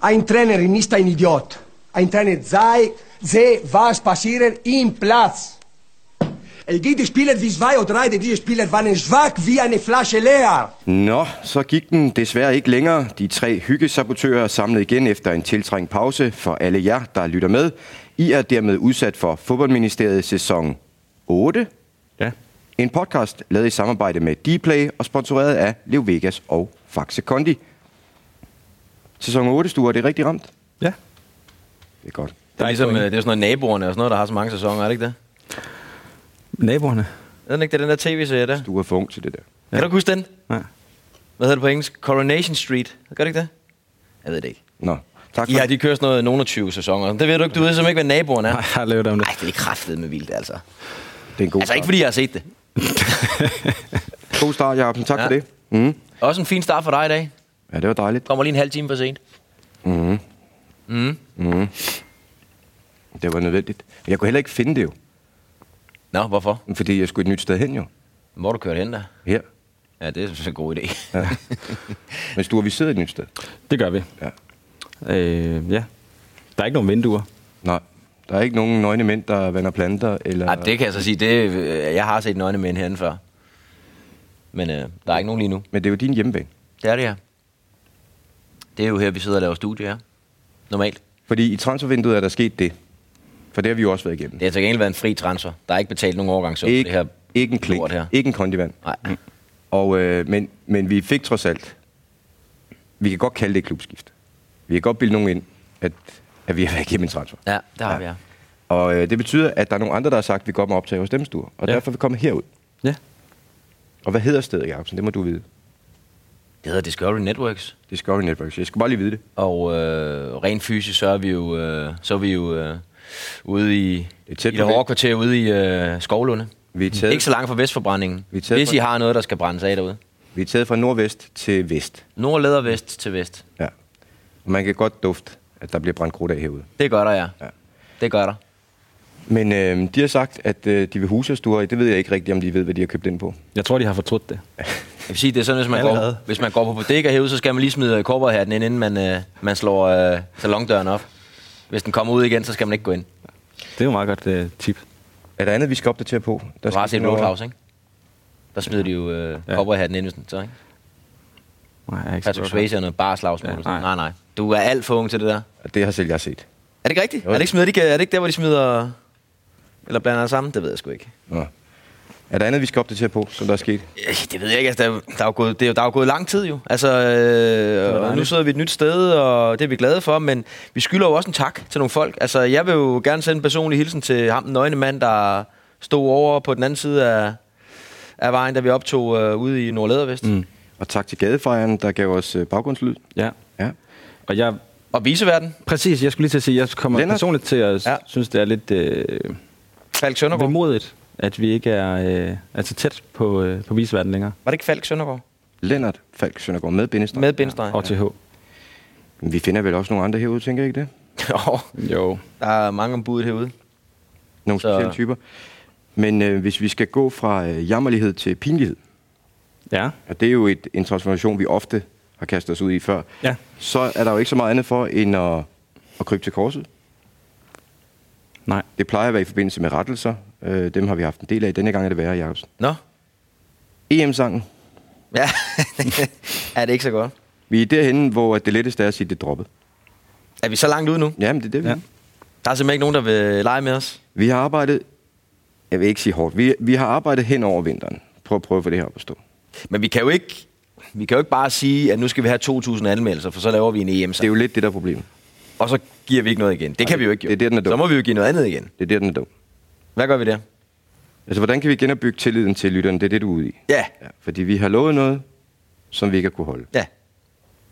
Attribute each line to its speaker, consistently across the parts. Speaker 1: Ein Trainer ist ein Idiot. Ein Trainer sei, sehe, was passiert im Platz. Es gibt Spieler wie zwei oder drei, diese Spieler waren schwach wie eine Flasche leer.
Speaker 2: Nå, så gik den desværre ikke længere. De tre hyggesabotører er samlet igen efter en tiltrængt pause for alle jer, der lytter med. I er dermed udsat for Fodboldministeriet sæson 8.
Speaker 3: Ja.
Speaker 2: En podcast lavet i samarbejde med Dplay og sponsoreret af Leo Vegas og Faxe Kondi. Sæson 8, Sture, er det rigtigt ramt?
Speaker 3: Ja.
Speaker 2: Det er godt.
Speaker 4: Det er, ligesom, øh, det er jo sådan noget naboerne og sådan noget, der har så mange sæsoner, er det ikke det?
Speaker 3: Naboerne.
Speaker 4: Er det ikke det, er den der tv-serie der?
Speaker 2: Du er for ung til det der.
Speaker 4: Kan du ikke huske den?
Speaker 3: Nej.
Speaker 4: Hvad hedder det på engelsk? Coronation Street. Gør det ikke det? Jeg ved det ikke.
Speaker 2: Nå, tak for
Speaker 4: Ja, de kører sådan noget nogen 20 sæsoner. Det ved du ikke. Du ved simpelthen ikke, hvad naboerne er.
Speaker 3: Nej, jeg har lavet om det.
Speaker 4: Nej, det er kraftet med vildt, altså.
Speaker 2: det er en god
Speaker 4: Altså ikke fordi jeg har set det.
Speaker 2: start. God start, Jacob. Tak ja.
Speaker 4: Ja.
Speaker 2: for det. Mm.
Speaker 4: Også en fin start for dig i dag.
Speaker 2: Ja, det var dejligt.
Speaker 4: Kommer lige en halv time for sent.
Speaker 2: Det var nødvendigt. Men jeg kunne heller ikke finde det jo,
Speaker 4: Nå, hvorfor?
Speaker 2: fordi jeg skulle et nyt sted hen jo.
Speaker 4: Hvor er du kørt hen der?
Speaker 2: Her.
Speaker 4: Ja, det er så en god idé.
Speaker 2: Ja. Men Sture, vi sidder et nyt sted.
Speaker 3: Det gør vi.
Speaker 2: Ja.
Speaker 3: Øh, ja. Der er ikke nogen vinduer.
Speaker 2: Nej, der er ikke nogen nøgne mænd, der vander planter. Eller...
Speaker 4: Ej, det kan jeg så sige. Det, øh, jeg har set nøgne mænd herinde før. Men øh, der er ikke nogen lige nu.
Speaker 2: Men det er jo din hjemmebane.
Speaker 4: Det er det her. Det er jo her, vi sidder og laver studie her. Normalt.
Speaker 2: Fordi i transfervinduet er der sket det. For det har vi jo også været igennem.
Speaker 4: Det har til gengæld været en fri transfer. Der er ikke betalt nogen overgangssum for
Speaker 2: ikke,
Speaker 4: det her.
Speaker 2: ikke en klink,
Speaker 4: lort her.
Speaker 2: ikke en kondivand.
Speaker 4: Nej.
Speaker 2: Og, øh, men, men vi fik trods alt, vi kan godt kalde det et klubskift. Vi kan godt bilde nogen ind, at, at vi har været igennem en transfer.
Speaker 4: Ja, det har vi her.
Speaker 2: Og øh, det betyder, at der er nogle andre, der har sagt, at vi godt må optage hos dem, Sture. Og ja.
Speaker 3: Ja.
Speaker 2: derfor er vi kommet herud.
Speaker 3: Ja.
Speaker 2: Og hvad hedder stedet, Jacobsen? Det må du vide.
Speaker 4: Det hedder Discovery Networks.
Speaker 2: Det er Discovery Networks. Jeg skal bare lige vide det.
Speaker 4: Og øh, rent fysisk, så er vi jo, øh, så er vi jo øh, ude i
Speaker 2: Det er
Speaker 4: det,
Speaker 2: tæt
Speaker 4: i
Speaker 2: på
Speaker 4: det hårde
Speaker 2: det.
Speaker 4: kvarter ude i øh, Skovlunde.
Speaker 2: Vi er taget-
Speaker 4: Ikke så langt fra Vestforbrændingen.
Speaker 2: Vi er taget
Speaker 4: Hvis
Speaker 2: fra-
Speaker 4: I har noget, der skal brændes af derude.
Speaker 2: Vi er taget fra nordvest til vest.
Speaker 4: Nord leder vest til vest.
Speaker 2: Ja. Og man kan godt dufte, at der bliver brændt krudt af herude.
Speaker 4: Det gør der, ja.
Speaker 2: Ja.
Speaker 4: ja. Det gør der.
Speaker 2: Men øh, de har sagt, at øh, de vil huse os, Sture. Det ved jeg ikke rigtigt, om de ved, hvad de har købt ind på.
Speaker 3: Jeg tror, de har fortrudt det.
Speaker 4: Jeg vil sige, det er sådan, hvis man,
Speaker 3: Allerede.
Speaker 4: går, hvis man går på bodega herude, så skal man lige smide kobberhatten ind, inden man, øh, man slår øh, salongdøren op. Hvis den kommer ud igen, så skal man ikke gå ind.
Speaker 3: Det er jo meget godt uh, tip.
Speaker 2: Er der andet, vi skal opdatere på? Der
Speaker 4: Du har
Speaker 2: skal
Speaker 4: set
Speaker 2: noget-
Speaker 4: Roadhouse, ikke? Der smider de jo øh,
Speaker 3: Ja.
Speaker 4: kobberhatten ind, hvis den så, ikke?
Speaker 3: Nej, jeg er ikke
Speaker 4: Patrick
Speaker 3: så godt.
Speaker 4: Swayze og noget bare slagsmål.
Speaker 3: Ja,
Speaker 4: Ja,
Speaker 3: nej.
Speaker 4: nej. nej, nej. Du er alt for ung til det der.
Speaker 2: Og Det har selv jeg set.
Speaker 4: Er det ikke rigtigt?
Speaker 2: Jo.
Speaker 4: Er det ikke, smider, de, er det ikke der, hvor de smider... Eller blander det sammen? Det ved jeg sgu ikke.
Speaker 2: Nå. Er der andet, vi skal opdatere på, som der er sket?
Speaker 4: Øh, Det ved jeg ikke. Altså, der, er jo- der, er jo gået, det er, jo- der er jo gået lang tid jo. Altså, øh, og nu
Speaker 3: dejligt.
Speaker 4: sidder vi et nyt sted, og det er vi glade for, men vi skylder jo også en tak til nogle folk. Altså, jeg vil jo gerne sende en personlig hilsen til ham, den nøgne mand, der stod over på den anden side af, af vejen, da vi optog øh, ude i Nordledervest. Mm.
Speaker 2: Og tak til gadefejeren, der gav os øh, baggrundslyd.
Speaker 3: Ja.
Speaker 2: Ja.
Speaker 3: Og jeg,
Speaker 4: Og viseverden,
Speaker 3: præcis, jeg skulle lige til at sige, jeg kommer
Speaker 2: Lennart?
Speaker 3: Lennart. personligt til at ja.
Speaker 4: Ja.
Speaker 3: synes, det er lidt øh,
Speaker 4: Falk Søndergaard.
Speaker 3: vemodigt, at vi ikke er, øh, er så tæt på, øh, på visverden længere.
Speaker 4: Var det ikke Falk Søndergaard?
Speaker 2: Lennart Falk Søndergaard med bindestreg.
Speaker 4: Med bindestreg.
Speaker 3: Og TH.
Speaker 2: Men Vi finder vel også nogle andre herude, tænker jeg ikke det?
Speaker 4: Jo,
Speaker 3: Jo.
Speaker 4: der er mange om budet herude.
Speaker 2: Nogle
Speaker 4: Så-
Speaker 2: specielle typer. Men øh, hvis vi skal gå fra øh, jammerlighed til pinlighed,
Speaker 3: Ja.
Speaker 2: og det er jo et, en transformation, vi ofte har kastet os ud i før,
Speaker 3: Ja.
Speaker 2: så er der jo ikke så meget andet for, end at, at krybe til korset.
Speaker 3: Nej.
Speaker 2: Det plejer at være i forbindelse med rettelser. Øh, dem har vi haft en del af. Denne gang er det værre, E Jacobsen.
Speaker 4: Nå?
Speaker 2: EM-sangen.
Speaker 4: Ja, er det ikke så godt?
Speaker 2: Vi er derhen, hvor at det letteste er at sige, det er droppet.
Speaker 4: Er vi så langt ude nu?
Speaker 2: Jamen, det er det, vi
Speaker 3: Ja.
Speaker 2: er.
Speaker 4: Der er simpelthen ikke nogen, der vil lege med os.
Speaker 2: Vi har arbejdet, jeg vil ikke sige hårdt, vi, vi har arbejdet hen over vinteren. Prøv at prøve at få det her op at stå.
Speaker 4: Men vi kan jo ikke, vi kan jo ikke bare sige, at nu skal vi have 2.000 anmeldelser, for så laver vi en em
Speaker 2: Det er jo lidt det, der er problemet.
Speaker 4: og så giver vi ikke noget igen. Det kan vi jo ikke. Jo.
Speaker 2: det er det, den er dum.
Speaker 4: så må vi jo give noget andet igen.
Speaker 2: Det er der, den er dum.
Speaker 4: Hvad gør vi der?
Speaker 2: Altså, hvordan kan vi genopbygge tilliden til lytterne? Det er det, du er ude i.
Speaker 4: Ja,
Speaker 2: Ja, fordi vi har lovet noget, som vi ikke har kunne holde.
Speaker 4: ja.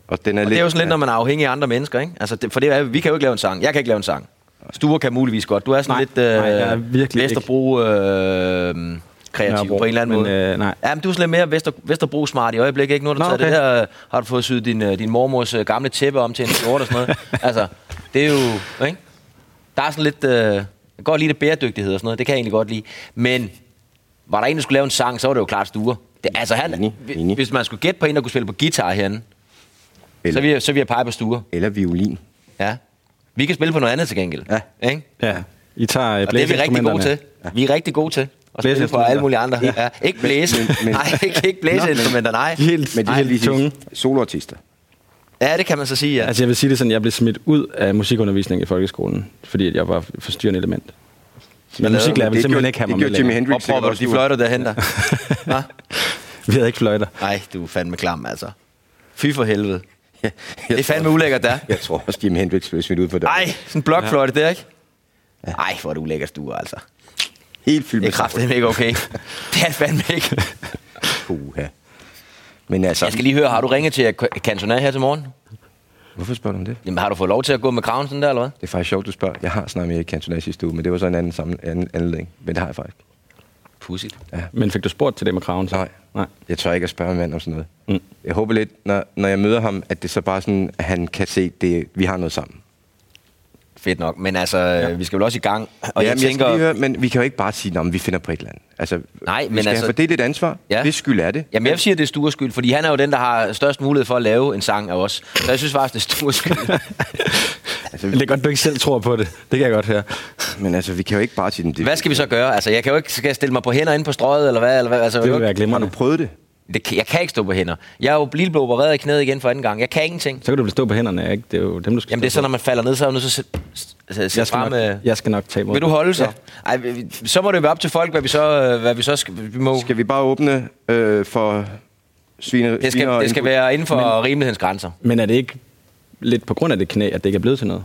Speaker 2: Og, den er
Speaker 4: Og
Speaker 2: lidt,
Speaker 4: det er jo sådan lidt, når
Speaker 2: ja,
Speaker 4: man er afhængig af andre mennesker, ikke? Altså, det, for det er, vi kan jo ikke lave en sang. Jeg kan ikke lave en sang. Sture kan muligvis godt. Du er sådan
Speaker 3: Nej,
Speaker 4: lidt øh,
Speaker 3: nej, jeg er virkelig ikke.
Speaker 4: Vesterbro øh, kreativ
Speaker 3: Nørrebro,
Speaker 4: på en eller anden
Speaker 3: men,
Speaker 4: måde.
Speaker 3: øh, nej.
Speaker 4: Ja, men du er sådan lidt mere Vester, Vesterbro smart i øjeblikket, ikke? Nu har du
Speaker 3: Nå,
Speaker 4: taget
Speaker 3: okay.
Speaker 4: det der, øh, har du fået syet din, øh, din mormors øh, gamle tæppe om til en skjorte og sådan noget. altså, det er jo, ikke? Der er sådan lidt, øh, jeg kan godt lide det bæredygtighed og sådan noget, det kan jeg egentlig godt lide. Men var der en, der skulle lave en sang, så var det jo klart Sture. Det, altså han,
Speaker 2: Enig, enig.
Speaker 4: hvis man skulle gætte på en, der kunne spille på guitar herinde, Eller. Så, vi, så vi har pege på stuer.
Speaker 2: Eller violin.
Speaker 4: Ja. Vi kan spille på noget andet til gengæld.
Speaker 2: Ja.
Speaker 4: Ikke?
Speaker 3: Ja. I tager øh,
Speaker 4: Og det er vi rigtig gode til. Ja. Vi er rigtig gode til at spille på alle mulige andre. Ja. Ja. Ikke blæse.
Speaker 2: Men- men-
Speaker 4: nej, ikke, ikke blæseinstrumenter, nej.
Speaker 3: De er helt,
Speaker 2: Men de er heldigvis
Speaker 3: tunge.
Speaker 2: ikke soloartister.
Speaker 4: Ja, det kan man så sige, ja.
Speaker 3: Altså jeg vil sige det sådan, jeg blev smidt ud af musikundervisning i folkeskolen, fordi at jeg var et forstyrrende element. Men
Speaker 4: lavede-
Speaker 3: musiklærer
Speaker 2: det
Speaker 3: ville simpelthen
Speaker 2: gjorde-
Speaker 3: ikke have mig
Speaker 2: det
Speaker 3: med
Speaker 2: gjorde Jimi
Speaker 3: længere.
Speaker 2: Hendrix
Speaker 4: Opropper
Speaker 2: sikkert
Speaker 4: du
Speaker 2: også,
Speaker 4: de
Speaker 2: du.
Speaker 4: fløjter, der henter. Hva?
Speaker 3: Vi havde ikke fløjter.
Speaker 4: Nej, du er fandme klam, altså. Fy for helvede.
Speaker 2: Ja,
Speaker 4: Det er fandme ulækkert, der.
Speaker 2: Jeg tror også, Jimi Hendrix blev smidt ud for det.
Speaker 4: Ej, sådan en blokfløjte der, ikke? Ej, hvor er du ulækkert stuer, altså.
Speaker 2: helt fyldt
Speaker 4: Det er
Speaker 2: med
Speaker 4: kraftedeme ikke okay. Det er fandme ikke.
Speaker 2: Puha. Men altså,
Speaker 4: Jeg skal lige høre, har du ringet til Cantona her til morgen?
Speaker 2: hvorfor spørger du om det?
Speaker 4: Jamen, har du fået lov til at gå med kraven sådan der, eller hvad?
Speaker 2: Det er faktisk sjovt, du spørger. Jeg har snakket med Erik Cantona i sidste uge, men det var så en anden, sammen, anden anledning. Men det har jeg faktisk.
Speaker 4: Pudsigt.
Speaker 3: Men fik du spurgt til det med kraven? Så?
Speaker 2: Nej.
Speaker 3: Nej.
Speaker 2: Jeg tør ikke at spørge en mand om sådan noget. Mm. Jeg håber lidt, når, når jeg møder ham, at det så bare sådan, at han kan se, det, vi har noget sammen.
Speaker 4: Fedt nok. Men altså, ja. vi skal vel også i gang. Og
Speaker 2: Og ja,
Speaker 4: jeg
Speaker 2: men, tænker...
Speaker 4: tænker...
Speaker 2: jeg skal lige høre, men vi kan jo ikke bare sige, at vi finder på et eller andet. Altså,
Speaker 4: Nej,
Speaker 2: vi
Speaker 4: men
Speaker 2: skal
Speaker 4: altså-
Speaker 2: have fordelt et ansvar.
Speaker 4: Ja.
Speaker 2: Ja. Hvis skyld er det.
Speaker 4: Jamen, jeg siger, at det er Stures skyld, fordi han er jo den, der har størst mulighed for at lave en sang af os. Så jeg synes faktisk, det er Stures skyld.
Speaker 2: Altså,
Speaker 3: Det er godt, du ikke selv tror på det. Det kan jeg godt høre.
Speaker 2: Men altså, vi kan jo ikke bare sige, at det
Speaker 4: Hvad skal vi så gøre? Altså, jeg kan jo ikke, skal jeg stille mig på hænder inde på strøget, eller hvad? Eller hvad? Altså,
Speaker 3: Det vil
Speaker 4: jeg,
Speaker 3: være
Speaker 2: Har du
Speaker 3: glimrende.
Speaker 2: prøvet det?
Speaker 4: det, kan- jeg kan ikke stå på hænder. Jeg er jo lige blevet opereret i knæet igen for anden gang. Jeg kan ingenting.
Speaker 3: Så kan du vel stå på hænderne, ikke? Det er jo dem, du skal
Speaker 4: Jamen, det er
Speaker 3: stå
Speaker 4: sådan,
Speaker 3: på.
Speaker 4: når man falder ned, så er jeg nødt til at sætte
Speaker 3: jeg
Speaker 4: sæt
Speaker 3: skal,
Speaker 4: frem. Med...
Speaker 3: nok, jeg skal nok tage imod.
Speaker 4: Vil du
Speaker 3: det.
Speaker 4: holde så? Ej, vi- vi- så må det jo være op til folk, hvad vi så, øh, hvad vi så skal, vi må...
Speaker 2: Skal vi bare åbne øh, for svine,
Speaker 4: det, skal,
Speaker 2: svine
Speaker 4: det skal være inden for Men... rimelighedens grænser.
Speaker 3: Men er det ikke lidt på grund af det knæ, at det ikke er blevet til noget?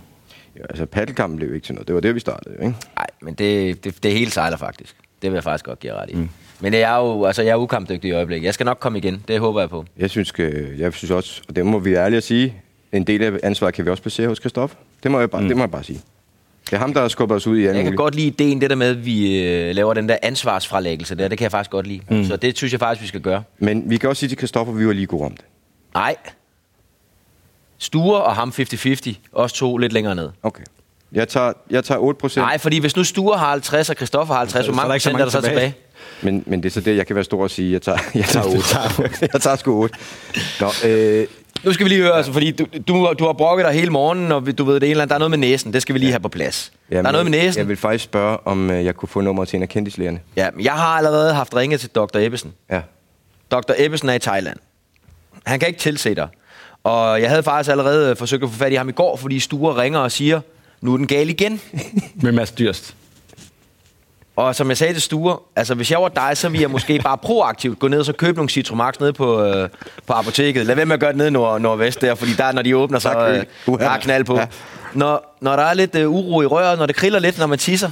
Speaker 2: Ja, altså, paddelkampen blev jo ikke til noget. Det var det, vi startede, jo, ikke?
Speaker 4: Nej, men det, det, det hele sejler faktisk. Det vil jeg faktisk godt give jer ret i. Mm. Men jeg er jo altså, jeg er ukampdygtig i øjeblikket. Jeg skal nok komme igen. Det håber jeg på.
Speaker 2: Jeg synes, øh, jeg synes også, og det må vi være ærlige at sige, en del af ansvaret kan vi også placere hos Christoffer. Det må jeg bare, mm. det må jeg bare sige. Det er ham, der har skubbet os ud i alt
Speaker 4: Jeg kan
Speaker 2: muligt.
Speaker 4: godt lide ideen, det der med, at vi øh, laver den der ansvarsfralæggelse der. Det kan jeg faktisk godt lide. Mm. Så det synes jeg faktisk, vi skal gøre.
Speaker 2: Men vi kan også sige til Christoffer, at vi var lige gode om det.
Speaker 4: Nej. Sture og ham 50-50. Os to lidt længere ned.
Speaker 2: Okay. Jeg tager, jeg tager 8 procent,
Speaker 4: Nej, fordi hvis nu Sture har 50, og Christoffer har 50,
Speaker 3: Så
Speaker 4: hvor
Speaker 3: er der
Speaker 4: mange
Speaker 3: ikke så
Speaker 4: procent er der så
Speaker 3: mange
Speaker 4: tilbage?
Speaker 3: tilbage.
Speaker 2: men, men det er så det, jeg kan være stor og sige, jeg tager, jeg tager
Speaker 3: Du
Speaker 2: 8. jeg tager sgu 8. Nå, øh,
Speaker 4: Nu skal vi lige høre, altså, fordi du, du, du har brokket dig hele morgenen, og vi- du ved det er en eller anden, der er noget med næsen. Det skal vi lige have på plads.
Speaker 2: jamen,
Speaker 4: der er noget med næsen.
Speaker 2: Jeg vil faktisk spørge, om øh, jeg kunne få nummeret til en af kendislægerne.
Speaker 4: Ja, men jeg har allerede haft ringet til Dr. Ebbesen.
Speaker 2: Ja.
Speaker 4: Dr. Ebbesen er i Thailand. Han kan ikke tilse dig. Og jeg havde faktisk allerede forsøgt at få fat i ham i går, fordi Sture ringer og siger, nu er den gal igen.
Speaker 3: Med Mads Dyrst.
Speaker 4: og som jeg sagde til Sture, altså hvis jeg var dig, så ville jeg måske bare proaktivt gå ned og så købe nogle Citromax nede på, øh, på apoteket. Lad være med at gøre det nede i nord- nordvest der, fordi der, når de åbner, så
Speaker 2: Tak,
Speaker 4: øh,
Speaker 2: Øl.
Speaker 4: der er knald på.
Speaker 2: Ja.
Speaker 4: Når, når der er lidt øh, uro i røret, når det kriller lidt, når man tisser,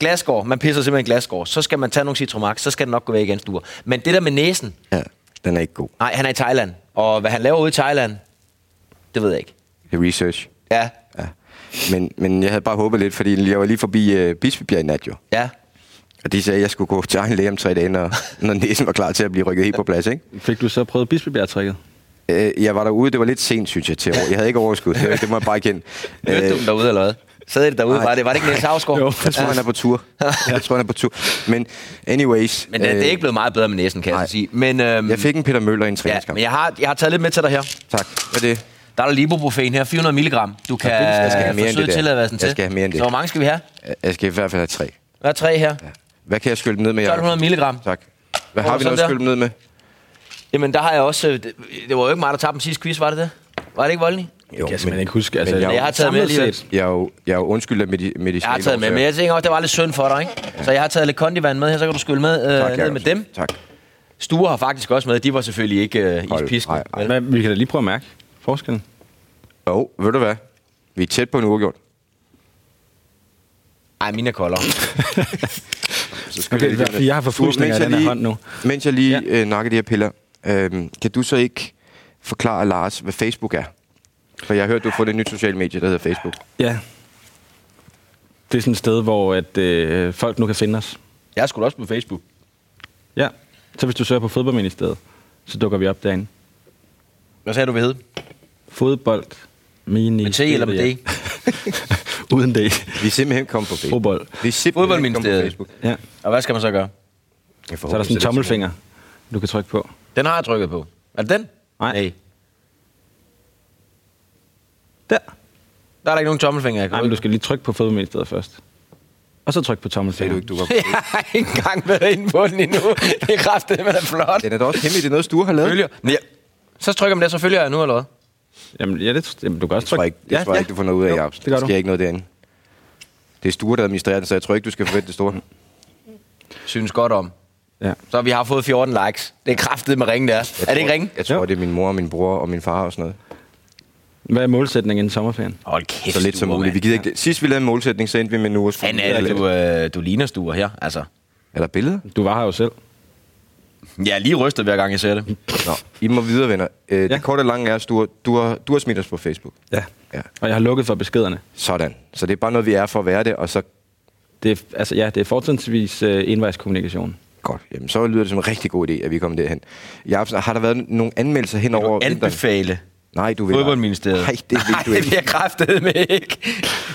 Speaker 4: glasgård, man pisser simpelthen glasgård, så skal man tage nogle Citromax, så skal det nok gå væk igen, Sture. Men det der med næsen,
Speaker 2: ja, den er ikke god.
Speaker 4: Nej, han er i Thailand. Og hvad han laver ude i Thailand, det ved jeg ikke.
Speaker 2: Det er research.
Speaker 4: Ja,
Speaker 2: Ja. Men, men jeg havde bare håbet lidt, fordi jeg var lige forbi øh, Bispebjerg i nat jo.
Speaker 4: ja.
Speaker 2: Og de sagde, at jeg skulle gå til egen læge om tre dage, når, når næsen var klar til at blive rykket helt på plads. Ikke?
Speaker 3: Fik du så prøvet Bispebjerg-trækket?
Speaker 2: Øh, jeg var derude, det var lidt sent, synes jeg, til år. Jeg havde ikke overskud, det, det må jeg bare erkende. Øh,
Speaker 4: Mødte du dem derude eller hvad? Sad det derude,
Speaker 2: nej.
Speaker 4: var det, var det ikke Niels Havsgaard?
Speaker 3: Jo.
Speaker 2: jeg tror, han er på tur. Jeg tror, han er på tur. Men anyways...
Speaker 4: Men øh, det, det, er ikke blevet meget bedre med næsen, kan jeg
Speaker 2: Øh, nej.
Speaker 4: så sige. Men, øhm,
Speaker 2: Jeg fik en Peter Møller i en
Speaker 4: ja,
Speaker 2: træningskamp.
Speaker 4: men jeg har, jeg har taget lidt med til dig her.
Speaker 2: Tak. Hvad er det?
Speaker 4: Der er der lipoprofen her, 400 milligram. Du kan
Speaker 2: jeg skal have mere end
Speaker 4: forsøge
Speaker 2: det der.
Speaker 4: tilladelsen til.
Speaker 2: Jeg skal have mere end det.
Speaker 4: Så hvor mange skal vi have?
Speaker 2: Jeg skal i hvert fald have tre.
Speaker 4: Der er tre her.
Speaker 2: Hvad kan jeg skylde dem ned med? Jacob?
Speaker 4: 1200 milligram.
Speaker 2: Tak. Hvad
Speaker 4: Hvor er
Speaker 2: har vi
Speaker 4: sådan
Speaker 2: noget
Speaker 4: der?
Speaker 2: at skylde dem ned med?
Speaker 4: Jamen, der har jeg også... øh, Det, det var jo ikke mig, der tabte den sidste quiz, var det det? Var det ikke voldelig?
Speaker 3: Jo, kan jeg simpelthen ikke huske. altså,
Speaker 2: men jeg-
Speaker 4: Jeg har taget med
Speaker 3: samlet
Speaker 4: alligevel.
Speaker 3: set.
Speaker 2: Jeg er jo, jeg er jo undskyld af medi- medicinale
Speaker 4: Jeg har taget med,
Speaker 2: årsager.
Speaker 4: men jeg tænker også, det var lidt synd for dig, ikke? Så jeg har taget lidt kondivand med her, så kan du skylle med, øh,
Speaker 2: Tak,
Speaker 4: ned
Speaker 2: Jacob.
Speaker 4: med dem.
Speaker 2: Tak.
Speaker 4: Sture har faktisk også med. De var selvfølgelig ikke øh,
Speaker 2: Hold,
Speaker 4: ispisken.
Speaker 2: nej, nej.
Speaker 4: vel?
Speaker 3: Hvad, vi kan da lige prøve at mærke forskellen.
Speaker 2: Jo, ved du hvad? Vi er tæt på en uafgjort.
Speaker 4: Ej, mine er koldere.
Speaker 2: Så skal
Speaker 3: Okay,
Speaker 2: vi lige
Speaker 3: fordi jeg har forfrysninger
Speaker 2: Mens jeg
Speaker 3: af den her
Speaker 2: lige-
Speaker 3: hånd nu.
Speaker 2: Mens jeg lige
Speaker 3: Ja.
Speaker 2: ja. øh, nakker de her piller, øhm, kan du så ikke forklare Lars, hvad Facebook er? For jeg har hørt, du har fået et nyt socialt medie, der hedder Facebook.
Speaker 3: Ja. Det er sådan et sted, hvor at, øh, folk nu kan finde os.
Speaker 4: Jeg er sgu da også på Facebook.
Speaker 3: Ja. Så hvis du søger på fodboldministeriet, så dukker vi op derinde.
Speaker 4: Hvad sagde du ved hed?
Speaker 3: Fodbold. Mini.
Speaker 4: Med T eller med D?
Speaker 3: Uden D.
Speaker 2: Vi er simpelthen kommet på Facebook.
Speaker 3: Fodbold.
Speaker 2: Vi er simpelthen kommet på
Speaker 4: Fodboldministeriet.
Speaker 2: Facebook.
Speaker 3: Ja.
Speaker 4: Og hvad skal man så gøre?
Speaker 2: Jeg
Speaker 3: Så er der sådan en tommelfinger, du kan trykke på.
Speaker 4: Den har jeg trykket på. Er det den?
Speaker 3: Nej. Der.
Speaker 4: Der er der ikke nogen tommelfinger, jeg kan
Speaker 3: Nej, men du skal lige trykke på fodboldministeriet først. Og så tryk
Speaker 2: Sagde
Speaker 3: på
Speaker 2: du
Speaker 3: tommelfingeren.
Speaker 2: ikke, du var...
Speaker 4: Jeg har ikke engang været inde på den endnu. Det er kraftigt, men er flot.
Speaker 2: Den er da også hemmelig, det er noget, Sture har lavet.
Speaker 4: Følger. Ja. Så trykker man der, så følger jeg nu, eller hvad?
Speaker 3: Jamen, ja, det, jamen, du kan også
Speaker 2: Jeg tror
Speaker 3: trykke.
Speaker 2: ikke, jeg tror jeg ikke du får noget ud af,
Speaker 3: Jo,
Speaker 2: Japs.
Speaker 3: Det gør
Speaker 2: Der sker
Speaker 3: du.
Speaker 2: ikke noget derinde. Det er Sture, der administrerer den, så jeg tror ikke, du skal forvente det store.
Speaker 4: Synes godt om.
Speaker 3: Ja.
Speaker 4: Så vi har fået 14 likes. Det er kraftet med ringe der. Er det ikke ringe?
Speaker 2: Jeg tror,
Speaker 3: Jo.
Speaker 2: det er min mor og min bror og min far og sådan noget.
Speaker 3: Hvad er målsætningen inden sommerferien?
Speaker 4: Hold kæft,
Speaker 2: Så lidt som
Speaker 4: Sture,
Speaker 2: muligt. Vi
Speaker 4: mand.
Speaker 2: gider ikke det. Sidst vi lavede en målsætning, så endte vi med en uges
Speaker 4: Fanden er det, du, øh, du ligner stuer her, altså.
Speaker 2: Er der billeder?
Speaker 3: Du var her jo selv.
Speaker 4: Jeg er lige rystet hver gang, jeg ser det.
Speaker 2: Nå, I må videre, venner. Øh, Det
Speaker 3: Ja.
Speaker 2: korte og lange er, Sture, du har, du har smidt os på Facebook.
Speaker 3: Ja.
Speaker 2: Ja.
Speaker 3: Og jeg har lukket for beskederne.
Speaker 2: Sådan. Så det er bare noget, vi er for at være det, og så...
Speaker 3: Det er, altså, ja, det er fortrinsvis øh, indvejskommunikation.
Speaker 2: Godt. Jamen, så lyder det som en rigtig god idé, at vi er kommet derhen. Japs, har der været nogle anmeldelser hen over...
Speaker 4: Anbefale
Speaker 2: Nej, du vil ikke.
Speaker 4: fodboldministeriet.
Speaker 2: Nej, det vil du
Speaker 4: Ej,
Speaker 2: ikke.
Speaker 4: det vil jeg kraftet med ikke.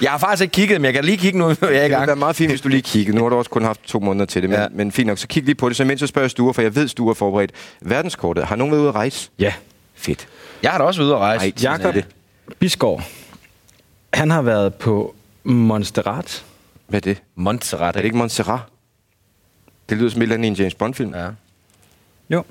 Speaker 4: Jeg har faktisk ikke kigget, men jeg kan lige kigge nu, hvor jeg er i
Speaker 2: Det
Speaker 4: gang.
Speaker 2: ville være meget fint, hvis du lige kiggede. Nu har du også kun haft to måneder til det, men, ja.
Speaker 4: Ja.
Speaker 2: men fint nok. Så kig lige på det, så mens jeg spørger Sture, for jeg ved, Sture er forberedt. Verdenskortet, har nogen været ude at rejse?
Speaker 3: Ja.
Speaker 2: Fedt.
Speaker 4: Jeg har da også været ude at rejse.
Speaker 2: Ej, Sådan er
Speaker 3: Jakob
Speaker 2: det.
Speaker 3: Bisgaard. Han har været på Montserrat.
Speaker 2: Hvad er det?
Speaker 4: Montserrat.
Speaker 2: Er det ikke Montserrat? Det lyder som et eller andet i en James Bond-film. Ja.
Speaker 4: Ja.
Speaker 3: Jo.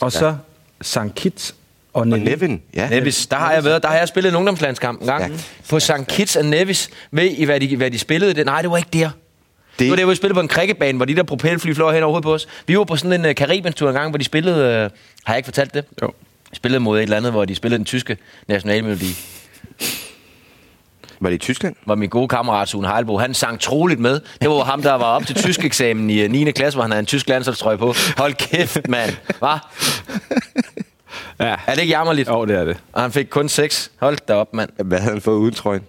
Speaker 3: Og så St. Kitts og
Speaker 2: Og
Speaker 3: Nevis.
Speaker 2: Nevin, ja.
Speaker 4: Nevis, der har jeg været, der har jeg spillet en ungdomslandskamp en gang
Speaker 2: Stærkt.
Speaker 4: på St. Kitts og Nevis. Ved I, hvad de, hvad de spillede? Det? Nej, det var ikke der. Det, det var der, hvor vi spillede på en krikkebane, hvor de der propelfly fløj hen overhovedet på os. Vi var på sådan en uh, Karibenstur en gang, hvor de spillede... Uh, har jeg ikke fortalt det?
Speaker 3: Jo.
Speaker 4: Spillede mod et eller andet, hvor de spillede den tyske nationalmelodi.
Speaker 2: Var det i Tyskland?
Speaker 4: Hvor min gode kammerat Sune Heilbo, han sang troligt med. Det var jo ham, der var op til tysk eksamen i øh, 9. klasse, hvor han havde en tysk landsholdstrøje på. Hold kæft, mand. Hva?
Speaker 3: Ja.
Speaker 4: Er det ikke jammerligt?
Speaker 3: Jo, det er det.
Speaker 4: Og han fik kun seks. Hold da op, mand.
Speaker 2: Hvad havde han fået uden trøjen?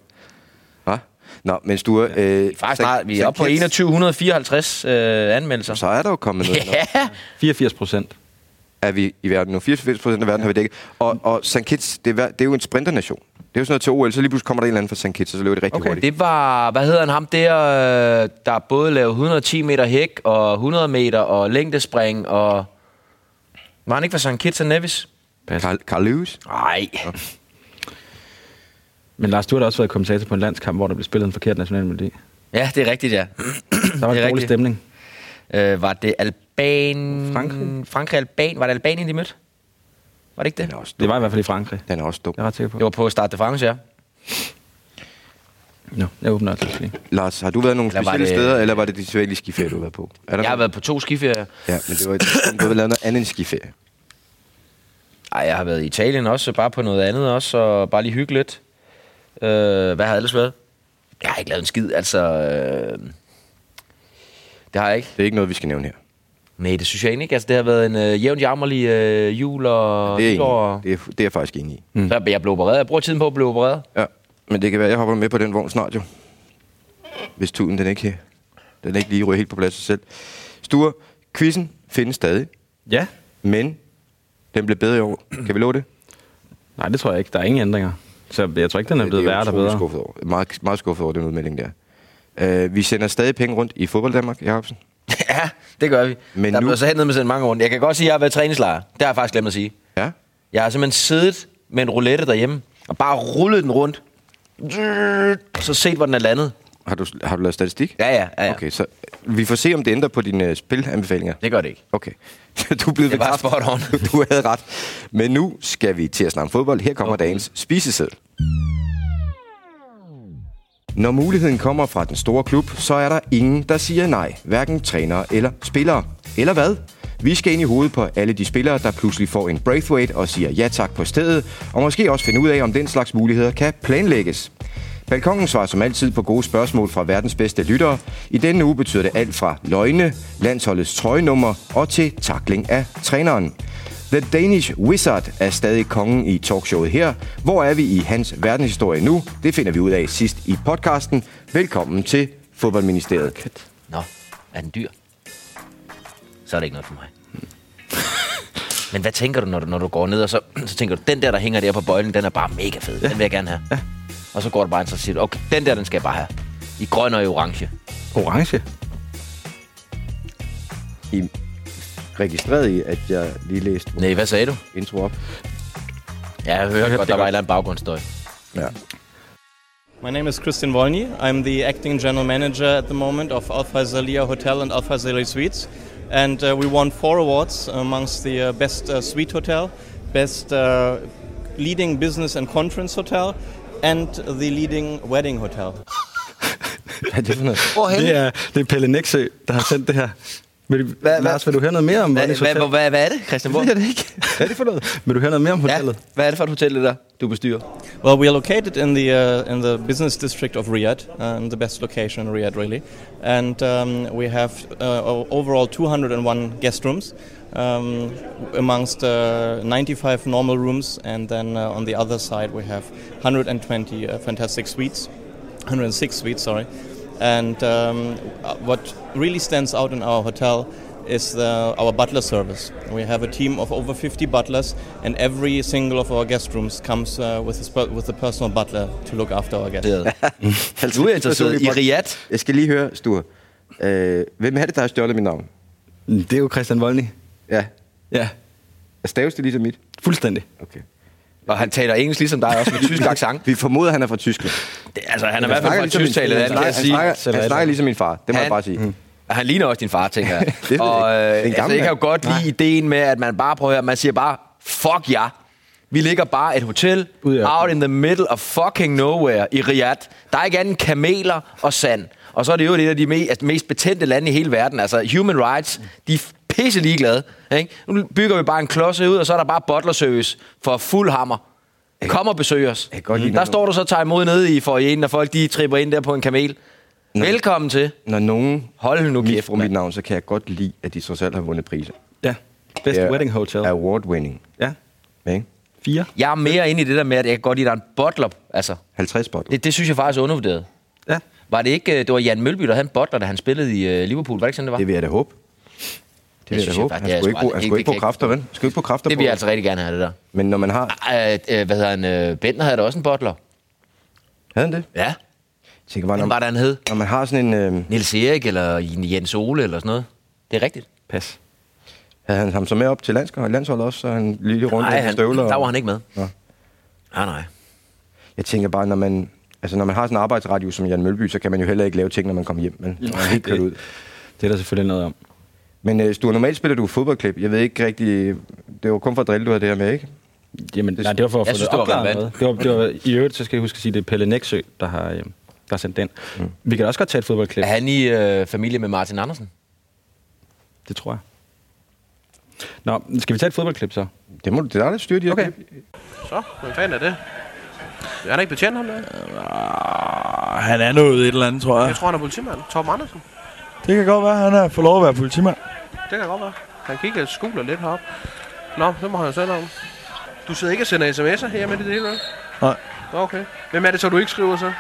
Speaker 2: Hva? Nå, men Sture... Øh,
Speaker 4: Faktisk
Speaker 2: Sankt-
Speaker 4: snart, vi er
Speaker 2: Sankt
Speaker 4: oppe på
Speaker 2: Kitts,
Speaker 4: 2154 øh, anmeldelser.
Speaker 2: Så er der jo kommet noget. Yeah.
Speaker 4: Ja,
Speaker 3: 84 procent.
Speaker 2: Er vi i verden nu? 84 procent af verden har vi dækket. Og, og St. Kitts, det er, hver- det er jo en sprinternation. Det er jo sådan noget til OL, så lige pludselig kommer der en eller anden fra St. Kitts, og så løber det rigtig okay, hurtigt.
Speaker 4: det var, hvad hedder han, ham der, øh, der både lavede 110 meter hæk og 100 meter og længdespring og... Var han ikke fra St. Kitts og Nevis?
Speaker 2: Carl, Carl Lewis?
Speaker 4: Nej.
Speaker 3: Men Lars, du har da også været kommentator på en landskamp, hvor der blev spillet en forkert nationalmelodi.
Speaker 4: Ja, det er rigtigt, ja.
Speaker 3: Der var
Speaker 4: Det er
Speaker 3: en dårlig
Speaker 4: rigtigt.
Speaker 3: stemning.
Speaker 4: Øh, var det Alban...
Speaker 3: Frankrig?
Speaker 4: Frankrig Alban. Var det Albanien, de mødte? Var det ikke det?
Speaker 2: Den er også
Speaker 3: Det
Speaker 2: dum.
Speaker 3: var i hvert fald i Frankrig.
Speaker 2: Den er også dum.
Speaker 3: Jeg er ret sikker på.
Speaker 4: Det var på Start de France, ja.
Speaker 3: Nå, jeg åbner altså lige.
Speaker 2: Lars, har du været nogle
Speaker 4: Eller var
Speaker 2: specielle det...
Speaker 4: det-
Speaker 2: steder, eller var det de svenske skiferier, du var på? Er der
Speaker 4: Jeg har
Speaker 2: nogen?
Speaker 4: været på to skiferier.
Speaker 2: Ja, men det var et, du har lavet noget andet end skiferie.
Speaker 4: Ej, jeg har været i Italien også, bare på noget andet også, og bare lige hygge lidt. Øh, hvad har jeg ellers været? Jeg har ikke lavet en skid, altså... Øh, det har jeg ikke.
Speaker 2: Det er ikke noget, vi skal nævne her.
Speaker 4: Nej, det synes jeg egentlig ikke. Altså, det har været en øh, jævn jammerlig øh, jul og
Speaker 2: Det er,
Speaker 4: nytår.
Speaker 2: enig. Det, er, det er jeg faktisk enig i.
Speaker 4: Mm. Så jeg blev opereret. Jeg bruger tiden på at blive opereret.
Speaker 2: Ja, men det kan være, jeg hopper med på den vogn snart jo. Hvis tuden den ikke, den ikke lige ryger helt på plads sig selv. Sture, quizzen findes stadig,
Speaker 3: Ja?
Speaker 2: men den blev bedre i år. Kan vi love det?
Speaker 3: Nej, det tror jeg ikke. Der er ingen ændringer. Så jeg tror ikke, den er blevet
Speaker 2: det er
Speaker 3: værre
Speaker 2: jeg
Speaker 3: eller
Speaker 2: utrolig
Speaker 3: bedre.
Speaker 2: skuffet over. Meget, meget skuffet over den udmelding der. Uh, vi sender stadig penge rundt i fodbold Danmark, Jacobsen.
Speaker 4: ja, det gør vi.
Speaker 2: Men
Speaker 4: Men der
Speaker 2: nu-
Speaker 4: nu... blev så hentet med sådan mange rundt. Jeg kan godt sige, at jeg har været træningslejr. Det har jeg faktisk glemt at sige.
Speaker 2: Ja?
Speaker 4: Jeg har simpelthen siddet med en roulette derhjemme, og bare rullet den rundt. Og så set, hvor den er landet.
Speaker 2: Har du, har du lavet statistik?
Speaker 4: Ja, ja, ja. ja.
Speaker 2: Okay, så vi får se, om det ændrer på dine øh, spilanbefalinger.
Speaker 4: Det gør det ikke.
Speaker 2: Okay. Du er blevet
Speaker 4: Det var
Speaker 2: bekræftet.
Speaker 4: spot on.
Speaker 2: Du havde ret. Men nu skal vi til at snakke om fodbold. Her kommer okay.
Speaker 4: Okay.
Speaker 2: dagens spiseseddel. Når muligheden kommer fra den store klub, så er der ingen, der siger nej. Hverken trænere eller spillere. Eller hvad? Vi skal ind i hovedet på alle de spillere, der pludselig får en Braithwaite og siger ja tak på stedet, og måske også finde ud af, om den slags muligheder kan planlægges. Balkongen svarer som altid på gode spørgsmål fra verdens bedste lyttere. I denne uge betyder det alt fra løgne, landsholdets trøjenummer og til takling af træneren. The Danish Wizard er stadig kongen i talkshowet her. Hvor er vi i hans verdenshistorie nu? Det finder vi ud af sidst i podcasten. Velkommen til Fodboldministeriet.
Speaker 4: Nå, er den dyr? Så er det ikke noget for mig. Men hvad tænker du, når du, når du går ned, og så, så tænker du, den der, der hænger der på bøjlen, den er bare mega fed. Den vil jeg gerne have. Ja. Og så går du bare ind, så siger du, okay, den der, den skal jeg bare have. I grøn og i orange.
Speaker 3: Orange?
Speaker 2: I registreret i, at jeg lige læste vores
Speaker 4: Nej, hvad sagde du?
Speaker 2: intro op.
Speaker 4: Ja, jeg hørte
Speaker 3: hørte
Speaker 4: godt,
Speaker 3: det
Speaker 4: der var et
Speaker 3: godt.
Speaker 4: eller andet baggrundsstøj.
Speaker 2: Ja.
Speaker 5: My name is Christian Wolny. I'm the acting general manager at the moment of Alpha Zalia Hotel and Alpha Zalia Suites. And uh, we won four awards amongst the uh, best uh, suite hotel, best uh, leading business and conference hotel, and the leading wedding hotel.
Speaker 2: Hvad er det for noget?
Speaker 4: Hvorhen?
Speaker 3: Det er, det er Pelle Nexø, der har sendt det her. Vil,
Speaker 4: Hvad-
Speaker 3: hvad,
Speaker 4: hvad-
Speaker 3: Lars, vil du høre noget mere om
Speaker 4: Hvad,
Speaker 3: Vallys Hotel?
Speaker 4: hvad, hvad, hvad er det, Christian? Hvor?
Speaker 3: Det er det ikke. Hvad er det for noget? Vil du høre noget mere om
Speaker 4: Ja,
Speaker 3: hotellet?
Speaker 4: hvad er det for et hotel, det der, du bestyrer?
Speaker 5: Well, we are located in the uh, in the business district of Riyadh, uh, in the best location in Riyadh, really, and um, we have uh, o- overall 201 guest rooms, um, amongst uh, 95 normal rooms, and then uh, on the other side we have 120 uh, fantastic suites, 106 suites, sorry, and um, uh, what really stands out in our hotel is the, our butler service. We have a team of over 50 butlers, and every single of our guest rooms comes uh, with, a sp- with a personal butler to look after our guests.
Speaker 4: Du er interesseret i Riyadh.
Speaker 2: Jeg skal lige høre, Sture. Øh, hvem er det, der har stjålet mit navn?
Speaker 3: Mm, Det er jo Christian Volny.
Speaker 2: Ja.
Speaker 3: Ja,
Speaker 2: Staves det ligesom mit?
Speaker 3: fuldstændig.
Speaker 2: Okay.
Speaker 4: Og han taler engelsk ligesom dig, også med tysk accent.
Speaker 2: Vi formoder, at han er fra Tyskland.
Speaker 4: Det- Altså, han er i hvert fald fra
Speaker 2: snakker ligesom
Speaker 4: et
Speaker 2: min-
Speaker 4: tysktalende
Speaker 2: han
Speaker 4: land, kan
Speaker 2: snakker-
Speaker 4: jeg sige. Mm.
Speaker 2: Han snakker, han snakker ligesom min far. Det må jeg bare sige.
Speaker 4: Og Han ligner også din far, tænker jeg.
Speaker 2: ved jeg
Speaker 4: og
Speaker 2: ikke. Det er en
Speaker 4: øh, altså,
Speaker 2: gammel
Speaker 4: jeg kan jo
Speaker 2: mand.
Speaker 4: godt lide ideen med, at man bare prøver at høre, man siger bare, fuck jer. Vi ligger bare et hotel
Speaker 3: Ude i ørkenen.
Speaker 4: out in the middle of fucking nowhere i Riyadh. Der er ikke andet end kameler og sand. Og så er det jo et af de me- altså, mest betændte lande i hele verden. Altså, human rights, de er pisse ligeglade. Ikke? Nu bygger vi bare en klodse ud, og så er der bare butler service for fuld hammer. Kom og besøg os.
Speaker 2: kan godt lide
Speaker 4: Der
Speaker 2: den.
Speaker 4: står du så og tager imod nede i forjen, når folk de tripper ind der på en kamel. Velkommen til.
Speaker 2: Når nogen
Speaker 4: Hold nu kæft,
Speaker 2: misbruger
Speaker 4: mand.
Speaker 2: mit navn, så kan jeg godt lide, at de trods alt har vundet priser.
Speaker 3: Ja, Best
Speaker 2: Det er
Speaker 3: Wedding Hotel.
Speaker 2: Award winning.
Speaker 3: Ja,
Speaker 2: Ikke?
Speaker 3: fire.
Speaker 4: Jeg er mere inde i det der med, at jeg kan godt lide, at der er en butler. Altså,
Speaker 2: 50 bottle.
Speaker 4: det, det synes jeg faktisk er undervurderet.
Speaker 3: Ja.
Speaker 4: Var det ikke, øh, det var Jan Mølby, der havde en butler, da han spillede i øh, Liverpool, var det ikke sådan, det var?
Speaker 2: Det
Speaker 4: Det,
Speaker 2: vil jeg da håbe. Det vil jeg
Speaker 4: synes
Speaker 2: da
Speaker 4: jeg
Speaker 2: håbe.
Speaker 4: faktisk,
Speaker 2: Han
Speaker 4: det
Speaker 2: skulle
Speaker 4: er sgu
Speaker 2: ikke, bruge- han
Speaker 4: aldrig-
Speaker 2: skulle
Speaker 4: det-
Speaker 2: ikke på
Speaker 4: det-
Speaker 2: kræfter, vel? Skulle ikke på kræfter
Speaker 4: det
Speaker 2: på.
Speaker 4: vil jeg altså rigtig gerne have, det der.
Speaker 2: Men når man har...
Speaker 4: Ej, øh, hvad hedder han? Øh, Bender havde da også en butler.
Speaker 2: Havde han det?
Speaker 4: Ja.
Speaker 2: Jeg tænker bare,
Speaker 4: Hvad
Speaker 2: når,
Speaker 4: var det, han hed?
Speaker 2: når man har sådan en... Øh,
Speaker 4: Nils Erik eller Jens Ole eller sådan noget. Det er rigtigt.
Speaker 3: Pas.
Speaker 2: havde han ham så med op til landshold, landsholdet også, så han lige rundt
Speaker 4: Nej,
Speaker 2: i
Speaker 4: han,
Speaker 2: støvler.
Speaker 4: der
Speaker 2: og-
Speaker 4: var han ikke med.
Speaker 2: Nå.
Speaker 4: Ah, Nej, nej.
Speaker 2: Jeg tænker bare, når man, altså, når man har sådan en arbejdsradio som Jan Mølby, så kan man jo heller ikke lave ting, når man kommer hjem. Men man er helt kørt
Speaker 3: det-
Speaker 2: ud.
Speaker 3: Det er der selvfølgelig noget om.
Speaker 2: Men øh, Sture, normalt spiller du fodboldklip. Jeg ved ikke rigtig... Det var kun for at drille, du havde det her med, ikke?
Speaker 3: Jamen, nej, det var for at
Speaker 4: Jeg
Speaker 3: få
Speaker 4: synes,
Speaker 3: det
Speaker 4: det var
Speaker 3: opklaret.
Speaker 4: relevant.
Speaker 3: noget. Det var, det var, I øvrigt, så skal jeg huske at sige, det er Pelle Nexø, der har, øh, der har sendt den. Mm. Vi kan også godt tage et fodboldklip.
Speaker 4: Er han i øh, familie med Martin Andersen?
Speaker 3: Det tror jeg. Nå, skal vi tage et fodboldklip så?
Speaker 2: Det må du... Det er dig, der styrer de her
Speaker 3: Okay.
Speaker 2: klip.
Speaker 6: Så, hvem fanden er det? Er han ikke betjent ham der?
Speaker 7: Ah, Han er noget et eller andet, tror jeg.
Speaker 6: Jeg tror, han er politimand. Torben Andersen.
Speaker 7: Det kan godt være, at han har fået lov at være politimand.
Speaker 6: Det kan godt være. Han kigger og skuler lidt herop. Nå, så må han jo sende ham. Du sidder ikke og sender sms'er her med det hele, vel?
Speaker 7: Nej.
Speaker 6: Nå, Okay. Hvem er det så, du ikke skriver så?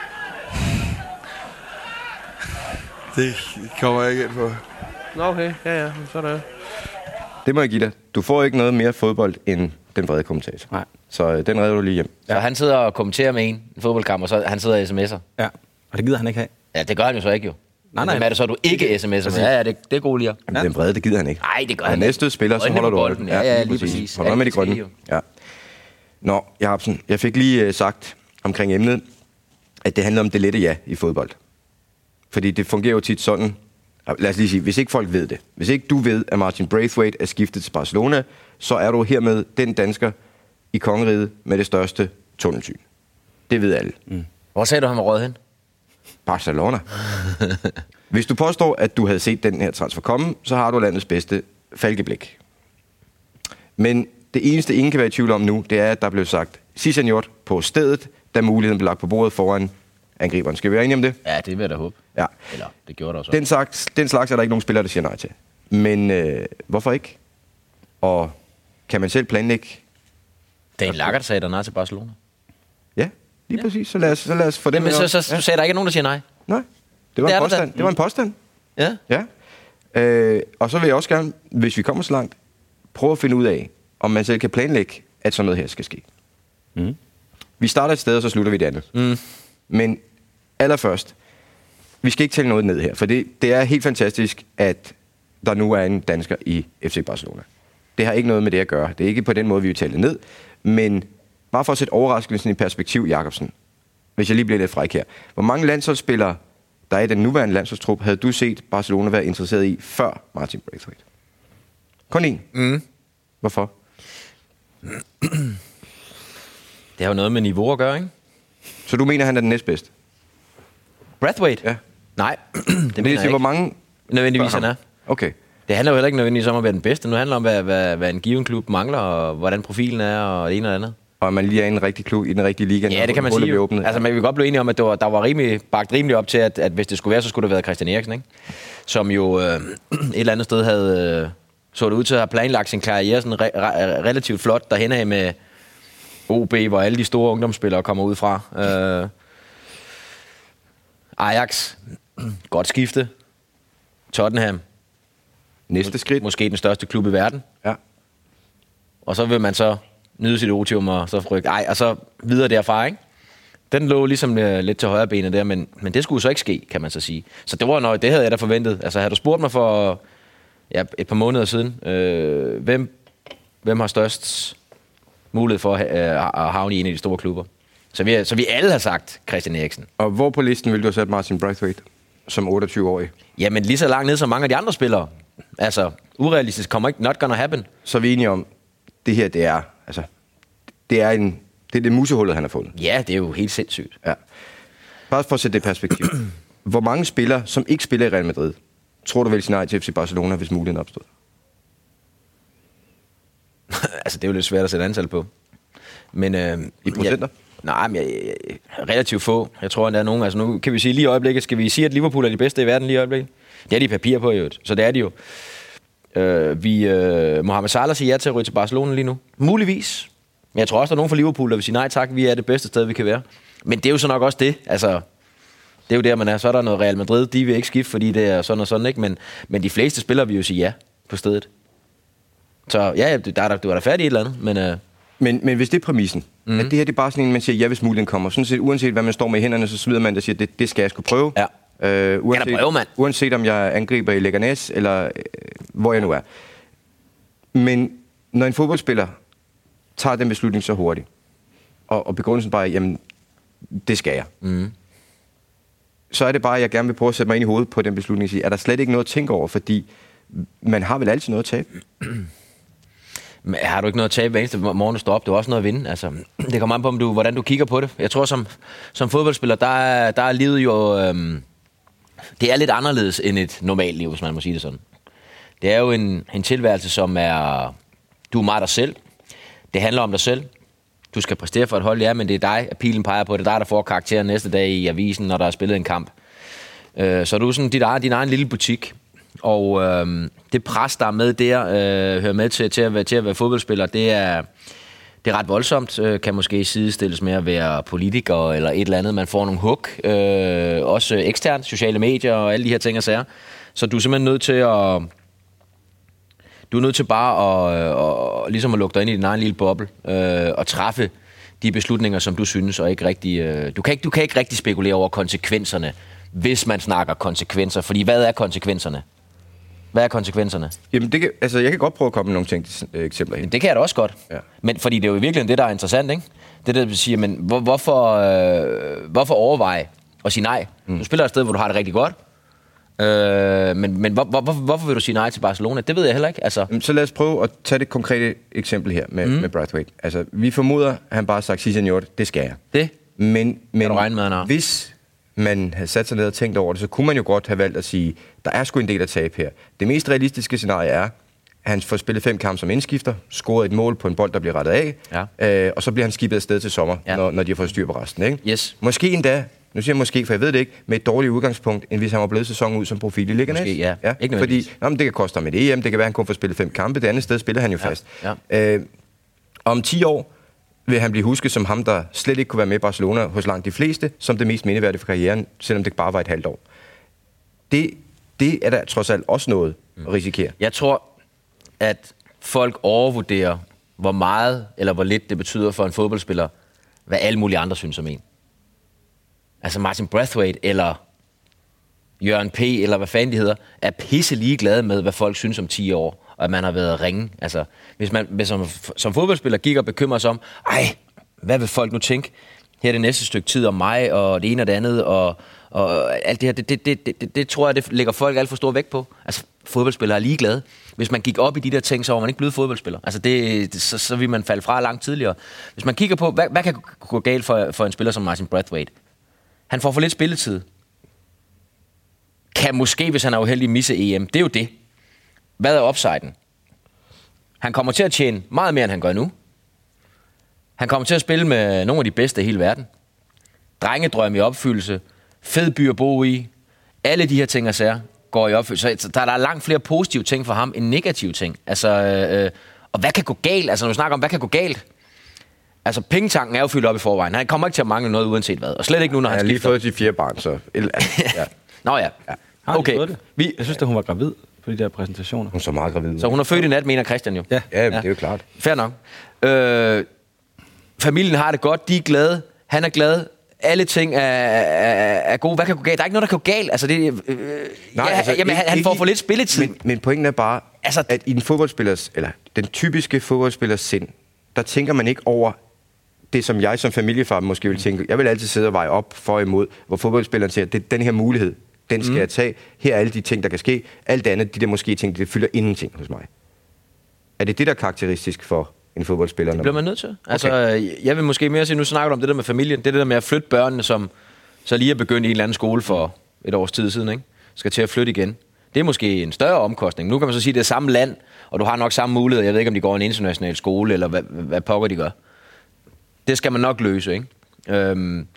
Speaker 7: Det kommer jeg ikke ind på.
Speaker 6: Nå, okay. Ja, ja. men Så er det.
Speaker 2: Det må jeg give dig. Du får ikke noget mere fodbold end den vrede kommentator.
Speaker 3: Nej.
Speaker 2: Så øh, den redder du lige hjem.
Speaker 4: Så han sidder og kommenterer med en, en fodboldkamp, og så han sidder og sms'er.
Speaker 3: Ja. Og det gider han ikke have.
Speaker 4: Ja, det gør han jo så ikke jo.
Speaker 3: Nej, nej.
Speaker 4: Hvem er det så, du ikke sms'er med? Ja, ja, det, det er god lige.
Speaker 2: Ja. Den brede, det gider han ikke.
Speaker 4: Nej, det gør
Speaker 2: Og
Speaker 4: han
Speaker 2: næste
Speaker 4: ikke.
Speaker 2: spiller, så
Speaker 4: Øjnene
Speaker 2: holder
Speaker 4: på
Speaker 2: du øje.
Speaker 4: bolden. Ja, ja, lige præcis.
Speaker 2: Hold øje
Speaker 4: Alt
Speaker 2: med de
Speaker 4: skal
Speaker 2: grønne.
Speaker 4: jo.
Speaker 2: Ja. Nå, Jacobsen, jeg fik lige øh, sagt omkring emnet, at det handler om det lette ja i fodbold. Fordi det fungerer jo tit sådan, Ah, lad os lige sige, hvis ikke folk ved det, hvis ikke du ved, at Martin Braithwaite er skiftet til Barcelona, så er du hermed den dansker i kongeriget med det største tunnelsyn. Det ved alle.
Speaker 4: Hvor sagde du, han var røget hen?
Speaker 2: Barcelona. Hvis du påstår, at du havde set den her transfer komme, så har du landets bedste falkeblik. Men det eneste, ingen kan være i tvivl om nu, det er, at der blev sagt Cisanjort på stedet, da muligheden blev lagt på bordet foran angriberen. Skal vi være enige om det?
Speaker 4: Ja, det vil jeg da håbe.
Speaker 2: Ja.
Speaker 4: Eller, det gjorde der også.
Speaker 2: Den slags, den slags er der ikke nogen spillere, der siger nej til. Men øh, hvorfor ikke? Og kan man selv planlægge?
Speaker 4: Dan Lackert sagde der nej til Barcelona.
Speaker 2: Ja, lige ja. præcis. Så lad, os, så lad os få den
Speaker 4: Jamen,
Speaker 2: med
Speaker 4: så,
Speaker 2: op.
Speaker 4: så, så
Speaker 2: ja.
Speaker 4: sagde der ikke nogen, der siger nej.
Speaker 2: Nej, det var
Speaker 4: Det er
Speaker 2: en
Speaker 4: der da.
Speaker 2: påstand. Det var en påstand.
Speaker 4: Ja.
Speaker 2: Ja. Øh, og så vil jeg også gerne, hvis vi kommer så langt, prøve at finde ud af, om man selv kan planlægge, at sådan noget her skal ske. Mm. Vi starter et sted, og så slutter vi det andet. Mm. Men allerførst, vi skal ikke tælle noget ned her, for det, det er helt fantastisk, at der nu er en dansker i FC Barcelona. Det har ikke noget med det at gøre. Det er ikke på den måde, vi vil tælle det ned. Men bare for at sætte overraskelsen i perspektiv, Jacobsen. hvis jeg lige bliver lidt fræk her. Hvor mange landsholdsspillere, der er i den nuværende landsholdstrup, havde du set Barcelona være interesseret i før Martin Braithwaite? Kun én?
Speaker 4: Mm.
Speaker 2: Hvorfor?
Speaker 4: Det har jo noget med niveau at gøre, ikke?
Speaker 2: Så du mener, han er den næstbedste?
Speaker 4: Brathwaite?
Speaker 2: Ja.
Speaker 4: Nej, det
Speaker 2: Det
Speaker 4: mener
Speaker 2: er
Speaker 4: jeg
Speaker 2: til, hvor
Speaker 4: ikke.
Speaker 2: mange...
Speaker 4: Nødvendigvis han er.
Speaker 2: Okay.
Speaker 4: Det handler jo heller ikke nødvendigvis om at være den bedste. Nu handler det om, hvad, hvad, hvad en given klub mangler, og hvordan profilen er, og det ene og det andet.
Speaker 2: Og at man lige er i en rigtig klub, i den rigtige liga.
Speaker 4: Ja,
Speaker 2: når
Speaker 4: det kan man
Speaker 2: hullet
Speaker 4: sige.
Speaker 2: bliver
Speaker 4: jo.
Speaker 2: Åbnet.
Speaker 4: Altså, man kan godt blive enige om, at det var, der var rimelig, bagt rimelig op til, at, at hvis det skulle være, så skulle det have været Christian Eriksen, ikke? Som jo øh, et eller andet sted havde, øh, så det ud til at have planlagt sin karriere sådan re- re- relativt flot derhen af med OB, hvor alle de store ungdomsspillere kommer ud fra. Øh, Ajax, godt skifte. Tottenham,
Speaker 2: Næste skridt.
Speaker 4: måske den største klub i verden.
Speaker 2: Ja.
Speaker 4: Og så vil man så nyde sit otium og så frygte, ej, og så videre derfra, ikke? Den lå ligesom øh, lidt til højre benet der, men, men det skulle jo så ikke ske, kan man så sige. Så det var noget, det havde jeg da forventet. Altså, havde du spurgt mig for ja, et par måneder siden, øh, hvem, hvem har størst mulighed for at, ha- øh, at havne i en af de store klubber? Så vi, så vi alle har sagt Christian Eriksen.
Speaker 2: Og hvor på listen ville du have sat Martin Braithwaite som 28-årig?
Speaker 4: Jamen, lige så langt ned som mange af de andre spillere. Altså, urealistisk kommer ikke, not gonna happen.
Speaker 2: Så er vi enige om, det her, det er, altså, det er en, det er det musehullet, han har fundet.
Speaker 4: Ja, det er jo helt sindssygt.
Speaker 2: Ja. Bare for at sætte det i perspektiv. Hvor mange spillere, som ikke spiller i Real Madrid, tror du vil sige nej til FC Barcelona, hvis muligheden opstod?
Speaker 4: altså, det er jo lidt svært at sætte antal på. Men, øh,
Speaker 2: I procenter?
Speaker 4: Jeg, nej, men jeg, jeg, relativt få. Jeg tror, der er nogen. Altså, nu kan vi sige lige i øjeblikket, skal vi sige, at Liverpool er de bedste i verden lige i øjeblikket? Det er de i papir på, i øvrigt. Så det er de jo. Øh, vi, øh, Mohamed Salah siger ja til at ryge til Barcelona lige nu. Muligvis. Men jeg tror også, der er nogen fra Liverpool, der vil sige, nej tak, vi er det bedste sted, vi kan være. Men det er jo så nok også det. Altså, det er jo der, man er. Så er der noget Real Madrid, de vil ikke skifte, fordi det er sådan og sådan, ikke? Men, men de fleste spillere vil jo sige ja på stedet. Så ja, ja, det- der er der, du er da færdig i et eller andet, men øh,
Speaker 2: Men, men hvis det er præmissen, mm. at
Speaker 4: Mhm.
Speaker 2: det her det er bare sådan en, man siger, ja, hvis muligheden kommer. Sådan set, uanset hvad man står med i hænderne, så smider man det og siger, det, det skal jeg skulle prøve.
Speaker 4: Ja.
Speaker 2: Øh, uanset,
Speaker 4: prøve, mand.
Speaker 2: uanset om jeg angriber i Leganes, eller øh, hvor jeg nu er. Men når en fodboldspiller tager den beslutning så hurtigt, og, og begrundelsen bare er, jamen, det skal jeg.
Speaker 4: Mhm.
Speaker 2: Mm. Så er det bare, at jeg gerne vil prøve at sætte mig ind i hovedet på den beslutning og sige, er der slet ikke noget at tænke over, fordi man har vel altid noget at tabe.
Speaker 4: men har du ikke noget at tabe hver eneste morgen, du står op? Du har også noget at vinde. Altså, det kommer an på, om du, hvordan du kigger på det. Jeg tror, som, som fodboldspiller, der er, der er livet jo... Øhm, det er lidt anderledes end et normalt liv, hvis man må sige det sådan. Det er jo en, en tilværelse, som er... Du er meget dig selv. Det handler om dig selv. Du skal præstere for et hold, ja, men det er dig, at pilen peger på. Det er dig, der får karakteren næste dag i avisen, når der er spillet en kamp. Øh, så er du sådan dit egen, din egen lille butik. Og øh, det pres, der er med der, øh, hører med til, til, at være, til at være fodboldspiller, det er, det er ret voldsomt. Øh, kan måske sidestilles med at være politiker eller et eller andet. Man får nogle hug. Øh, også eksternt, sociale medier og alle de her ting og sager. Så du er simpelthen nødt til at... Du er nødt til bare at, at, at, ligesom at lukke dig ind i din egen lille boble øh, og træffe de beslutninger, som du synes, og ikke rigtig, øh, du, kan ikke, du kan ikke rigtig spekulere over konsekvenserne, hvis man snakker konsekvenser. Fordi hvad er konsekvenserne? Hvad er konsekvenserne?
Speaker 2: Jamen, det kan, altså, jeg kan godt prøve at komme med nogle ting, øh, eksempler ind.
Speaker 4: Det kan jeg da også godt.
Speaker 2: Ja.
Speaker 4: Men, fordi det er jo i virkeligheden det, der er interessant, ikke? Det der, der siger, men hvor, hvorfor, øh, hvorfor overveje at sige nej? Mm. Du spiller et sted, hvor du har det rigtig godt. Øh, men men hvor, hvor, hvor, hvorfor vil du sige nej til Barcelona? Det ved jeg heller ikke. Altså,
Speaker 2: Jamen, Så lad os prøve at tage det konkrete eksempel her med, mm. med Brathwaite. Altså, vi formoder, at han bare har sagt, sig det skal jeg.
Speaker 4: det.
Speaker 2: Men, men
Speaker 4: du regne med, han har.
Speaker 2: hvis man havde sat sig ned og tænkt over det, så kunne man jo godt have valgt at sige, der er sgu en del at tabe her. Det mest realistiske scenarie er, at han får spillet fem kampe som indskifter, scoret et mål på en bold, der bliver rettet af, ja. øh, og så bliver han skibet afsted til sommer, ja.
Speaker 4: Ja.
Speaker 2: når, når de har fået styr på resten. Ikke?
Speaker 4: Yes.
Speaker 2: Måske endda, nu siger jeg måske, for jeg ved det ikke, med et dårligt udgangspunkt, end hvis han var blevet sæsonen ud som profil i Liganes.
Speaker 4: Måske, ja.
Speaker 2: ja
Speaker 4: Ikke
Speaker 2: fordi
Speaker 4: nødvendigvis.
Speaker 2: nå, men det kan koste ham et EM, det kan være, han kun får spillet fem kampe, det andet sted spiller han jo ja. fast.
Speaker 4: Ja.
Speaker 2: Øh, om 10 år vil han blive husket som ham, der slet ikke kunne være med i Barcelona hos langt de fleste, som det mest mindeværdige for karrieren, selvom det bare var et halvt år. Det, det er der trods alt også noget at risikere.
Speaker 4: Jeg tror, at folk overvurderer, hvor meget eller hvor lidt det betyder for en fodboldspiller, hvad alle mulige andre synes om en. Altså Martin Brathwaite eller Jørgen P., eller hvad fanden de hedder, er pisse ligeglade med, hvad folk synes om 10 år, og at man har været ringe. Altså, hvis man hvis som, som fodboldspiller gik og bekymrer sig om, ej, hvad vil folk nu tænke? her det næste stykke tid om mig, og det ene og det andet, og, og alt det her, det, det, det, det, det, det tror jeg, det lægger folk alt for stor vægt på. Altså, fodboldspillere er ligeglade. Hvis man gik op i de der ting, så var man ikke blevet fodboldspiller. Altså, det, det- så, så ville man falde fra langt tidligere. Hvis man kigger på, hvad, hvad kan gå galt for, for en spiller som Martin Brathwaite? Han får for lidt spilletid. Kan måske, hvis han er uheldig, misse EM. Det er jo det. Hvad er upsiden? Han kommer til at tjene meget mere, end han gør nu. Han kommer til at spille med nogle af de bedste i hele verden. Drengedrøm i opfyldelse. Fed by at bo i. Alle de her ting og sager går i opfyldelse. Så der, der er langt flere positive ting for ham end negative ting. Altså, øh, øh, og hvad kan gå galt? Altså, når vi snakker om, hvad kan gå galt? Altså, pengetanken er jo fyldt op i forvejen. Han kommer ikke til at mangle noget uanset hvad. Og slet ikke nu, når
Speaker 2: Han
Speaker 4: han
Speaker 2: har lige
Speaker 4: skifter.
Speaker 2: fået de fire barn, så... Eller, ja.
Speaker 4: Nå ja.
Speaker 3: Har de
Speaker 4: Okay.
Speaker 3: fået det?
Speaker 4: Vi,
Speaker 3: Jeg synes, at hun var gravid på de der præsentationer.
Speaker 2: Hun er så meget gravid.
Speaker 4: så hun er født i nat, mener Christian jo.
Speaker 3: Ja.
Speaker 2: Ja, ja, det er jo klart.
Speaker 4: Fair nok. Øh, familien har det godt, de er glade, han er glad, alle ting er, er, er gode. Hvad kan gå galt? Der er ikke noget, der kan gå galt. Altså, det, øh, Nej, ja, altså, jamen,
Speaker 2: ikke-
Speaker 4: han, han
Speaker 2: ikke
Speaker 4: får
Speaker 2: i-
Speaker 4: for lidt spilletid.
Speaker 2: Men, men pointen er bare,
Speaker 4: Altså-
Speaker 2: altså, at i en fodboldspillers, eller den typiske fodboldspillers sind, der tænker man ikke over det, som jeg som familiefar måske
Speaker 4: Mm.
Speaker 2: vil tænke. Jeg vil altid sidde og veje op for og imod, hvor fodboldspilleren siger, det er den her mulighed, den skal mm. jeg tage. Her er alle de ting, der kan ske. Alt det andet, de der måske ting, det fylder ingenting hos mig. Er det det, der er karakteristisk for en fodboldspiller?
Speaker 4: Det bliver man nødt til. Altså, okay. jeg vil måske mere sige, nu snakker du om det der med familien, det er det der med at flytte børnene, som så lige er begyndt i en eller anden skole for et års tid siden, ikke? skal til at flytte igen. Det er måske en større omkostning. Nu kan man så sige, at det er samme land, og du har nok samme mulighed. Jeg ved ikke, om de går i en international skole, eller hvad, hvad pokker de gør. Det skal man nok løse, ikke? Øhm,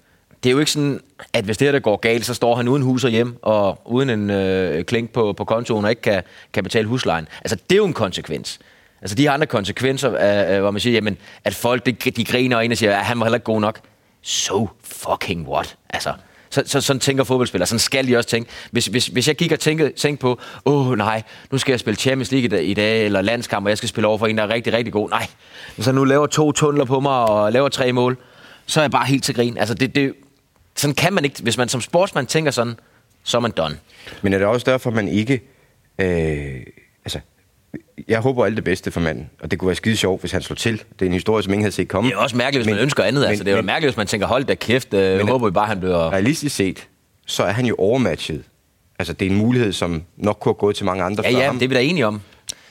Speaker 4: det er jo ikke sådan, at hvis det her der går galt, så står han uden hus og hjem, og uden en øh, klink på, på kontoen, og ikke kan, kan betale huslejen. Altså, det er jo en konsekvens. Altså, de har andre konsekvenser, øh, øh, hvor man siger, jamen, at folk, de, de griner og en og siger, at han var heller ikke god nok. So fucking what? Altså, så, så, sådan tænker fodboldspillere. Sådan skal de også tænke. Hvis, hvis, hvis jeg kigger og tænker, tænker på, åh oh, nej, nu skal jeg spille Champions League i dag- i dag, eller landskamp, og jeg skal spille over for en, der er rigtig, rigtig god. Nej, hvis han nu laver to tunneler på mig og laver tre mål, så er jeg bare helt til grin. Altså, det, det, sådan kan man ikke. Hvis man som sportsmand tænker sådan, så er man done.
Speaker 2: Men er det også derfor, man ikke... Øh, altså, jeg håber alt det bedste for manden, og det kunne være skide sjovt, hvis han slog til. Det er en historie, som ingen havde set komme.
Speaker 4: Det er også mærkeligt, hvis men, man ønsker andet. Men, altså, det er jo
Speaker 2: men-
Speaker 4: mærkeligt, hvis man tænker, hold da kæft, øh, jeg håber vi bare, han bliver...
Speaker 2: realistisk set, så er han jo overmatchet. Altså, det er en mulighed, som nok kunne have gået til mange andre
Speaker 4: Ja,
Speaker 2: før
Speaker 4: ja,
Speaker 2: ham.
Speaker 4: men det er vi da enige om.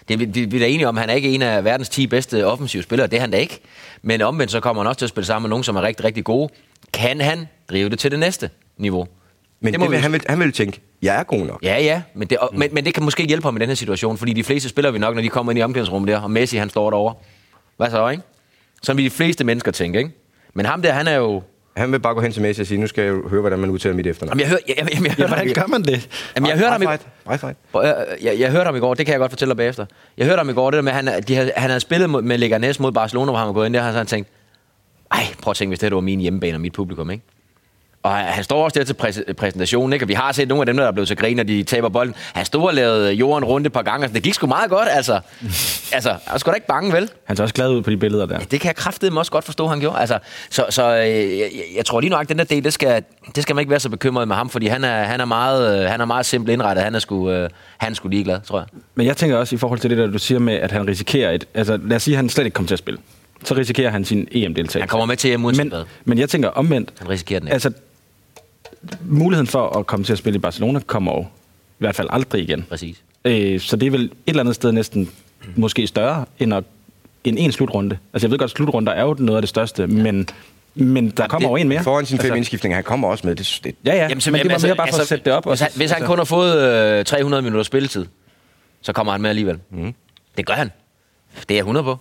Speaker 4: Det er vi, det er vi da enige om. Han er ikke en af verdens 10 bedste offensive spillere. Det er han da ikke. Men omvendt så kommer han også til at spille sammen med nogen, som er rigtig, rigtig gode. Kan han drive det til det næste niveau?
Speaker 2: men det,
Speaker 4: må
Speaker 2: det vil,
Speaker 4: vi-
Speaker 2: han, Mm. vil, han vil tænke, jeg er god nok.
Speaker 4: Ja, ja, men det, og, men, men det kan måske ikke hjælpe ham i den her situation, fordi de fleste spiller vi nok, når de kommer ind i omklædningsrummet der, og Messi han står derovre. Hvad så, ikke? Sådan vil de fleste mennesker tænke, ikke? Men ham der, han er jo...
Speaker 2: Han vil bare gå hen til Messi og sige, nu skal jeg jo høre, hvordan man udtaler mit efternavn.
Speaker 4: Jamen, jeg hører... Jeg, jeg, jeg, jeg, jeg, jeg,
Speaker 3: man det?
Speaker 4: Jamen, jeg hørte ham i,
Speaker 2: Braithwaite.
Speaker 4: jeg, øh, jeg, jeg hørte ham i går, det kan jeg godt fortælle dig bagefter. Jeg hørte ham i går, det der med, at han, de havde, han havde spillet mod, med Leganes mod Barcelona, hvor han var gået ind der, og så havde han tænkt, ej, prøv at tænke, hvis det her var min hjemmebane og mit publikum, ikke? Og han, han står også der til præs- præsentationen, ikke? Og vi har set nogle af dem, der er blevet til grin, når de taber bolden. Han stod og lavede jorden rundt et par gange, og det gik sgu meget godt, altså. altså, han var sgu da ikke bange, vel?
Speaker 3: Han ser også glad ud på de billeder der.
Speaker 4: Ja, det kan jeg kraftedeme også godt forstå, han gjorde. Altså, så så øh, jeg, jeg tror lige nok, den der del, det skal, det skal man ikke være så bekymret med ham, fordi han er, han er, meget, øh, han er meget simpelt indrettet. Han er sgu, øh, han er sgu ligeglad, tror jeg.
Speaker 3: Men jeg tænker også i forhold til det, der du siger med, at han risikerer et... Altså, lad os sige, at han slet ikke kommer til at spille. Så risikerer han sin EM-deltagelse.
Speaker 4: Han kommer med til EM uanset
Speaker 3: men,
Speaker 4: hvad.
Speaker 3: men jeg tænker omvendt.
Speaker 4: Han risikerer den ikke.
Speaker 3: Altså, muligheden for at komme til at spille i Barcelona kommer jo i hvert fald aldrig igen.
Speaker 4: Præcis.
Speaker 3: Øh, så det er vel et eller andet sted næsten måske større end, at, end en slutrunde. Altså, jeg ved godt, at slutrunder er jo noget af det største, ja. men, men der kommer
Speaker 4: det-
Speaker 3: jo en mere.
Speaker 2: Foran sin fem
Speaker 3: altså,
Speaker 2: indskiftninger, han kommer også med. Det, det,
Speaker 3: Ja, ja, Jamen, men det var mere bare for altså, at sætte det op. og
Speaker 4: Hvis
Speaker 3: så-
Speaker 4: han, hvis han
Speaker 3: altså-
Speaker 4: kun har fået øh, 300 minutter spilletid, så kommer han med alligevel.
Speaker 3: Mhm.
Speaker 4: Mm. Det gør han. Det er jeg 100 på.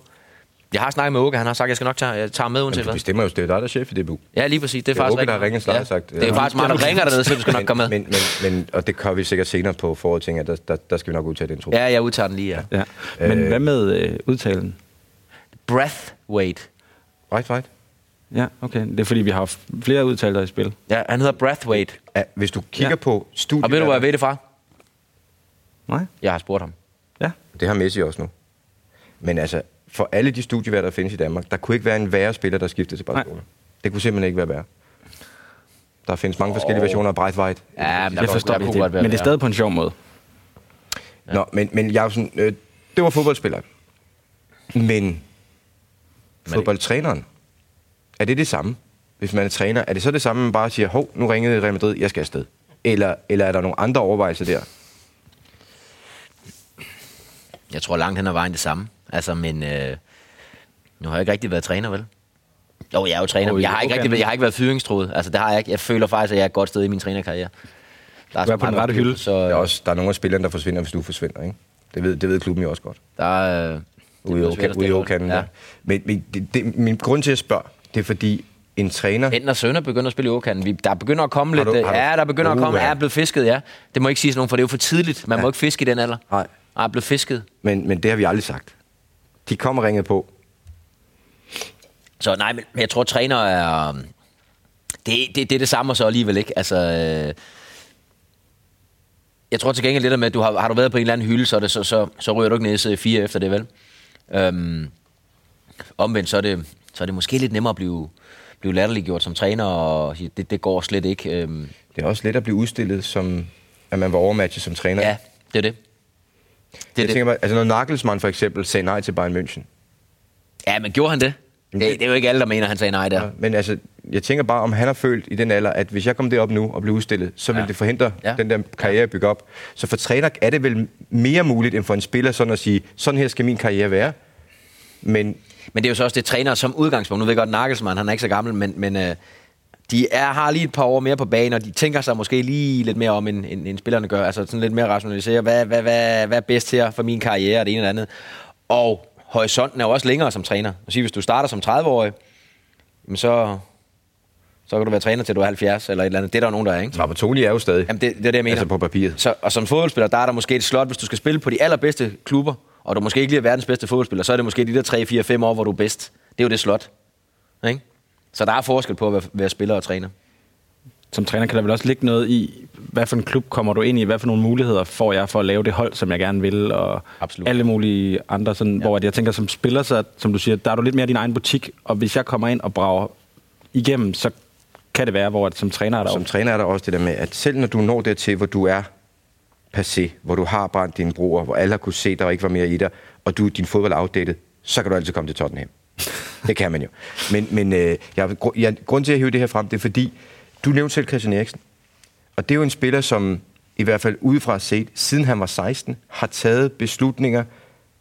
Speaker 4: Jeg har snakket med Åke, han har sagt, at jeg skal nok tage, jeg tager ham med uanset
Speaker 2: du
Speaker 4: hvad.
Speaker 2: bestemmer jo, det er dig, der er chef i DBU.
Speaker 4: Ja, lige præcis. Det er,
Speaker 2: Det er
Speaker 4: faktisk
Speaker 2: Åke, der har
Speaker 4: rigtigt.
Speaker 2: ringet til dig og sagt,
Speaker 4: Det er
Speaker 2: øh,
Speaker 4: faktisk mig, der ringer dernede, så du skal nok komme med.
Speaker 2: Men, men, men, og det kan vi sikkert senere på foråret, tænker jeg, der, der, der skal vi nok udtage den tro.
Speaker 4: Ja, jeg udtager den lige, ja.
Speaker 3: Ja. Men øh, hvad med øh, udtalen?
Speaker 4: Breathwaite.
Speaker 2: Right, right.
Speaker 3: Ja, okay. Det er fordi, vi har haft flere udtaler i spil.
Speaker 4: Ja, han hedder Breathwaite.
Speaker 2: Ja, hvis du kigger
Speaker 3: Ja.
Speaker 2: på studiet...
Speaker 4: Og ved du, hvor jeg ved det fra?
Speaker 3: Nej?
Speaker 4: Jeg har spurgt ham.
Speaker 3: Ja.
Speaker 2: Det har Messi også nu. Men altså, for alle de studieværter, der findes i Danmark, der kunne ikke være en værre spiller, der skiftede til Barcelona. Nej. Det kunne simpelthen ikke være værre. Der findes mange forskellige versioner af Breithwaite.
Speaker 4: Ja, men
Speaker 3: Jeg forstår
Speaker 4: der
Speaker 3: det,
Speaker 4: kunne
Speaker 3: det,
Speaker 4: godt være
Speaker 3: men det er
Speaker 4: værre.
Speaker 3: stadig på en sjov måde.
Speaker 2: Ja. Nå, men, men Jacobsen, øh, det var fodboldspilleren. Men fodboldtræneren, er det det samme? hvis man er træner, er det så det samme, man bare siger, hov, nu ringede Real Madrid, jeg skal afsted? Eller, eller er der nogle andre overvejelser der?
Speaker 4: Jeg tror langt hen ad vejen det samme. Altså, men øh, nu har jeg ikke rigtig været træner, vel? Jo, jeg er jo træner,
Speaker 3: Jo,
Speaker 4: men jeg
Speaker 3: jo,
Speaker 4: har ikke,
Speaker 3: okay.
Speaker 4: rigtig, været- jeg har ikke været fyringstroet. Altså, det har jeg ikke. Jeg føler faktisk, at jeg er et godt sted i min trænerkarriere.
Speaker 3: Du
Speaker 4: Der
Speaker 3: er
Speaker 4: så
Speaker 3: på den
Speaker 4: meget
Speaker 3: rette
Speaker 4: på spil,
Speaker 3: hylde.
Speaker 4: Så
Speaker 2: Der er,
Speaker 4: øh,
Speaker 2: også, der er nogle af spillerne, der forsvinder, hvis du forsvinder, ikke? Det ved, det ved klubben jo også godt.
Speaker 4: der er... Øh,
Speaker 2: Ude i Oka- ude i Okan. Ja. Men, men det, det, min grund til at spørge, det er fordi en træner...
Speaker 4: Enten og sønner begynder at spille i Åkanden. Vi, der begynder at komme
Speaker 2: Har
Speaker 4: lidt...
Speaker 2: du-
Speaker 4: øh,
Speaker 2: har du-
Speaker 4: ja, der begynder at
Speaker 2: Uh,
Speaker 4: komme...
Speaker 2: ja.
Speaker 4: Ja, er blevet fisket, ja. Det må ikke siges nogen, for det er jo for tidligt. Man ja. må ikke fiske i den alder.
Speaker 2: Nej.
Speaker 4: Er blevet fisket.
Speaker 2: Men, men det har vi aldrig sagt. De kom og ringede på.
Speaker 4: Så nej, men jeg tror, træner er... øhm, Det, det, det er det samme, og så alligevel ikke. Altså, øh, jeg tror til gengæld lidt med, at du har, har du været på en eller anden hylde, så, er det, så, så, så ryger du ikke ned i serie 4 efter det, vel? Øhm, omvendt, så er, det, så er det måske lidt nemmere at blive, blive latterliggjort som træner, og sige, det, det går slet ikke. Øhm,
Speaker 2: Det er også let at blive udstillet som, at man var overmatchet som træner.
Speaker 4: ja, det er det. Det er
Speaker 2: jeg
Speaker 4: det.
Speaker 2: tænker mig, altså når Nagelsmann for eksempel sagde nej til Bayern München.
Speaker 4: Ja, men gjorde han det? Det,
Speaker 2: det-
Speaker 4: det er jo ikke alle, der mener, han sagde nej der.
Speaker 2: Ja. Men altså, jeg tænker bare, om han har følt i den alder, at hvis jeg kom derop nu og blev udstillet, så ville
Speaker 4: Ja.
Speaker 2: det forhindre
Speaker 4: Ja.
Speaker 2: den der karriere at bygge op. Så for træner er det vel mere muligt end for en spiller sådan at sige, sådan her skal min karriere være. Men
Speaker 4: Men det er jo så også det træner som udgangspunkt. Nu ved jeg godt, Nagelsmann, han er ikke så gammel, men, men øh, de er, har lige et par år mere på banen, og de tænker sig måske lige lidt mere om, end, end, end spillerne gør. Altså sådan lidt mere rationalisere, hvad, hvad, hvad, hvad er bedst her for min karriere, og det ene eller andet. Og horisonten er jo også længere som træner. Jeg vil sige, hvis du starter som 30-årig, jamen så, så kan du være træner til du er 70 eller et eller andet. Det er der jo nogen, der er, ikke?
Speaker 2: Trapattoni er jo stadig.
Speaker 4: Jamen, det, det er det, jeg mener.
Speaker 2: Altså på papiret.
Speaker 4: Så, og som fodboldspiller, der er der måske et slot, hvis du skal spille på de allerbedste klubber, og du måske ikke lige er verdens bedste fodboldspiller, så er det måske de der 3, 4, 5 år, hvor du er bedst. Det er jo det slot. Ikke? Så der er forskel på at være, være spiller og træner.
Speaker 3: Som træner kan der vel også ligge noget i, hvad for en klub kommer du ind i, hvad for nogle muligheder får jeg for at lave det hold, som jeg gerne vil, og
Speaker 4: Absolut.
Speaker 3: alle mulige andre, sådan, ja. hvor at jeg tænker, som spiller, så, som du siger, der er du lidt mere din egen butik, og hvis jeg kommer ind og brager igennem, så kan det være, hvor at som træner er der
Speaker 2: Som
Speaker 3: som
Speaker 2: træner er der også det der med, at selv når du når dertil, hvor du er passé, hvor du har brændt dine broer, hvor alle har kunne se, der ikke var mere i dig, og du din fodbold er outdated, så kan du altid komme til Tottenham. det kan man jo. Men, men øh, jeg, gru- jeg, grund til, at jeg hiver det her frem, det er fordi, du nævnte selv Christian Eriksen. Og det er jo en spiller, som i hvert fald udefra set, siden han var 16, har taget beslutninger,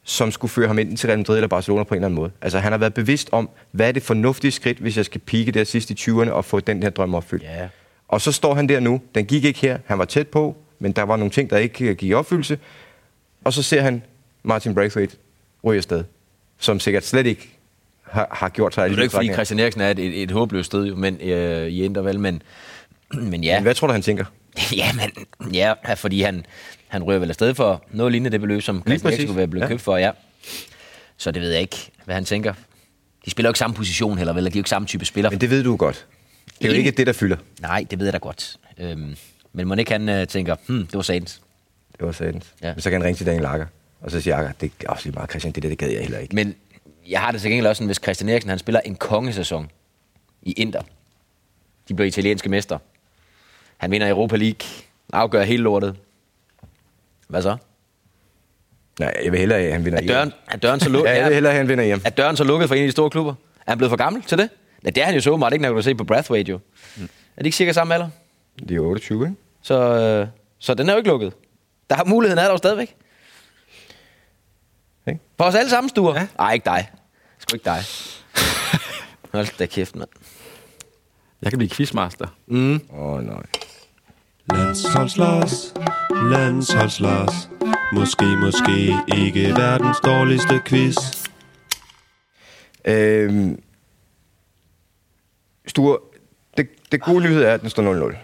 Speaker 2: som skulle føre ham enten til Real Madrid eller Barcelona på en eller anden måde. Altså han har været bevidst om, hvad er det fornuftige skridt, hvis jeg skal pike der sidst i 20'erne og få den her drøm opfyldt.
Speaker 4: Ja.
Speaker 2: Og så står han der nu. Den gik ikke her. Han var tæt på, men der var nogle ting, der ikke øh, gik i opfyldelse. Og så ser han Martin Braithwaite ryge afsted, som sikkert slet ikke har, har gjort sig
Speaker 4: Det er jo ikke, fordi
Speaker 2: betragtninger.
Speaker 4: Christian Eriksen er et, et, et håbløst sted jo, men, øh, i interval, men, men ja.
Speaker 2: Men Hvad tror du, han tænker?
Speaker 4: Ja, men, ja, fordi han, han ryger vel afsted for noget lignende det beløb, som Christian Eriksen
Speaker 2: præcis,
Speaker 4: skulle være blevet
Speaker 2: ja.
Speaker 4: ja. købt for, ja. Så det ved jeg ikke, hvad han tænker. De spiller jo ikke samme position heller, vel? De er jo ikke samme type spillere.
Speaker 2: Men det ved du godt. Det er jo
Speaker 4: Enig.
Speaker 2: ikke det, der fylder.
Speaker 4: Nej, det ved jeg da godt. Øhm, men må ikke han øh, tænker, hmm, det var satans.
Speaker 2: Det var sadens. Ja.
Speaker 4: Ja.
Speaker 2: Men så kan han ringe til Daniel Lager. Og så siger Lager, det er også lige meget, Christian, det der, det gad jeg heller ikke.
Speaker 4: Men jeg har det til gengæld også sådan, hvis Christian Eriksen han spiller en kongesæson i Inter. De bliver italienske mester. Han vinder Europa League. Afgør hele lortet. Hvad så?
Speaker 2: Nej, jeg vil hellere, at han vinder
Speaker 4: Er døren,
Speaker 2: EM.
Speaker 4: er døren så lukket?
Speaker 2: Ja, jeg vil hellere, at han vinder hjem.
Speaker 4: Er døren så lukket for en af de store klubber? Er han blevet for gammel til det? Ja, det er han jo så åbenbart ikke, når du se på Brathwaite jo. Mm. Er de ikke cirka samme alder?
Speaker 2: De er 28, ikke?
Speaker 4: Så, øh, så den er jo ikke lukket. Der har muligheden er der jo stadigvæk.
Speaker 2: Ikke?
Speaker 4: På os alle sammen, Sture. Ja. Ej, ikke dig. Sgu ikke dig. Hold da kæft, mand.
Speaker 3: Jeg kan blive quizmaster.
Speaker 2: Åh, oh, nej.
Speaker 8: Landsholdslars, landsholdslars. Måske, måske ikke verdens dårligste quiz.
Speaker 2: Øhm, Sture, det, det gode nyhed er, at den står 0-0.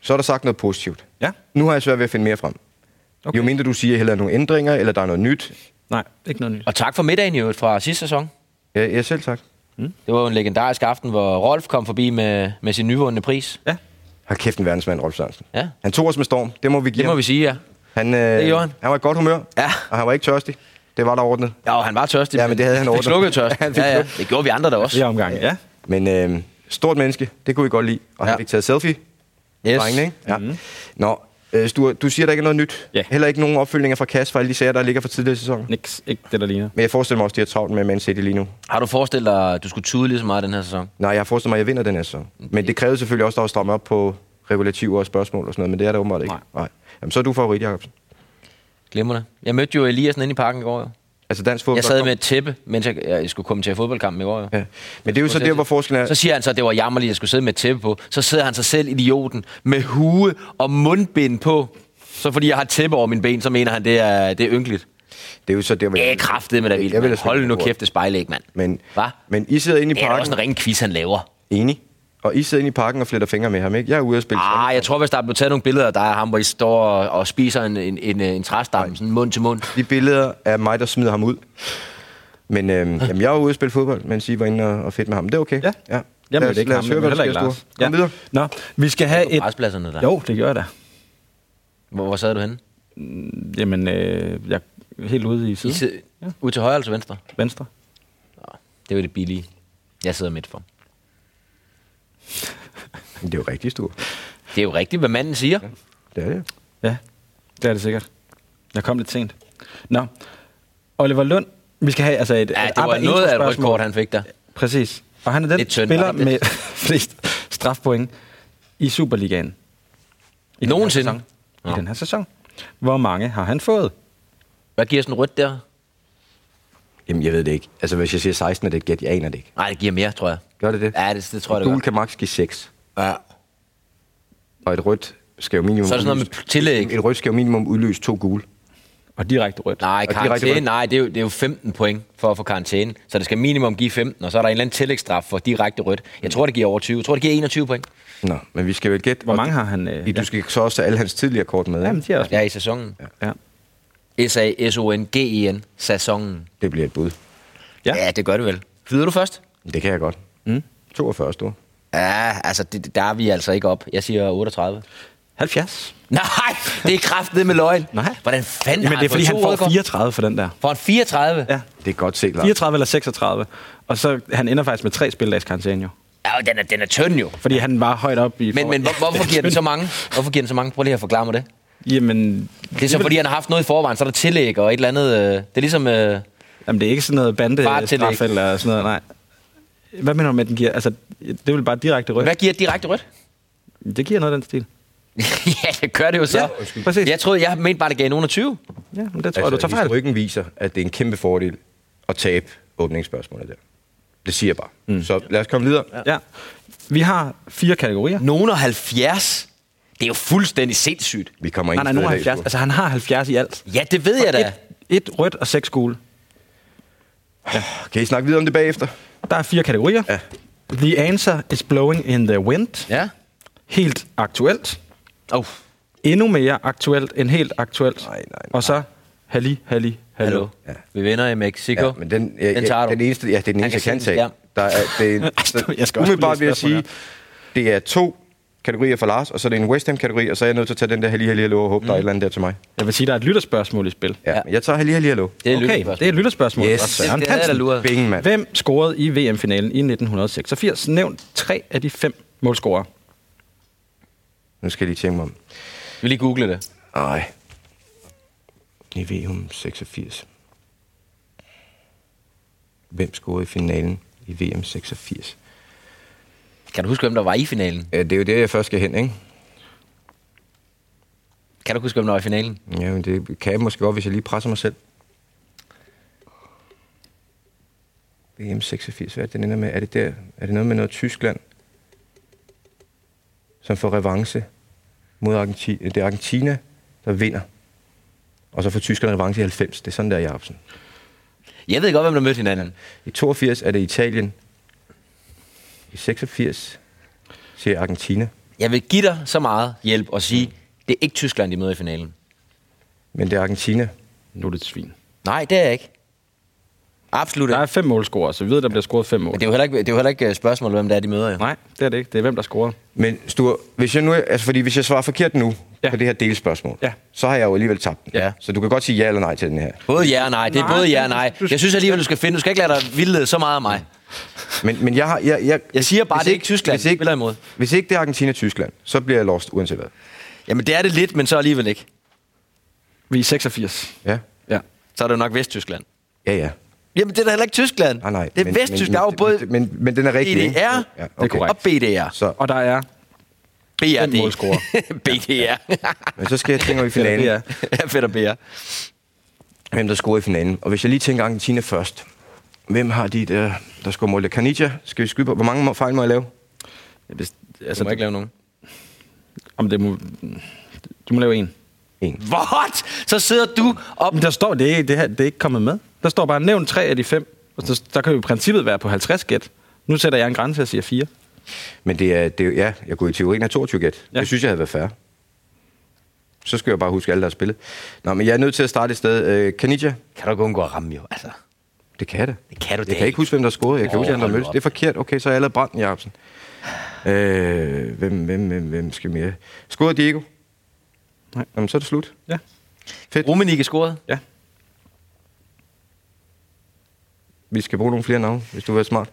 Speaker 2: Så er der sagt noget positivt.
Speaker 3: Ja.
Speaker 2: Nu har jeg svært ved at finde mere frem. Okay.
Speaker 3: Okay.
Speaker 2: Jo mindre du siger, heller nogle ændringer, eller der er noget nyt.
Speaker 3: Nej, ikke noget nyt.
Speaker 4: Og tak for middagen i øvrigt fra sidste sæson.
Speaker 2: Ja, ja selv sagt.
Speaker 4: Det var jo en legendarisk aften, hvor Rolf kom forbi med, med sin nyvundne pris.
Speaker 3: Ja.
Speaker 2: Har kæft en verdensmand, Rolf Sørensen.
Speaker 4: Ja.
Speaker 2: Han tog os med storm. Det må vi give
Speaker 4: Det må vi sige, ja.
Speaker 2: ham. Han, øh,
Speaker 4: Det gjorde han.
Speaker 2: han var i godt humør,
Speaker 4: Ja.
Speaker 2: og han var ikke tørstig. Det var der ordnet.
Speaker 4: Jo, han var tørstig.
Speaker 2: Ja, men det havde han
Speaker 4: fik
Speaker 2: ordnet.
Speaker 4: slukket tørst.
Speaker 2: Han fik
Speaker 4: ja, ja.
Speaker 2: slukket.
Speaker 4: Det gjorde vi andre da også.
Speaker 3: Flere omgange, ja.
Speaker 2: Men øh, stort menneske, det kunne vi godt lide. Og ja. han
Speaker 4: Ja.
Speaker 2: fik taget selfie.
Speaker 4: Yes. Mhm.
Speaker 2: Drengene, ikke? Ja. Mm-hmm. Nå, Øh, Sture, du siger, der ikke er noget nyt.
Speaker 3: Ja.
Speaker 2: Heller ikke nogen opfølgninger fra Kas for alle de sager, der ligger fra tidligere sæsoner.
Speaker 3: Niks, ikke det, der ligner.
Speaker 2: Men jeg forestiller mig også, at de har travlt med Man City lige nu.
Speaker 4: Har du forestillet dig, at du skulle tude lige så meget den her sæson?
Speaker 2: Nej, jeg forestiller mig, at jeg vinder den her sæson. Men det krævede selvfølgelig også, at der var strammet op på regulativer og spørgsmål og sådan noget, men det er der åbenbart ikke.
Speaker 3: Nej.
Speaker 2: Nej. Jamen, så er du favorit, Jacobsen.
Speaker 4: Glimrende. Jeg mødte jo Eliasen inde i parken i går. Jo.
Speaker 2: Altså dansk fodbold.
Speaker 4: Jeg sad med et tæppe, mens jeg, jeg skulle komme til fodboldkampen i går. Jo.
Speaker 2: Ja. Men det er jo så der, hvor forskellen er.
Speaker 4: Så siger han så, at det var jammerligt, at jeg skulle sidde med et tæppe på. Så sidder han sig selv, idioten, med hue og mundbind på. Så fordi jeg har et tæppe over mine ben, så mener han, det er, det er ynkeligt.
Speaker 2: Det er jo så der, hvor
Speaker 4: Æh, kraftedeme da vildt,
Speaker 2: Jeg vil
Speaker 4: mand.
Speaker 2: have
Speaker 4: Hold nu
Speaker 2: smidt
Speaker 4: kæft, det spejlæg, mand.
Speaker 2: Men,
Speaker 4: Hva?
Speaker 2: men I sidder inde i
Speaker 4: Det er da
Speaker 2: parken.
Speaker 4: også en ren quiz, han laver.
Speaker 2: Enig. Og I sidder inde i parken og fletter fingre med ham, ikke? Jeg er ude at spille.
Speaker 4: Ah, jeg tror, hvis der blev taget nogle billeder af dig og ham, hvor I står og, og spiser en, en, en, en træstamme, sådan mund til mund.
Speaker 2: De billeder af mig, der smider ham ud. Men øhm, jamen, jeg var ude at spille fodbold, mens I var inde og, og fedt med ham. Det er okay.
Speaker 3: Ja.
Speaker 2: ja.
Speaker 3: Jeg
Speaker 2: Lad
Speaker 3: mødte
Speaker 2: os-
Speaker 3: ikke
Speaker 2: lad
Speaker 3: ham,
Speaker 2: os
Speaker 3: jeg
Speaker 2: høre,
Speaker 3: mødte
Speaker 2: hvad der
Speaker 3: heller
Speaker 2: sker,
Speaker 3: ikke
Speaker 2: Sture. Kom
Speaker 3: Lars.
Speaker 2: videre.
Speaker 3: Nå, vi skal have et...
Speaker 4: Græspladserne der.
Speaker 3: Jo, det gjorde jeg da.
Speaker 4: Hvor, hvor sad du henne?
Speaker 3: Jamen, øh, jeg er helt ude i
Speaker 4: I
Speaker 3: siden.
Speaker 4: sid- Ud til højre eller til venstre?
Speaker 3: Venstre.
Speaker 4: Det var det billige. Jeg sidder midt for.
Speaker 2: Det er jo rigtig stort.
Speaker 4: Det er jo rigtigt, hvad manden siger.
Speaker 2: Det er det.
Speaker 3: Ja, det er det sikkert. Jeg kom lidt sent. Nå, Oliver Lund, vi skal have altså et,
Speaker 4: Ja,
Speaker 3: et
Speaker 4: det var
Speaker 3: ABBA
Speaker 4: noget af et
Speaker 3: introspørgsmål.
Speaker 4: rødt han fik der.
Speaker 3: Præcis. Og han er den
Speaker 4: Lidt tynd,
Speaker 3: spiller
Speaker 4: var det
Speaker 3: med
Speaker 4: ikke
Speaker 3: flest strafpoint i Superligaen. I den her
Speaker 4: Nogensinde?
Speaker 3: sæson. I
Speaker 4: Nå.
Speaker 3: den her sæson. Hvor mange har han fået?
Speaker 4: Hvad giver sådan rødt der?
Speaker 2: Jamen, jeg ved det ikke. Altså, hvis jeg siger 16, er det et gæt. Jeg aner det ikke.
Speaker 4: Nej, det giver mere, tror jeg.
Speaker 2: Gør det det?
Speaker 4: Ja, det, det tror jeg, det
Speaker 2: Gul
Speaker 4: gør.
Speaker 2: kan maks give 6.
Speaker 4: Ja.
Speaker 2: Og et rødt skal jo minimum
Speaker 4: Så er det sådan noget
Speaker 2: udløse-
Speaker 4: med tillæg.
Speaker 2: Et rødt skal jo minimum udløse to gule.
Speaker 3: Og direkte rødt.
Speaker 4: Nej,
Speaker 2: direkte
Speaker 4: karantæne,
Speaker 2: rødt.
Speaker 4: nej, det er, jo, det er jo 15 point for at få karantæne. Så det skal minimum give 15, og så er der en eller anden tillægsstraf for direkte rødt. Jeg tror, det giver over 20. Jeg tror, det giver 21 point.
Speaker 2: Nå, men vi skal vel gætte.
Speaker 3: Hvor
Speaker 2: og
Speaker 3: mange har han? Øh,
Speaker 2: I,
Speaker 3: ja.
Speaker 2: du skal så også tage alle hans tidligere kort med.
Speaker 3: Jamen,
Speaker 2: Jamen.
Speaker 3: de er også.
Speaker 4: Ja, i sæsonen.
Speaker 3: Ja.
Speaker 4: S-A-S-O-N-G-E-N. E Sæsonen.
Speaker 2: Det bliver et bud.
Speaker 3: Ja.
Speaker 4: Ja. ja, det gør det vel. Flyder du først?
Speaker 2: Det kan jeg godt. Mm. 42 store.
Speaker 4: Ja, altså, det, der er vi altså ikke op. Jeg siger 38.
Speaker 3: 70.
Speaker 4: Nej, det er kraftet med løgn.
Speaker 3: Nej.
Speaker 4: Hvordan fanden
Speaker 3: Jamen,
Speaker 4: har
Speaker 3: det er, fordi
Speaker 4: to
Speaker 3: han får
Speaker 4: røde kort?
Speaker 3: 34 for den der.
Speaker 4: Får han 34?
Speaker 3: Ja.
Speaker 2: Det er godt set, Lars.
Speaker 3: 34 eller 36. Og så han ender faktisk med tre spildags karantæne jo.
Speaker 4: Ja, og den er, den er tynd jo.
Speaker 3: Fordi han var højt op i...
Speaker 4: Men,
Speaker 3: forhold-
Speaker 4: men hvor, hvorfor giver den så mange? Hvorfor giver den så mange? Prøv lige at forklare mig det.
Speaker 3: Jamen,
Speaker 4: Det er så, fordi han har haft noget i forvejen, så er der tillæg og et eller andet. Øh, det er ligesom... Øh,
Speaker 3: Jamen, det er ikke sådan noget
Speaker 4: Farttillæg.
Speaker 3: bandestraf eller sådan noget, nej. Hvad mener du med, at den giver? Altså, det er vel bare direkte rødt.
Speaker 4: hvad giver et direkte rødt?
Speaker 3: Det giver noget af den stil.
Speaker 4: ja, det gør det jo så.
Speaker 3: Ja,
Speaker 4: Ja,
Speaker 3: undskyld. præcis.
Speaker 4: Jeg troede, jeg mente bare, det gav nogen af 20.
Speaker 3: Ja, men det tror jeg,
Speaker 2: Altså,
Speaker 3: du tager fejl.
Speaker 2: historikken viser, at det er en kæmpe fordel at tabe åbningsspørgsmålet der. Det siger jeg bare. Mm. Så lad os komme videre. Ja.
Speaker 3: Ja. Vi har fire kategorier.
Speaker 4: Nogen af 70? Det er jo fuldstændig sindssygt.
Speaker 2: Vi kommer ind
Speaker 3: Nej, nej, nu har 70.
Speaker 2: Altså,
Speaker 3: Altså, han har 70 i alt.
Speaker 4: Ja, det ved jeg da.
Speaker 3: Et, et rødt og seks gule.
Speaker 2: kan I snakke videre om det bagefter?
Speaker 3: Der er fire kategorier.
Speaker 2: Ja.
Speaker 3: The answer is blowing in the wind.
Speaker 4: Ja.
Speaker 3: Helt aktuelt.
Speaker 4: Oh,
Speaker 3: Endnu mere aktuelt end helt aktuelt.
Speaker 2: Nej, nej, nej.
Speaker 3: Og så Halli, Halli,
Speaker 4: hallo.
Speaker 3: Hallo.
Speaker 4: Ja. Vi vinder i Mexico.
Speaker 2: Ja, men den, ja,
Speaker 4: den tager
Speaker 2: ja,
Speaker 4: du.
Speaker 2: den eneste, ja, det er den
Speaker 4: Han
Speaker 2: eneste, jeg kan
Speaker 4: kan se den
Speaker 2: tage. Der er, det er,
Speaker 3: stop, jeg
Speaker 2: så,
Speaker 3: skal også
Speaker 2: umiddelbart vil jeg
Speaker 3: lige
Speaker 2: sige,
Speaker 3: læse
Speaker 2: det er to kategorier for Lars, og så er det en West Ham-kategori, og så er jeg nødt til at tage den der Halli Halli Hallo og håbe, mm. der er et eller andet der til mig.
Speaker 3: Jeg vil sige, der er et lytterspørgsmål i spil.
Speaker 2: Ja,
Speaker 4: Ja.
Speaker 2: ja. Men jeg tager Halli Halli Hallo.
Speaker 4: Det er
Speaker 3: Okay,
Speaker 4: lytterspørgsmål.
Speaker 3: det er et lytterspørgsmål.
Speaker 2: Yes.
Speaker 3: fra Søren
Speaker 4: Det havde jeg da
Speaker 3: Hansen.
Speaker 4: luret.
Speaker 2: Bingen, mand.
Speaker 3: Hvem scorede i VM-finalen i 1986? Nævn tre af de fem målscorere.
Speaker 2: Nu skal jeg lige tænke mig om.
Speaker 4: Vi lige google det.
Speaker 2: Nej. Niveum 86. Hvem scorede i finalen i VM 86?
Speaker 4: Kan du huske, hvem der var i finalen?
Speaker 2: Ja, det er jo det, jeg først skal hen, ikke?
Speaker 4: Kan du huske, hvem der var i finalen?
Speaker 2: Ja, men det kan jeg måske godt, hvis jeg lige presser mig selv. VM 86, hvad er det, den ender med? Er det, der? er det noget med noget Tyskland, som får revanche mod Argentina? Det er Argentina, der vinder. Og så får tyskerne revanche i 90. Det er sådan der, Jacobsen.
Speaker 4: Jeg ved godt, hvem der mødte hinanden.
Speaker 2: I 82 er det Italien. I 86 siger jeg Argentina.
Speaker 4: Jeg vil give dig så meget hjælp og sige, det er ikke Tyskland, de møder i finalen.
Speaker 2: Men det er Argentina.
Speaker 3: Nu er det et svin.
Speaker 4: Nej, det er jeg ikke. Absolut
Speaker 3: Der
Speaker 4: ikke.
Speaker 3: er fem målscorere, så vi ved, der bliver scoret fem mål.
Speaker 4: Men det er jo heller ikke, det er jo heller ikke øh, spørgsmålet, hvem det er, de møder. Jo.
Speaker 3: Nej, det er det ikke. Det er hvem, der scorer.
Speaker 2: Men Sture, hvis jeg nu, altså fordi hvis jeg svarer forkert nu
Speaker 3: Ja.
Speaker 2: ja. på det her delspørgsmål,
Speaker 3: Ja.
Speaker 2: så har jeg jo alligevel tabt den.
Speaker 4: Ja.
Speaker 2: Så du kan godt sige ja eller nej til den her.
Speaker 4: Både ja og nej. Det er
Speaker 3: Nej,
Speaker 4: både ja og nej.
Speaker 3: du-
Speaker 4: Jeg synes alligevel, du skal finde. Du skal ikke lade dig vildlede så meget af mig.
Speaker 2: Men, men jeg har... Jeg, jeg,
Speaker 4: Jeg siger bare,
Speaker 2: hvis
Speaker 4: det er ikke Tyskland,
Speaker 2: hvis ikke,
Speaker 4: spiller imod.
Speaker 2: Hvis ikke det er Argentina-Tyskland, så bliver jeg lost uanset hvad.
Speaker 4: Jamen, det er det lidt, men så alligevel ikke.
Speaker 3: Vi er 86.
Speaker 2: Ja,
Speaker 3: Ja.
Speaker 4: Så er det jo nok Vesttyskland.
Speaker 2: ja, ja.
Speaker 4: Jamen, det er da heller ikke Tyskland.
Speaker 2: Nej, nej.
Speaker 4: Det er Vesttyskland. Der er jo både
Speaker 2: Men, men, men den er rigtig, ikke?
Speaker 4: DDR
Speaker 2: Ja,
Speaker 4: og
Speaker 2: okay.
Speaker 4: BDR.
Speaker 2: Så,
Speaker 3: Og der er...
Speaker 4: BRD.
Speaker 3: målscorer.
Speaker 4: BDR.
Speaker 2: men så skal jeg tænke over i finalen.
Speaker 4: Ja, fedt og BR.
Speaker 2: hvem der scorer i finalen. Og hvis jeg lige tænker Argentina først. Hvem har de der, der scorer målet? Canidia? Skal vi skyde på? Hvor mange må- fejl må jeg lave?
Speaker 3: Hvis,
Speaker 4: Altså,
Speaker 3: altså,
Speaker 4: du må ikke lave nogen.
Speaker 3: Om det må, du må lave en.
Speaker 2: En.
Speaker 4: What? Så sidder du op.
Speaker 3: Men der står, det, er- det, her, det er ikke kommet med. Der står bare, nævn tre af de fem. Og så, der kan jo i princippet være på 50 gæt. Nu sætter jeg en grænse og siger fire.
Speaker 2: Men det er, det er, ja, jeg går i teorien af 22 gæt.
Speaker 3: Ja.
Speaker 2: Det synes jeg havde været fair. Så skal jeg bare huske alle, der har spillet. Nå, men jeg er nødt til at starte et sted. Øh, Canidia?
Speaker 4: Kan du gå undgå at ramme jo, altså.
Speaker 2: Det kan jeg da.
Speaker 4: Det kan du da
Speaker 2: Jeg kan
Speaker 4: ikke.
Speaker 2: ikke huske, hvem der scorede. Jeg kan
Speaker 4: Åh,
Speaker 2: huske, at
Speaker 4: hold nu
Speaker 2: Møls.
Speaker 4: op.
Speaker 2: Det er forkert. Okay, så er jeg allerede brændt, Jacobsen. Øh, hvem, hvem, hvem, hvem skal mere? Scorede Diego?
Speaker 3: Nej.
Speaker 2: Jamen, så er det slut.
Speaker 3: Ja.
Speaker 4: Rummenigge scorede.
Speaker 3: Ja.
Speaker 2: Vi skal bruge nogle flere navne, hvis du vil være smart.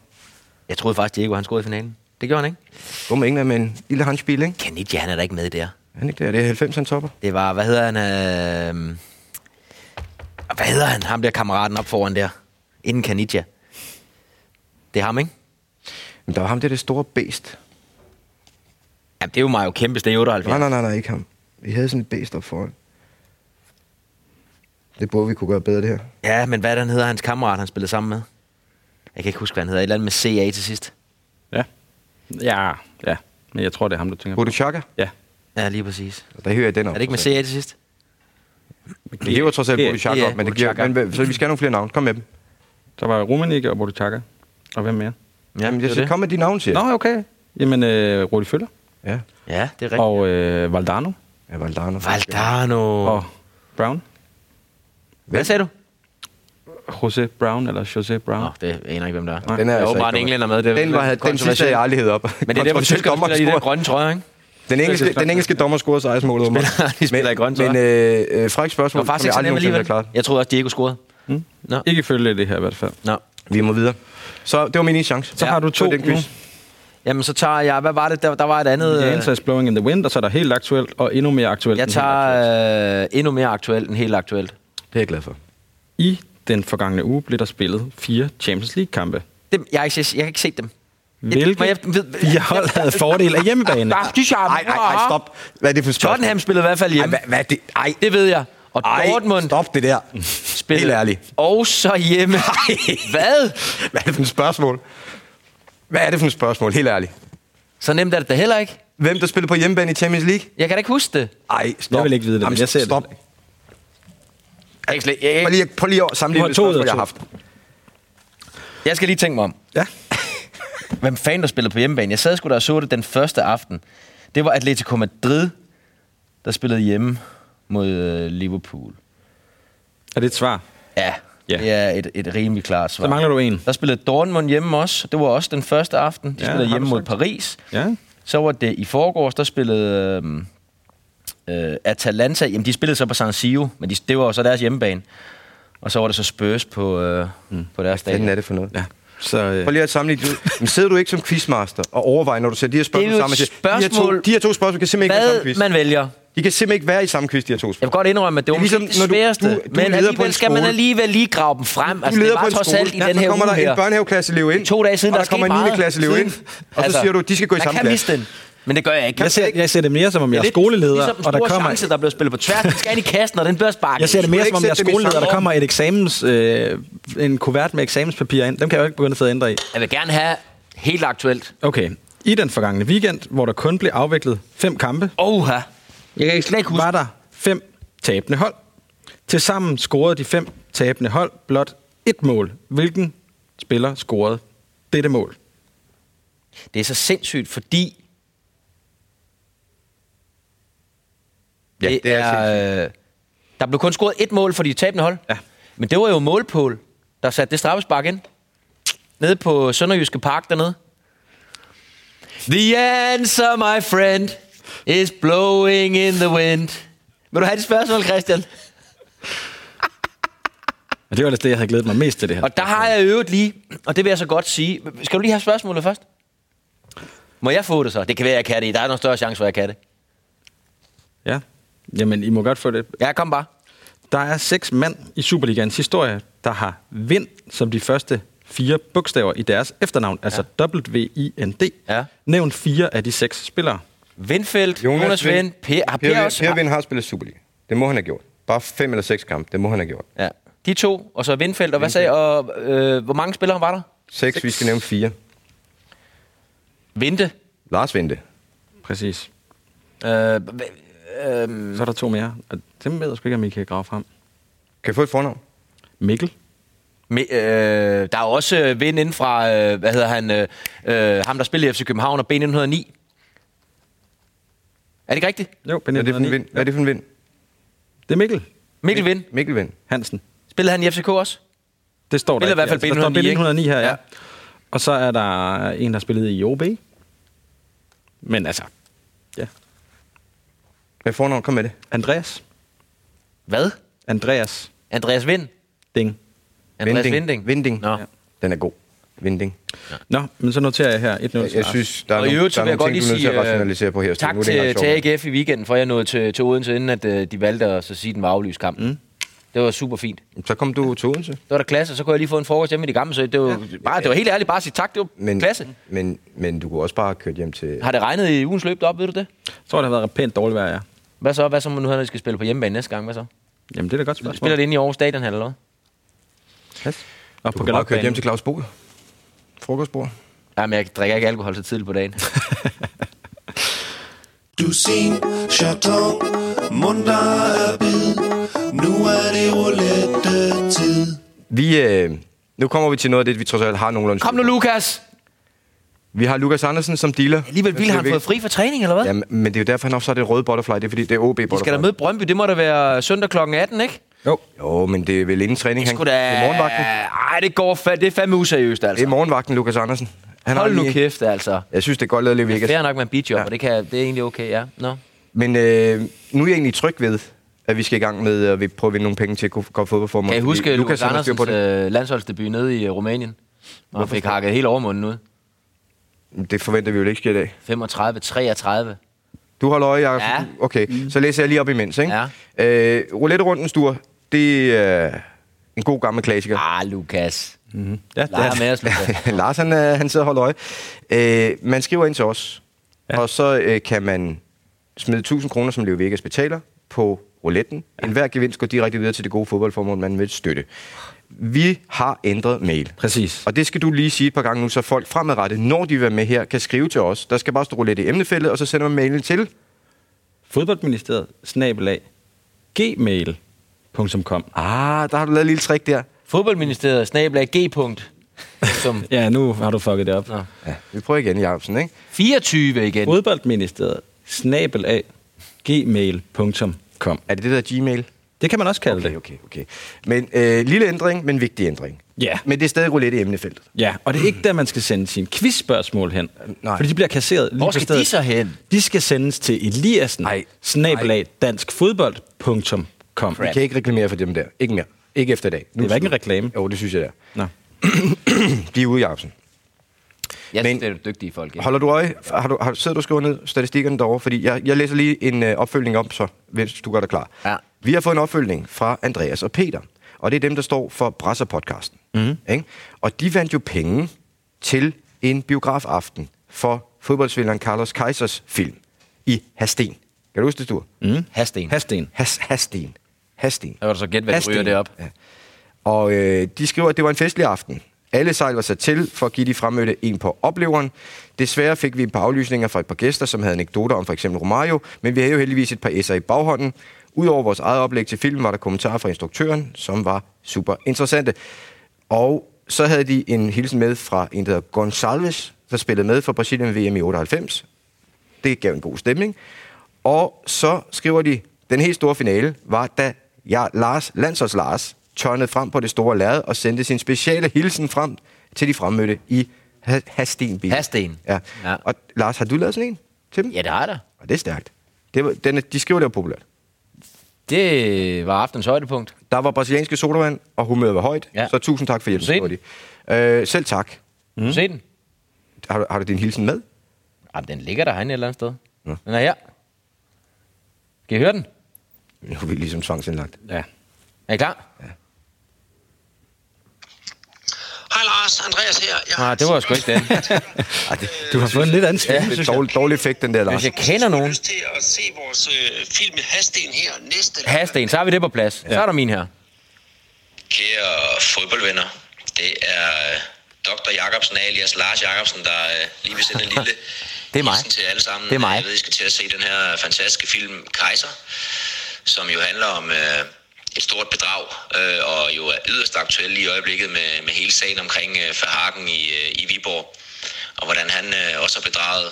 Speaker 4: Jeg troede faktisk, Diego han scorede i finalen. Det gjorde han ikke.
Speaker 2: Dum England med en lille handspil, ikke?
Speaker 4: Kanidja, han er da ikke med der.
Speaker 2: Er Han ikke der. Det er 90, han topper.
Speaker 4: Det var, hvad hedder han? Øh... Hvad hedder han? Ham der kammeraten op foran der. Inden Kanidja. Det er ham, ikke?
Speaker 2: Men der var ham der, det store bæst.
Speaker 4: Jamen, det er jo mig jo kæmpe, det er
Speaker 2: Nej,
Speaker 4: 78.
Speaker 2: nej, nej, nej, ikke ham. Vi havde sådan et bæst op foran. Det burde vi kunne gøre bedre, det her.
Speaker 4: Ja, men hvad er det, han hedder, hans kammerat, han spillede sammen med? Jeg kan ikke huske, hvad han hedder. Et eller andet med CA til sidst.
Speaker 3: Ja. Ja. Ja. Men jeg tror, det er ham, du tænker på.
Speaker 2: Bodo Chaka?
Speaker 3: Ja.
Speaker 4: Ja, lige præcis.
Speaker 2: Der hører jeg den op.
Speaker 4: Er det ikke med CA til sidst?
Speaker 2: Vi hæver trods alt
Speaker 3: Det-
Speaker 2: Bodo Chaka
Speaker 4: det er
Speaker 2: op, men, det
Speaker 4: Bodo
Speaker 2: giver,
Speaker 4: Chaka.
Speaker 2: men øh, så vi skal have nogle flere navne. Kom med dem.
Speaker 3: Der var Rummenigge og Bodutaka. Og hvem mere?
Speaker 4: Ja,
Speaker 2: Jamen,
Speaker 4: det
Speaker 2: jeg
Speaker 4: er
Speaker 2: siger,
Speaker 4: det.
Speaker 2: kom med de navne, siger
Speaker 3: Nå,
Speaker 2: jeg.
Speaker 3: okay. Jamen, øh, Rudi Føller.
Speaker 2: Ja,
Speaker 4: Ja, det er rigtigt.
Speaker 3: Og øh, Valdano.
Speaker 2: ja Valdano.
Speaker 4: Valdano.
Speaker 3: Og Brown.
Speaker 4: Hvad sagde du?
Speaker 3: Jose Brown, eller Jose Brown.
Speaker 2: Ah.
Speaker 4: Nå, det aner ikke, hvem der er.
Speaker 3: Nej.
Speaker 2: Den
Speaker 4: Der
Speaker 2: er
Speaker 4: er
Speaker 2: altså
Speaker 4: åbenbart en
Speaker 2: ikke
Speaker 4: englænder med. Det er
Speaker 2: den, var,
Speaker 4: lidt
Speaker 2: den sidste havde jeg aldrig hævet op.
Speaker 4: Men det er der, hvor tyskerne spiller i de der grønne trøjer, ikke?
Speaker 2: Den engelske, den engelske dommer scorede sig målet om.
Speaker 4: de spiller i grøn
Speaker 2: Men øh, øh, Fræk
Speaker 4: Det
Speaker 2: spørgsmål,
Speaker 4: var faktisk ikke så nemt
Speaker 2: nogensinde
Speaker 4: alligevel.
Speaker 2: har klaret.
Speaker 4: Jeg troede også, Diego scorede.
Speaker 3: Mm.
Speaker 4: Nå.
Speaker 3: Ikke følge det her i hvert fald.
Speaker 4: Nå.
Speaker 2: Vi må videre. Så det var min ene chance.
Speaker 3: Så har du
Speaker 2: Det var
Speaker 3: to
Speaker 2: den quiz.
Speaker 3: nu.
Speaker 4: Jamen, så tager jeg... Hvad var det? Der, der var et andet...
Speaker 3: The
Speaker 4: øh,
Speaker 3: answer is blowing in the wind, og så er der helt aktuelt, og endnu mere aktuelt.
Speaker 4: jeg
Speaker 3: end helt aktuelt.
Speaker 4: tager øh, endnu mere aktuelt end helt aktuelt.
Speaker 2: Det er jeg glad for.
Speaker 3: I den forgangne uge blev der spillet fire Champions League-kampe.
Speaker 4: Dem, jeg, har ikke, jeg har ikke set dem.
Speaker 3: Hvilke
Speaker 4: Må jeg- ved-
Speaker 3: fire hold havde fordel af hjemmebane?
Speaker 2: Ej, ej, ej, stop. Hvad er det for spørgsmål?
Speaker 4: Tottenham spillede i hvert fald hjemme.
Speaker 2: Ej, hvad, hvad er det? Ej,
Speaker 4: Det ved jeg. Og
Speaker 2: ej,
Speaker 4: Dortmund
Speaker 2: stop det der.
Speaker 4: spillede
Speaker 2: Helt ærligt.
Speaker 4: og så hjemme. Hvad?
Speaker 2: Hvad er det for et spørgsmål? Hvad er det for et spørgsmål, helt ærligt?
Speaker 4: Så nemt er det da heller ikke.
Speaker 2: Hvem der spiller på hjemmebane i Champions League?
Speaker 4: Jeg kan da ikke huske det.
Speaker 2: Ej, stop.
Speaker 3: Jeg vil ikke vide det, men jeg ser det.
Speaker 2: stop.
Speaker 4: Jeg, kan slet- jeg,
Speaker 2: Prøv
Speaker 4: jeg,
Speaker 2: lige, prøv lige at sammenligne
Speaker 3: Du har
Speaker 2: med
Speaker 3: to ud af
Speaker 2: spørgsmål, jeg har
Speaker 3: to.
Speaker 2: haft.
Speaker 4: jeg skal lige tænke mig om.
Speaker 3: Ja.
Speaker 4: Hvem fanden der spillede på hjemmebane? Jeg sad sgu der og så det den første aften. Det var Atletico Madrid, der spillede hjemme mod øh, Liverpool.
Speaker 3: Er det et svar?
Speaker 4: Ja,
Speaker 3: Ja.
Speaker 4: ja. det er et, et rimelig klart svar.
Speaker 3: Så mangler du en.
Speaker 4: Der spillede Dortmund hjemme også. Det var også den første aften. De
Speaker 3: Ja,
Speaker 4: ja, spillede
Speaker 3: har
Speaker 4: hjemme
Speaker 3: du
Speaker 4: mod
Speaker 3: sagt.
Speaker 4: Paris.
Speaker 3: Ja.
Speaker 4: Så var det i forgårs, der spillede øh, øh, Atalanta. Jamen, de spillede så på San Siro, men de, det var jo så deres hjemmebane. Og så var det så Spurs på, øh, mm. på deres dag.
Speaker 2: Hvad er det for noget?
Speaker 3: ja. Så, øh,
Speaker 2: Prøv lige at sammenligne det ud. Men sidder du ikke som quizmaster og overvejer, når du ser de her spørgsmål
Speaker 4: jo et
Speaker 2: sammen? og siger, De her, to,
Speaker 4: spørgsmål-
Speaker 2: de her to spørgsmål kan simpelthen ikke være i samme
Speaker 4: Hvad
Speaker 2: quiz.
Speaker 4: man vælger.
Speaker 2: De kan simpelthen ikke være i samme quiz, de her to
Speaker 4: Jeg
Speaker 2: spørgsmål.
Speaker 4: vil godt indrømme, at det var
Speaker 2: Det er
Speaker 4: det,
Speaker 2: ligesom,
Speaker 4: det
Speaker 2: når du-
Speaker 4: sværeste,
Speaker 2: du- du leder på
Speaker 4: men
Speaker 2: en
Speaker 4: alligevel skal man
Speaker 2: skole.
Speaker 4: alligevel lige grave dem frem. Altså, det var trods alt i den
Speaker 2: så
Speaker 4: her
Speaker 2: kommer
Speaker 4: uge
Speaker 2: der
Speaker 4: her.
Speaker 2: en børnehaveklasseelev ind,
Speaker 4: To dage siden,
Speaker 2: og
Speaker 4: der,
Speaker 2: der,
Speaker 4: er sket
Speaker 2: kommer en 9.
Speaker 4: meget
Speaker 2: klasseelev ind,
Speaker 4: siden. Altså,
Speaker 2: og så siger du, de skal gå i samme
Speaker 4: Man kan
Speaker 2: klasse.
Speaker 4: miste den, men det gør jeg ikke.
Speaker 3: jeg, ser, jeg ser det mere som om, jeg er
Speaker 4: lidt
Speaker 3: skoleleder,
Speaker 4: ligesom den
Speaker 3: og der
Speaker 4: store
Speaker 3: kommer...
Speaker 4: chance, der bliver spillet på tværs. Den skal ind i kassen, og den bliver sparket.
Speaker 3: Jeg ser det mere
Speaker 2: ikke
Speaker 3: som om, jeg er
Speaker 2: sætte dem i
Speaker 3: skoleleder,
Speaker 2: samme
Speaker 3: der
Speaker 2: rum.
Speaker 3: kommer et eksamens, øh, en kuvert med eksamenspapirer ind. Dem kan jeg jo ikke begynde at sidde og ændre i.
Speaker 4: Jeg vil gerne have helt aktuelt.
Speaker 3: Okay. I den forgangne weekend, hvor der kun blev afviklet fem kampe,
Speaker 4: Oha. Jeg kan slet ikke huske.
Speaker 3: var der fem tabende hold. Tilsammen scorede de fem tabende hold blot et mål. Hvilken spiller scorede dette mål?
Speaker 4: Det er så sindssygt, fordi...
Speaker 2: Ja, det er
Speaker 4: øh, Der blev kun scoret et mål for de tabende hold.
Speaker 3: Ja.
Speaker 4: Men det var jo målpål, der satte det straffespark ind. Nede på Sønderjyske Park dernede. The answer, my friend, is blowing in the wind. Vil du have et spørgsmål, Christian?
Speaker 3: Og det var ellers det, jeg havde glædet mig mest til det her.
Speaker 4: Og der har jeg i øvrigt lige, og det vil jeg så godt sige. Skal du lige have spørgsmålet først? Må jeg få det så? Det kan være, jeg kan det. Der er nok større chance for, at jeg kan det.
Speaker 3: Ja. Jamen, I må godt få det.
Speaker 4: Ja, kom bare.
Speaker 3: Der er seks mand i Superligans historie, der har vind som de første fire bogstaver i deres efternavn, altså W-I-N-D.
Speaker 4: Ja.
Speaker 3: Nævn fire af de seks spillere.
Speaker 4: Vindfeldt, Jonas, Jonas Vind, Per, har per, også?
Speaker 2: per Vind har spillet Superliga. Det må han have gjort. Bare fem eller seks kampe, det må han have gjort.
Speaker 4: Ja. De to, og så Vindfeldt, og hvad sagde, og øh, hvor mange spillere var der?
Speaker 2: Seks, seks. vi skal nævne fire.
Speaker 4: Vinte.
Speaker 2: Lars Vente.
Speaker 3: Præcis.
Speaker 4: Øh, hva- øh,
Speaker 3: Så er der to mere, og dem ved jeg sgu ikke, om I kan grave frem.
Speaker 2: Kan jeg få et fornavn?
Speaker 3: Mikkel.
Speaker 4: me- øh, der er jo også øh, Vind inden fra, øh, hvad hedder han, øh, øh, ham der spillede i FC København og B1909. Er det ikke rigtigt?
Speaker 3: Jo,
Speaker 2: Hvad er det for en
Speaker 3: Benjamin.
Speaker 2: vind? Hvad er det for en vind?
Speaker 3: Det er Mikkel
Speaker 4: Mikkel Vind,
Speaker 2: Mikkel Vind.
Speaker 3: Hansen.
Speaker 4: spillede han i FCK også?
Speaker 3: Det står der
Speaker 4: Eller i hvert fald
Speaker 3: altså, der står
Speaker 4: B909, ikke?
Speaker 3: 909 her, ja.
Speaker 4: Ja.
Speaker 3: ja. Og så er der en, der spillede i OB. Men altså, ja.
Speaker 2: Hvad fornavn? Kom med det.
Speaker 3: Andreas.
Speaker 4: Hvad?
Speaker 3: Andreas
Speaker 4: Andreas Vind?
Speaker 3: Ding.
Speaker 4: Andreas Vinding?
Speaker 2: Vinding.
Speaker 4: Nå.
Speaker 2: Ja. Den er god. Vinding.
Speaker 3: Nå, men så noterer jeg her 1-0 til
Speaker 2: Jeg, jeg
Speaker 3: Lars.
Speaker 2: synes, der er
Speaker 4: Og i
Speaker 2: nogle, der
Speaker 4: øvrigt, så
Speaker 2: er
Speaker 4: vil
Speaker 2: nogle
Speaker 4: jeg godt
Speaker 2: ting,
Speaker 4: lige
Speaker 2: du er nødt til
Speaker 4: sige
Speaker 2: at rationalisere på her.
Speaker 4: øh,
Speaker 2: Stine.
Speaker 4: tak
Speaker 2: Nu er det ikke
Speaker 4: til,
Speaker 2: engang
Speaker 4: til
Speaker 2: sjovt.
Speaker 4: AGF i weekenden, for jeg nåede til, til Odense, inden at øh, de valgte at så sige, den var aflyst kampen. Mm. Det var super fint.
Speaker 2: Så kom du til Odense.
Speaker 4: Det var da klasse, og så kunne jeg lige få en frokost hjemme i det gamle, så det var, ja. bare, det var helt ærligt bare at sige tak, det var men,
Speaker 2: Men,
Speaker 4: klasse.
Speaker 2: men, men du kunne også bare have kørt hjem til...
Speaker 4: Har det regnet i ugens løb op, ved du det?
Speaker 3: Jeg tror, det har været pænt dårligt vejr, ja.
Speaker 4: Hvad så, hvad så nu, når I skal spille på hjemmebane næste gang? Hvad så?
Speaker 3: Jamen, det er da et godt spørgsmål.
Speaker 4: Spiller det inde i Aarhus Stadion, eller hvad?
Speaker 3: Og
Speaker 2: Du
Speaker 3: på
Speaker 2: kunne bare køre
Speaker 3: galopbanen.
Speaker 2: hjem til Claus Bo. Frokostbord.
Speaker 4: Nej, men jeg drikker ikke alkohol så tidligt på dagen.
Speaker 8: Dusin, chaton, munter er bid. Nu er det roulette-tid.
Speaker 2: Vi, øh, nu kommer vi til noget af det, vi trods alt har nogenlunde.
Speaker 4: Kom nu, Lukas!
Speaker 2: Vi har Lukas Andersen som dealer.
Speaker 4: Alligevel ville han fået fri for træning, eller hvad?
Speaker 2: Ja, men det er jo derfor, han også har det røde butterfly. Det er fordi, det er OB butterfly.
Speaker 4: De skal da møde Brøndby, det må da være søndag kl. 18, ikke?
Speaker 2: Jo. Jo, men det er vel inden træning.
Speaker 4: Skulle
Speaker 2: Det
Speaker 4: da...
Speaker 2: er morgenvagten.
Speaker 4: Ej, det går fa- det er fandme useriøst,
Speaker 2: Det er
Speaker 4: altså.
Speaker 2: morgenvagten, Lukas Andersen. Han har
Speaker 4: Hold nu
Speaker 2: lige-
Speaker 4: kæft, altså.
Speaker 2: Jeg synes, det er godt lavet, at vi
Speaker 4: Det
Speaker 2: ikke
Speaker 4: er
Speaker 2: er
Speaker 4: fair nok med en beatjob, ja. og det, kan, det er egentlig okay, ja. Nå.
Speaker 2: Men øh, nu er jeg egentlig tryg ved, at vi skal i gang med at vi prøver at vinde nogle penge til at kunne gå fodboldformål.
Speaker 4: Kan I huske
Speaker 2: Fordi
Speaker 4: Lukas,
Speaker 2: har styr
Speaker 4: Andersens øh, landsholdsdebut nede i øh, Rumænien? Hvor han fik hakket hele overmunden ud.
Speaker 2: det. det forventer vi jo ikke sker i dag.
Speaker 4: 35-33.
Speaker 2: Du holder øje, Jacob.
Speaker 4: Ja. Mm.
Speaker 2: Okay, så læser jeg lige op imens, ikke? Ja. Øh, roulette-rundens tur, det er øh, en god gammel klassiker.
Speaker 4: Ah, Lukas.
Speaker 3: Ja, det
Speaker 4: Leger
Speaker 3: er
Speaker 4: med os, Lukas.
Speaker 2: Lars, han, øh, han sidder og holder øje. Øh, man skriver ind til os, ja. og så øh, kan man smide 1000 kroner, som Leo Vegas betaler, på rouletten. Ja. Enhver gevinst går direkte videre til det gode fodboldformål, man vil støtte. Vi har ændret mail.
Speaker 3: Præcis.
Speaker 2: Og det skal du lige sige et par gange nu, så folk fremadrettet, når de vil være med her, kan skrive til os. Der skal bare stå roulette i emnefeltet, og så sender man mailen til.
Speaker 3: Fodboldministeriet, snabelag, gmail.com.
Speaker 2: Ah, der har du lavet et lille trick der.
Speaker 4: Fodboldministeriet, snablag, G. punkt. Som
Speaker 3: Ja, nu har du fucket det op.
Speaker 4: Nå.
Speaker 2: Ja, vi prøver igen, Jacobsen, ikke?
Speaker 4: 24 igen.
Speaker 3: Fodboldministeriet, snabelag, gmail.com.
Speaker 2: Er det det der Gmail?
Speaker 3: Det kan man også kalde
Speaker 2: Okay,
Speaker 3: det.
Speaker 2: okay, okay. Men øh, lille ændring, men vigtig ændring.
Speaker 3: Ja.
Speaker 2: Men det er stadig roulette i emnefeltet.
Speaker 3: Ja, og det er ikke der, man skal sende sine quizspørgsmål hen.
Speaker 2: Øh, nej.
Speaker 3: Fordi de bliver kasseret lige
Speaker 4: Hvor
Speaker 3: på
Speaker 4: skal
Speaker 3: stedet.
Speaker 4: de så hen?
Speaker 3: De skal sendes til Eliassen,
Speaker 2: Nej.
Speaker 3: snabelag, danskfodbold.com.
Speaker 2: Vi kan ikke reklamere for dem der. Ikke mere. Ikke efter i dag. Nu
Speaker 3: Det var ikke
Speaker 2: slut.
Speaker 3: en reklame.
Speaker 2: Jo, det synes jeg, det er.
Speaker 3: Nå.
Speaker 2: De er ude, Jacobsen.
Speaker 4: Jeg synes,
Speaker 2: men-
Speaker 4: det er dygtige folk. ikke?
Speaker 2: Holder du øje? Har du, har, sidder du og skriver ned statistikkerne derovre? Fordi jeg, jeg læser lige en øh, opfølgning om, så hvis du gør dig klar.
Speaker 4: Ja.
Speaker 2: Vi har fået en opfølgning fra Andreas og Peter. Og det er dem, der står for Brasser-podcasten.
Speaker 3: Mhm.
Speaker 2: Mm. Ikke? Og de vandt jo penge til en biografaften for fodboldspilleren Carlos Kaisers film i Hasten. Kan du huske det, du? Mm.
Speaker 4: Hasten.
Speaker 3: Hasten.
Speaker 2: Has, Hasten. Hasten.
Speaker 4: Der var du så gæt, hvad der
Speaker 2: Hasten.
Speaker 4: ryger det op.
Speaker 2: Ja. Og øh, de skriver, at det var en festlig aften. Alle sejl var sat til for at give de fremmødte en på opleveren. Desværre fik vi et par aflysninger fra et par gæster, som havde anekdoter om for eksempel Romario, men vi havde jo heldigvis et par S'er i baghånden. Udover vores eget oplæg til filmen var der kommentarer fra instruktøren, som var super interessante. Og så havde de en hilsen med fra en, der hedder Gonçalves, der spillede med for Brasilien ved VM i 98. Det gav en god stemning. Og så skriver de, den helt store finale var, da jeg, Lars, landsholds Lars, tørnede frem på det store lærred og sendte sin speciale hilsen frem til de fremmødte i Ha- Hasten. Bil.
Speaker 4: Hasten.
Speaker 2: Ja.
Speaker 4: Ja.
Speaker 2: ja. Og Lars, har du lavet sådan en til dem?
Speaker 4: Ja, det har jeg da.
Speaker 2: Og det er stærkt. Det var, den, er- de skriver, det var populært.
Speaker 4: Det var aftens højdepunkt.
Speaker 2: Der var brasilianske sodavand, og humøret var højt.
Speaker 4: Ja.
Speaker 2: Ja. Så tusind tak for hjælpen,
Speaker 4: Se
Speaker 2: skriver de. Øh, selv tak.
Speaker 4: Mm. Se den.
Speaker 2: Har, du- har du din hilsen med?
Speaker 4: Jamen, den ligger der herinde et eller andet sted. Den er her. Kan I høre den?
Speaker 2: Nu er vi ligesom tvangsindlagt.
Speaker 3: Ja.
Speaker 4: Er I klar?
Speaker 9: Hej Lars, Andreas her. Jeg
Speaker 4: Nej, Ah, det var sgu ikke den.
Speaker 2: Ej, det,
Speaker 3: Du har fået en lidt anden
Speaker 2: ja,
Speaker 3: ja.
Speaker 2: det er dårlig, dårlig effekt, den der, Lars.
Speaker 4: Hvis jeg
Speaker 9: har
Speaker 4: kender nogen.
Speaker 9: lyst til at se vores øh, film Hasten her næste lørdag.
Speaker 4: Hasten, så har vi det på plads. Ja. Så er der min her.
Speaker 9: Kære fodboldvenner, det er øh, Dr. Jacobsen alias Lars Jacobsen, der øh, lige vil sende en lille
Speaker 4: Det er mig.
Speaker 9: hilsen til alle sammen.
Speaker 4: Det er mig.
Speaker 9: Jeg ved, I skal til at se den her fantastiske film Kejser, som jo handler om øh, et stort bedrag, øh, og jo er yderst aktuel lige i øjeblikket med, med hele sagen omkring øh, Verhagen i, øh, i Viborg, og hvordan han øh, også har bedraget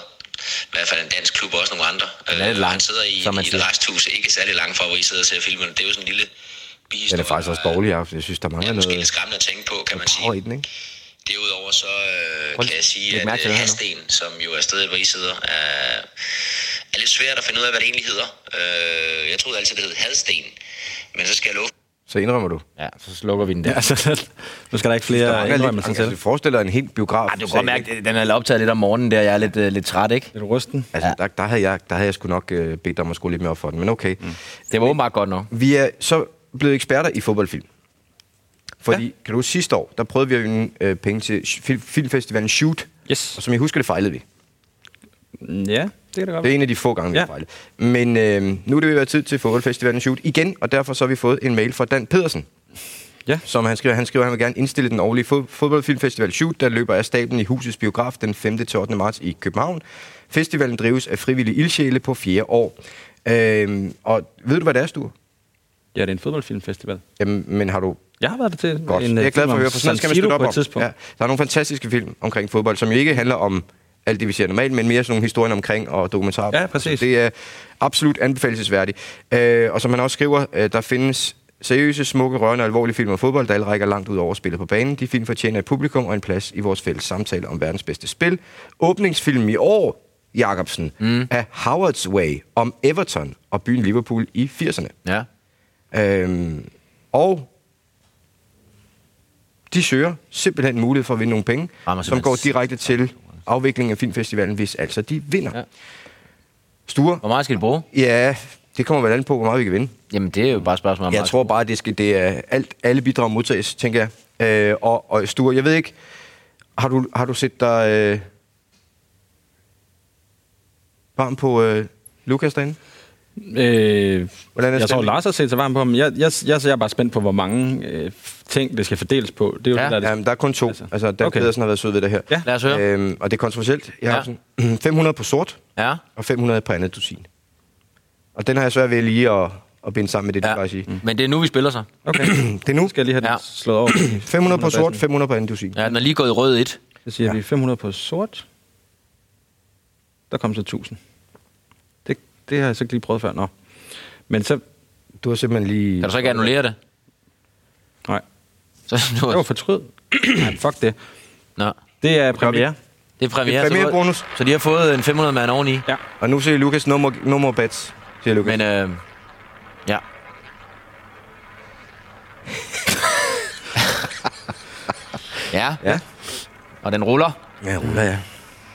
Speaker 9: i hvert fald en dansk klub og også nogle andre.
Speaker 4: Den er lidt
Speaker 9: Øh,
Speaker 4: lang,
Speaker 9: han sidder i,
Speaker 4: som man
Speaker 9: i et
Speaker 4: siger.
Speaker 9: resthus, ikke særlig langt fra, hvor I sidder og ser filmen. Det er jo sådan en lille
Speaker 2: Den
Speaker 9: bihistorie.
Speaker 2: er faktisk også
Speaker 9: og-
Speaker 2: dårlig, jeg, jeg synes, der mangler
Speaker 9: Ja, måske lidt
Speaker 2: noget
Speaker 9: skræmmende at tænke på, kan man
Speaker 2: power i
Speaker 9: sige.
Speaker 2: den, ikke?
Speaker 9: Derudover så øh,
Speaker 4: Prøv
Speaker 9: kan jeg sige,
Speaker 4: læg
Speaker 9: at
Speaker 4: mærke til
Speaker 9: øh,
Speaker 4: det her nu.
Speaker 9: Hasten, som jo er stedet, hvor I sidder, er, er lidt svært at finde ud af, hvad det egentlig hedder. Øh, jeg troede altid, det hed Hadsten, men så skal jeg love
Speaker 2: Så indrømmer du.
Speaker 4: Ja, så slukker vi den der.
Speaker 3: Ja,
Speaker 4: Ja.
Speaker 3: så, nu skal der ikke
Speaker 2: Der
Speaker 3: flere
Speaker 2: mangler lidt,
Speaker 3: indrømmelser
Speaker 2: altså,
Speaker 3: til.
Speaker 2: du forestiller dig en helt biograf.
Speaker 4: Ej, du kan godt mærke, at den er optaget lidt om morgenen der. Jeg er lidt, øh, lidt træt, ikke?
Speaker 3: Lidt rusten.
Speaker 2: Altså, der, der, havde jeg, der havde jeg sgu nok øh, bedt dig om at skrue lidt mere op for den, men okay. Mm.
Speaker 4: Det var åbenbart godt nok.
Speaker 2: Vi er så blevet eksperter i fodboldfilm. Fordi, ja. kan du huske, sidste år, der prøvede vi at vinde øh, penge til sh- fil- filmfestivalen Shoot.
Speaker 3: Yes.
Speaker 2: Og som jeg husker, det fejlede vi.
Speaker 3: mm, Ja, det kan
Speaker 2: Det
Speaker 3: det godt
Speaker 2: er
Speaker 3: være.
Speaker 2: en af de få gange, vi ja.
Speaker 3: Ja.
Speaker 2: har fejlet. Men øh, nu er det ved at være tid til fodboldfestivalen Shoot igen, og derfor så har vi fået en mail fra Dan Pedersen.
Speaker 3: Ja.
Speaker 2: Som han skriver, han skriver, at han vil gerne indstille den årlige fod- fodboldfilmfestival Shoot, der løber af staben i husets biograf den 5. til 8. marts i København. Festivalen drives af frivillige ildsjæle på fjerde år. Øhm, og ved du, hvad det er, Sture?
Speaker 3: Ja, det er en fodboldfilmfestival.
Speaker 2: Jamen, men har du
Speaker 3: Jeg har været der til
Speaker 2: Godt. En,
Speaker 3: en
Speaker 2: jeg er
Speaker 3: øh,
Speaker 2: glad
Speaker 3: film
Speaker 2: for at
Speaker 3: om
Speaker 2: høre, for sådan
Speaker 3: San
Speaker 2: skal man
Speaker 3: Siro
Speaker 2: støtte op
Speaker 3: på et
Speaker 2: om.
Speaker 3: tidspunkt.
Speaker 2: Ja, der er nogle fantastiske film omkring fodbold, som jo ikke handler om alt det, vi ser normalt, men mere sådan nogle historier omkring og dokumentarer.
Speaker 3: Ja, præcis.
Speaker 2: Så det er absolut anbefalesværdigt. Øh, og som han også skriver, øh, der findes seriøse, smukke, rørende og alvorlige film om fodbold, der alle rækker langt ud over spillet på banen. De film fortjener et publikum og en plads i vores fælles samtale om verdens bedste spil. Åbningsfilm i år, Jacobsen, mm. af Howard's Way om Everton og byen Liverpool i 80'erne.
Speaker 4: Ja.
Speaker 2: Øhm, og de søger simpelthen mulighed for at vinde nogle penge,
Speaker 4: Rammer
Speaker 2: som
Speaker 4: simpelthen
Speaker 2: går direkte til afviklingen af Filmfestivalen, hvis altså de vinder. Ja. Sture?
Speaker 4: Hvor meget skal de bruge?
Speaker 2: Ja, det kommer vel an på, hvor meget vi kan vinde.
Speaker 4: Jamen, det er jo bare et spørgsmål om
Speaker 2: Jeg
Speaker 4: meget.
Speaker 2: tror bare, det, skal, det er alt, alle bidrag modtages, tænker jeg. Øh, og, og Sture, jeg ved ikke, har du, har du set dig øh, varm på øh, Lukas derinde?
Speaker 3: Øh,
Speaker 2: Hvordan er
Speaker 3: jeg tror,
Speaker 2: stemningen?
Speaker 3: Lars har set sig varm på ham. Jeg, jeg, jeg, så jeg er bare spændt på, hvor mange øh, ting, det skal fordeles på. Det er jo
Speaker 4: Ja,
Speaker 3: det, der er det.
Speaker 2: Jamen, der er kun to. Altså,
Speaker 3: Altså,
Speaker 2: altså Dan okay.
Speaker 3: okay.
Speaker 2: Pedersen har været sød ved det her.
Speaker 3: Ja.
Speaker 4: Lad os høre.
Speaker 2: Øhm, og det er kontroversielt. Jeg har
Speaker 4: Ja.
Speaker 2: sådan 500 på sort,
Speaker 4: Ja.
Speaker 2: og 500 på andet dusin. Og den har jeg svært ved lige at, at binde sammen med det, du
Speaker 4: ja.
Speaker 2: plejer at sige. Mm.
Speaker 4: Men det er nu, vi spiller sig.
Speaker 3: Okay,
Speaker 2: Det er nu.
Speaker 3: nu skal jeg lige have den
Speaker 4: Ja.
Speaker 3: slået over.
Speaker 2: 500 på sort,
Speaker 3: basen.
Speaker 2: 500 på andet dusin.
Speaker 4: Ja, den er lige gået i rød 1.
Speaker 3: Så siger vi 500 på sort. Der kom så 1000. Det, det har jeg så ikke lige prøvet før. Nå. Men så...
Speaker 2: Du har simpelthen lige...
Speaker 4: Kan du så ikke annullere det?
Speaker 3: Nej,
Speaker 4: Så, nu,
Speaker 3: det var fortryd. Nej, fuck det.
Speaker 4: Nå.
Speaker 3: Det er premiere.
Speaker 4: Det er premiere.
Speaker 2: Det er
Speaker 4: så-
Speaker 2: premierebonus.
Speaker 4: Så de har fået en 500 mand oveni.
Speaker 3: Ja.
Speaker 2: Og nu siger Lukas, no more, no more bets, siger Lukas.
Speaker 4: Men øh, ja. ja. Ja. Og den ruller.
Speaker 2: Ja, ruller jeg.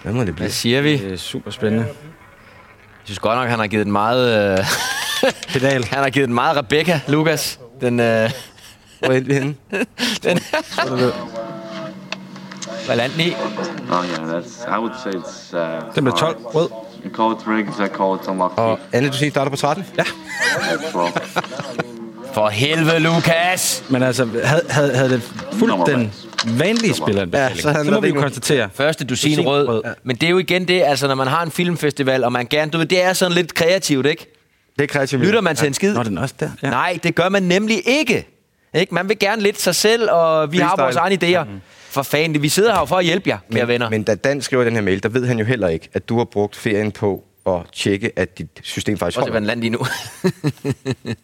Speaker 2: Hvad må det blive?
Speaker 4: Hvad siger vi?
Speaker 3: Det er super spændende.
Speaker 4: Jeg synes godt nok, han har givet den meget... Øh,
Speaker 3: Pedal.
Speaker 4: han har givet den meget Rebecca, Lukas. Den, øh,
Speaker 2: Hvor er vi henne?
Speaker 4: hvad landet i?
Speaker 10: Oh yeah, that's. I would say it's. Uh,
Speaker 3: Den blev 12 rød.
Speaker 10: You call it rigs, I call it unlucky.
Speaker 4: Altså-
Speaker 2: Og andet dusin starter på 13? Ja.
Speaker 10: That's wrong.
Speaker 4: For helvede, Lukas!
Speaker 3: Men altså, havde, havde, havde det fulgt den vanlige
Speaker 2: Ja,
Speaker 3: spilleranbefaling, ja,
Speaker 2: så havde
Speaker 3: så,
Speaker 2: den
Speaker 3: så må
Speaker 2: været
Speaker 3: vi jo
Speaker 2: endnu.
Speaker 3: konstatere.
Speaker 4: Første dusin,
Speaker 3: Dusin
Speaker 4: rød.
Speaker 3: rød.
Speaker 4: rød. Men det er jo igen det, altså når man har en filmfestival, og man gerne... Du ved, det er sådan lidt kreativt, ikke?
Speaker 2: Det er kreativt.
Speaker 4: Lytter man til en skid?
Speaker 3: Nå, den er også der.
Speaker 4: Ja. Nej, det gør man nemlig ikke. ikke. Man vil gerne lidt sig selv, og vi har
Speaker 2: Freestyle.
Speaker 4: vores egne idéer. For fanden, det- vi sidder her jo for at hjælpe jer, kære venner.
Speaker 2: Men da Dan skriver den her mail, der ved han jo heller ikke, at du har brugt ferien på at tjekke, at dit system faktisk
Speaker 4: Prøv at
Speaker 2: holder.
Speaker 4: se, hvad den lander i nu.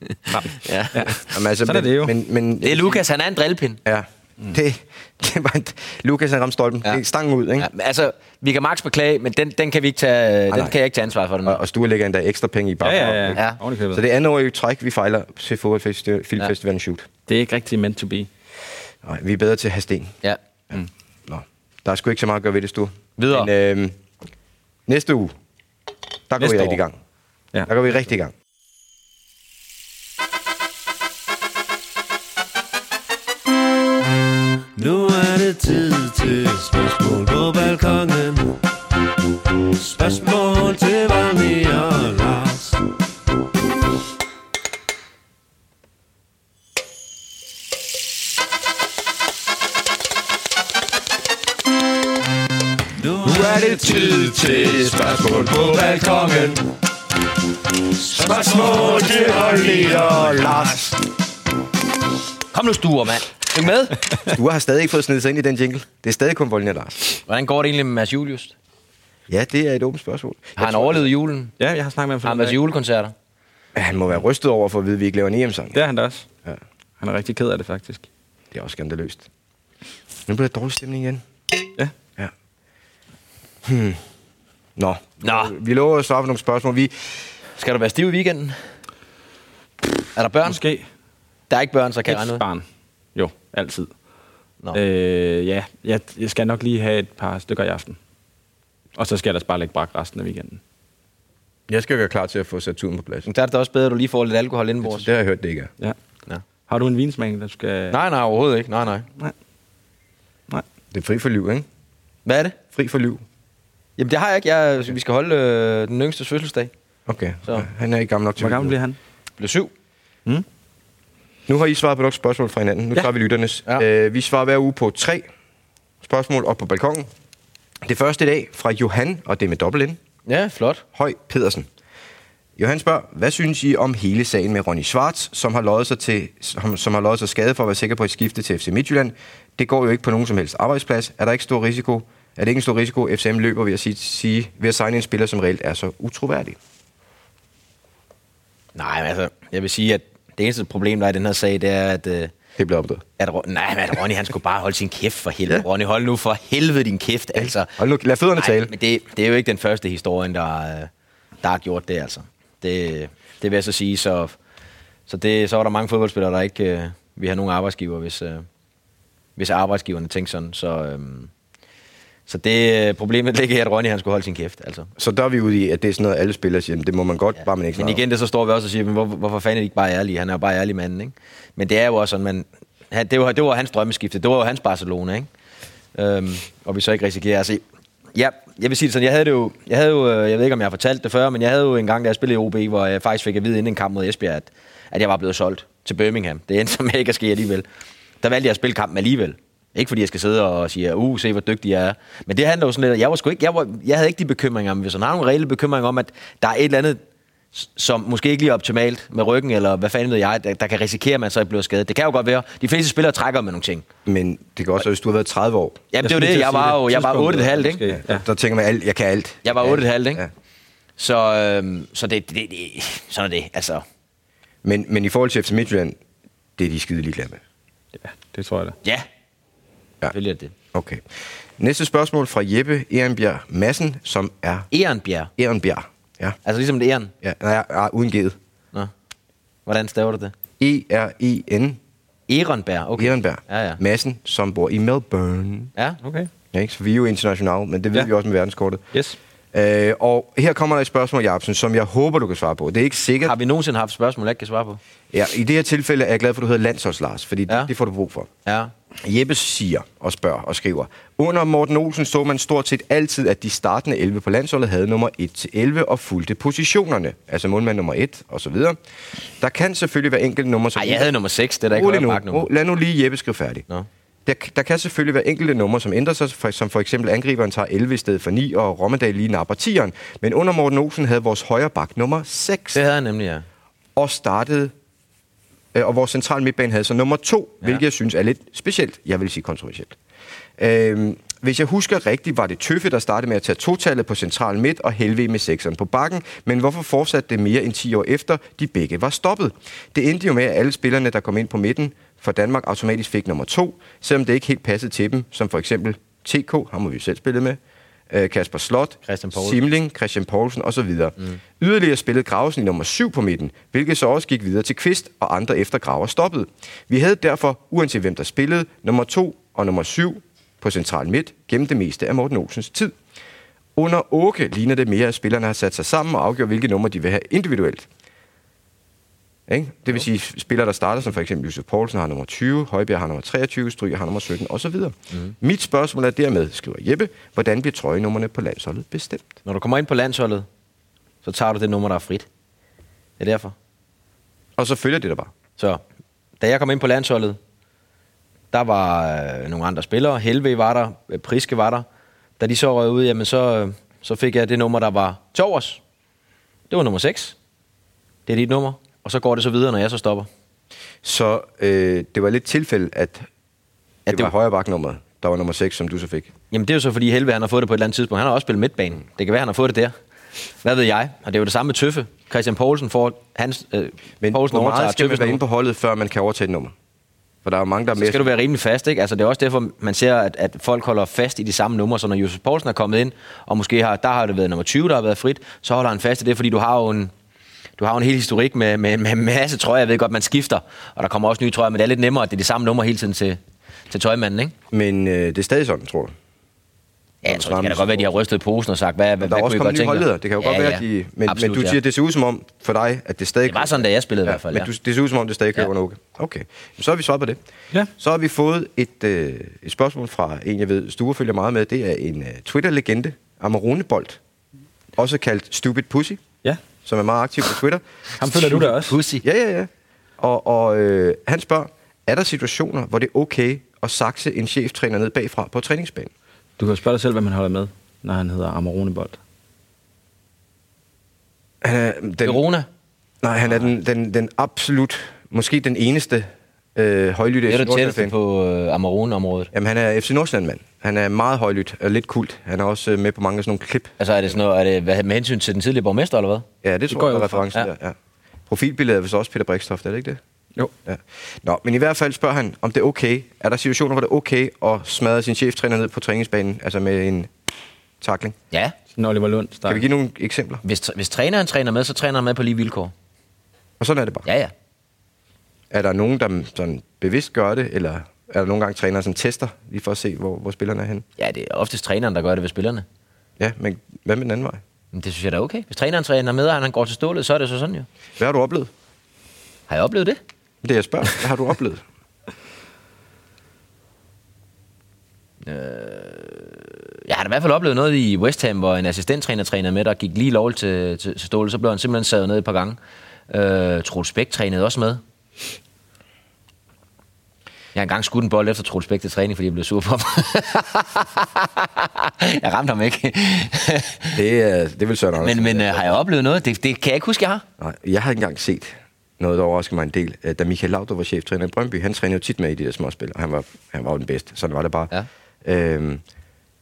Speaker 4: ja. ja.
Speaker 2: Jamen, altså,
Speaker 3: Sådan er
Speaker 2: men-
Speaker 3: det jo.
Speaker 2: Men, men,
Speaker 4: Det er Lukas, han er en drillpind.
Speaker 2: Ja. Mm. Det, det var en, Lukas han ramte stolpen. Ja.
Speaker 4: Ja.
Speaker 2: Det stangen ud, ikke?
Speaker 4: Ja, men altså, vi kan max beklage, men den, den, kan, vi ikke tage, den
Speaker 2: nej.
Speaker 4: kan jeg ikke tage ansvar for. Den.
Speaker 2: Og, og Sture lægger endda ekstra penge i bare.
Speaker 3: Ja, ja,
Speaker 2: for-
Speaker 3: ja.
Speaker 2: ikke?
Speaker 4: Ja.
Speaker 3: ja. Ovenikøbet.
Speaker 2: Så det er andet år i træk, vi fejler til fodboldfestivalen Filmfestivalen Shoot.
Speaker 3: Det er ikke rigtig meant to be.
Speaker 2: Nej, vi er bedre til at have sten.
Speaker 4: Ja.
Speaker 2: Nå. Der er sgu ikke så meget at gøre ved det, Sture.
Speaker 4: Videre.
Speaker 2: Men, øhm, næste uge, der går
Speaker 4: Næste
Speaker 2: vi rigtig i
Speaker 4: år.
Speaker 2: gang. Ja.
Speaker 3: Ja.
Speaker 2: Der går vi rigtig i gang.
Speaker 11: til spørgsmål på balkongen. Spørgsmål til Valmi og Lars. Nu er det tid til spørgsmål på balkongen. Spørgsmål til Valmi og Lars.
Speaker 4: Kom nu, stuer, mand. Lykke med.
Speaker 2: Du har stadig ikke fået snedet sig ind i den jingle. Det er stadig kun Volden Lars.
Speaker 4: Hvordan går det egentlig med Mads Julius?
Speaker 2: Ja, det er et åbent spørgsmål.
Speaker 4: Har han overlevet julen?
Speaker 3: Ja, jeg har snakket med ham
Speaker 4: Har han været til julekoncerter?
Speaker 2: Ja, han må være rystet over for at vide, at vi ikke laver en E EM-sang.
Speaker 3: Det er han da også.
Speaker 2: Ja.
Speaker 3: Han er rigtig ked af det, faktisk.
Speaker 2: Det er også skandaløst. Nu bliver der dårlig stemning igen.
Speaker 3: Ja.
Speaker 2: ja. Hmm. Nå. Nå. Vi lover at svare på nogle spørgsmål. Vi...
Speaker 4: Skal du være stiv i weekenden? Er der børn?
Speaker 3: Måske.
Speaker 4: Der er ikke børn, så kan jeg regne
Speaker 3: Et
Speaker 4: ud.
Speaker 3: barn. Jo, altid.
Speaker 4: Nå.
Speaker 3: Øh, ja, jeg, jeg skal nok lige have et par stykker i aften. Og så skal jeg ellers bare lægge brak resten af weekenden.
Speaker 2: Jeg skal gøre klar til at få Saturn på plads.
Speaker 4: Der er det da også bedre, at du lige får lidt alkohol indenbords.
Speaker 2: Det har jeg hørt, det ikke er.
Speaker 3: Ja.
Speaker 4: Ja.
Speaker 3: Har du en vinsmagning, der skal...
Speaker 4: Nej, nej, overhovedet ikke. Nej, nej.
Speaker 3: Nej. Nej.
Speaker 2: Det er fri for liv, ikke?
Speaker 4: Hvad er det?
Speaker 2: Fri for liv.
Speaker 4: Jamen, det har jeg ikke. Jeg, vi skal holde øh, den yngste fødselsdag.
Speaker 2: Okay.
Speaker 4: Så.
Speaker 2: Så. Han er ikke gammel nok til
Speaker 3: Hvor
Speaker 2: at vide Hmm?
Speaker 3: gammel bliver han?
Speaker 4: Blev syv.
Speaker 2: Nu har I svaret på nogle spørgsmål fra hinanden. Nu ja. tager vi lytternes. Ja. Øh, vi svarer hver uge på tre spørgsmål op på balkongen. Det første i dag fra Johan, og det er med dobbelt N.
Speaker 4: Ja, flot.
Speaker 2: Høj Pedersen. Johan spørger, hvad synes I om hele sagen med Ronny Schwartz, som har løjet sig, til, som, som har løjet sig skade for at være sikker på et skifte til FC Midtjylland? Det går jo ikke på nogen som helst arbejdsplads. Er der ikke stor risiko? Er det ikke en stor risiko, FCM løber ved at, sige, sige, ved at signe en spiller, som reelt er så utroværdig?
Speaker 4: Nej, men altså, jeg vil sige, at det eneste problem, der er i den her sag, det er, at... Øh,
Speaker 2: Det bliver opdaget.
Speaker 4: at Ron- nej, men at Ronny, han skulle bare holde sin kæft for helvede. Ja. Ronny, hold nu for helvede din kæft, altså.
Speaker 2: Hold nu, lad fødderne tale.
Speaker 4: men det, det er jo ikke den første historie, der, øh, der har gjort det, altså. Det, det vil jeg så sige, så, så, det, så var der mange fodboldspillere, der ikke øh, ville have nogen arbejdsgiver, hvis, øh, hvis arbejdsgiverne tænkte sådan. Så, øh, så det øh, problemet ligger i, at Ronny, han skulle holde sin kæft, altså.
Speaker 2: Så der er vi ude i, at det er sådan noget, alle spillere siger, "Jamen, det må man godt, ja. bare man ikke
Speaker 4: Men
Speaker 2: snakker
Speaker 4: igen, det så står vi også og siger, men hvor, hvorfor fanden er de ikke bare ærlige? Han er jo bare ærlig manden, ikke? Men det er jo også sådan, man, han, det, var, det var hans drømmeskifte. Det var jo hans Barcelona, ikke? Øhm, og vi så ikke risikerer. Altså, ja, jeg vil sige det sådan, jeg havde det jo, jeg havde jo, øh, jeg ved ikke om jeg har fortalt det før, men jeg havde jo en gang, da jeg spillede i OB, hvor jeg faktisk fik at vide inden en kamp mod Esbjerg, at, at jeg var blevet solgt til Birmingham. Det endte som ikke at ske alligevel. Der valgte jeg at spille kampen alligevel. Ikke fordi jeg skal sidde og sige, uh, se hvor dygtig jeg er. Men det handler jo sådan lidt, at jeg, var sgu ikke, jeg, var, jeg havde ikke de bekymringer, men hvis han har nogle reelle bekymringer om, at der er et eller andet, s- som måske ikke lige er optimalt med ryggen, eller hvad fanden ved jeg, der, der kan risikere, at man så bliver skadet. Det kan jo godt være. De fleste spillere trækker med nogle ting.
Speaker 2: Men det kan også være, hvis du har været 30 år.
Speaker 4: Jamen, det er jo
Speaker 3: skulle lige
Speaker 4: det.
Speaker 3: til at sige
Speaker 4: Jeg var jo jeg var
Speaker 3: Tidspunktet
Speaker 4: 8,5,
Speaker 3: måske.
Speaker 4: ikke?
Speaker 2: Ja. Der tænker man, alt, jeg kan alt.
Speaker 4: Jeg var
Speaker 2: kan alt.
Speaker 4: 8,5, ikke?
Speaker 2: Ja.
Speaker 4: Så, øhm, så det, det, det, sådan er det. Altså,
Speaker 2: Men, men i forhold til FC Midtjylland, det er de skide ligeglade med.
Speaker 3: Ja, det tror jeg da.
Speaker 4: ja.
Speaker 2: Ja.
Speaker 4: Selvfølgelig er det.
Speaker 2: Okay. Næste spørgsmål fra Jeppe Ehrenbjerg Madsen, som er
Speaker 4: Ehrenbjerg.
Speaker 2: Ehrenbjerg. Ja,
Speaker 4: Altså ligesom det æren.
Speaker 2: ja nej, nej, uden E givet.
Speaker 4: Nå. Hvordan staver du det?
Speaker 2: E-R-E-N
Speaker 4: Ehrenberg. Okay.
Speaker 2: Ehrenbjerg
Speaker 4: Ja, ja.
Speaker 2: Madsen, som bor i Melbourne.
Speaker 4: Ja.
Speaker 3: Okay.
Speaker 2: Ja, ikke? Så vi er jo internationale, men det ved ja.
Speaker 3: Ja.
Speaker 2: vi også med verdenskortet.
Speaker 3: Yes.
Speaker 2: Øh, og her kommer der et spørgsmål, Jacobsen, som jeg håber, du kan svare på. Det er ikke sikkert.
Speaker 4: Har vi nogensinde haft spørgsmål, jeg ikke kan svare på?
Speaker 2: Ja, I det her tilfælde er jeg glad for, at du hedder Landsholds Lars, fordi ja.
Speaker 4: Ja.
Speaker 2: det, det får du brug for.
Speaker 4: Ja.
Speaker 2: Jeppe siger og spørger og skriver, under Morten Olsen så man stort set altid, at de startende 11 på landsholdet havde nummer 1-11 og fulgte positionerne, altså målmand nummer 1 og så videre. Der kan selvfølgelig være enkelte numre, som...
Speaker 4: Ej, jeg havde nummer 6, det er da ikke
Speaker 2: Rolig
Speaker 4: højre
Speaker 2: nu.
Speaker 4: bak nummer.
Speaker 2: Ro- Lad nu lige Jeppe skrive færdig.
Speaker 4: Nå.
Speaker 2: Der, der kan selvfølgelig være enkelte numre, som ændrer sig, for, som for eksempel angriberen tager 11 i stedet for 9, og Rommedal lige napper 10'eren. Men under Morten Olsen havde vores højre bak nummer 6
Speaker 4: Det havde jeg nemlig, ja.
Speaker 2: og startede, øh, og vores central midtbane havde så nummer to, ja. hvilket jeg synes er lidt specielt, jeg vil sige kontroversielt. Øh, hvis jeg husker rigtigt, var det Tøffe, der startede med at tage totallet på central midt og Helve med sekseren på bakken, men hvorfor fortsatte det mere end 10 år efter, de begge var stoppet? Det endte jo med, at alle spillerne, der kom ind på midten for Danmark, automatisk fik nummer to, selvom det ikke helt passede til dem, som for eksempel TK, ham har vi jo selv spillet med, øh, Kasper Slot,
Speaker 4: Christian Poulsen.
Speaker 2: Simling, Christian Poulsen osv. Mm. Yderligere spillede Gravesen i nummer 7 på midten, hvilket så også gik videre til Kvist og andre efter Graver stoppede. Vi havde derfor, uanset hvem der spillede, nummer 2 og nummer 7 på central midt gennem det meste af Morten Olsens tid. Under Åke ligner det mere, at spillerne har sat sig sammen og afgjort, hvilke numre de vil have individuelt. Ikke? Det vil sige, spillere, der starter, som for eksempel Josef Poulsen har nummer 20, Højbjerg har nummer 23, Stryg har nummer 17 osv. Mm. Mit spørgsmål er dermed, skriver Jeppe, hvordan bliver trøjenummerne på landsholdet bestemt?
Speaker 4: Når du kommer ind på landsholdet, så tager du det nummer, der er frit. Det er derfor.
Speaker 2: Og så følger det der bare.
Speaker 4: Så, da jeg kom ind på landsholdet, der var øh, nogle andre spillere. Helve var der, øh, Priske var der. Da de så røg ud, jamen så, øh, så fik jeg det nummer, der var til overs. Det var nummer 6. Det er dit nummer. Og så går det så videre, når jeg så stopper.
Speaker 2: Så øh, det var lidt tilfælde, at, at det, det var højre baknummeret, der var nummer 6, som du så fik.
Speaker 4: Jamen det er jo så, fordi Helve han har fået det på et eller andet tidspunkt. Han har også spillet midtbanen. Det kan være, han har fået det der. Hvad ved jeg? Og det er jo det samme med Tøffe. Christian Poulsen får hans... Øh,
Speaker 2: Men
Speaker 4: Poulsen
Speaker 2: Hvor meget skal man
Speaker 4: Tøffes
Speaker 2: være
Speaker 4: nummer.
Speaker 2: inde på holdet, før man kan overtage et nummer? For der er jo mange, der er
Speaker 4: Så
Speaker 2: med.
Speaker 4: skal du være rimelig fast, ikke? Altså, det er også derfor, man ser, at, at folk holder fast i de samme numre. Så når Josef Poulsen er kommet ind, og måske har, der har det været nummer 20, der har været frit, så holder han fast i det, fordi du har jo en, du har jo en hel historik med, med, med en masse trøjer. Jeg ved godt, man skifter, og der kommer også nye trøjer, men det er lidt nemmere, at det er de samme numre hele tiden til, til tøjmanden, ikke?
Speaker 2: Men øh, det er stadig sådan, tror du?
Speaker 4: Ja, jeg tror, det kan da godt være, at de har rystet posen og sagt, hvad, hvad,
Speaker 2: Der er
Speaker 4: hvad
Speaker 2: også
Speaker 4: kunne I godt
Speaker 2: kommet nye
Speaker 4: tænke jer?
Speaker 2: holdleder. Det kan jo godt
Speaker 4: ja,
Speaker 2: være,
Speaker 4: ja.
Speaker 2: at de... Men,
Speaker 4: Absolut,
Speaker 2: men du
Speaker 4: ja.
Speaker 2: siger, det ser ud som om for dig, at det stadig...
Speaker 4: Det var sådan, da jeg spillede i hvert fald,
Speaker 2: Men
Speaker 4: ja.
Speaker 2: du, det ser ud som om, det stadig kører ja. under okay. okay. Jamen, Så har vi svaret på det. Ja. Så har vi fået et, øh, et spørgsmål fra en, jeg ved, Sture følger meget med. Det er en øh, Twitter-legende, Amarone Bolt. Også kaldt Stupid Pussy.
Speaker 3: Ja.
Speaker 2: Som er meget aktiv på Twitter.
Speaker 3: Ham følger du da også.
Speaker 2: Pussy. Ja, ja, ja. Og, og øh, han spørger, er der situationer, hvor det er okay at sakse en cheftræner ned bagfra på træningsbanen?
Speaker 3: Du kan jo spørge dig selv, hvad man holder med, når han hedder Amarone Bolt.
Speaker 2: Han er den,
Speaker 4: Verona?
Speaker 2: Nej, han er den, den, den absolut, måske den eneste øh, højlytte
Speaker 4: Det er
Speaker 2: FC
Speaker 4: det tætteste
Speaker 2: Nordsjælland-fan.
Speaker 4: på øh, Amarone-området.
Speaker 2: Jamen, han er FC Nordsjælland-mand. Han er meget højlydt og lidt kult. Han er også øh, med på mange af sådan nogle klip.
Speaker 4: Altså, er det sådan noget, er det hvad, med hensyn til den tidligere borgmester, eller hvad?
Speaker 2: Ja, det
Speaker 4: Det
Speaker 2: tror
Speaker 4: går
Speaker 2: jeg
Speaker 4: jeg
Speaker 2: er
Speaker 4: ud fra.
Speaker 2: referencen ja.
Speaker 4: Ja.
Speaker 2: der. Ja. Profilbilledet er vist også Peter Brikstoft, er det ikke det?
Speaker 3: Jo.
Speaker 2: Ja. Nå, men i hvert fald spørger han, om det er okay. Er der situationer, hvor det er okay at smadre sin cheftræner ned på træningsbanen, altså med en takling?
Speaker 4: Ja.
Speaker 3: Sådan Oliver Lund.
Speaker 2: Kan vi give nogle eksempler?
Speaker 4: Hvis, hvis træneren træner med, så træner han med på lige vilkår.
Speaker 2: Og sådan er det bare.
Speaker 4: Ja, ja.
Speaker 2: Er der nogen, der sådan bevidst gør det, eller er der nogle gange trænere, som tester, lige for at se, hvor, hvor spillerne er henne?
Speaker 4: Ja, det er oftest træneren, der gør det ved spillerne.
Speaker 2: Ja, men hvad med den anden vej?
Speaker 4: Men det synes jeg da er okay. Hvis træneren træner med, og han går til stålet, så er det så sådan jo.
Speaker 2: Hvad har du oplevet?
Speaker 4: Har jeg oplevet det?
Speaker 2: Det jeg spørger. Hvad har du oplevet?
Speaker 4: Jeg har da i hvert fald oplevet noget i West Ham, hvor en assistenttræner trænede med, der gik lige lovligt til, til, til stålet. Så blev han simpelthen savet ned et par gange. Øh, Troels Bæk trænede også med. Jeg har engang skudt en bold efter Troels Bæk til træning, fordi jeg blev sur på ham. jeg ramte ham ikke.
Speaker 2: det, er, det vil Søren Andersen.
Speaker 4: men men øh, har jeg oplevet noget? Det, det kan jeg ikke huske, jeg har.
Speaker 2: Nej, jeg har ikke engang set noget, der overrasker mig en del. Øh, Da Michael Laudrup var cheftræner i Brøndby, han trænede jo tit med i de der småspil, og han var, han var jo den bedste. Sådan var det bare. Ja. Øhm,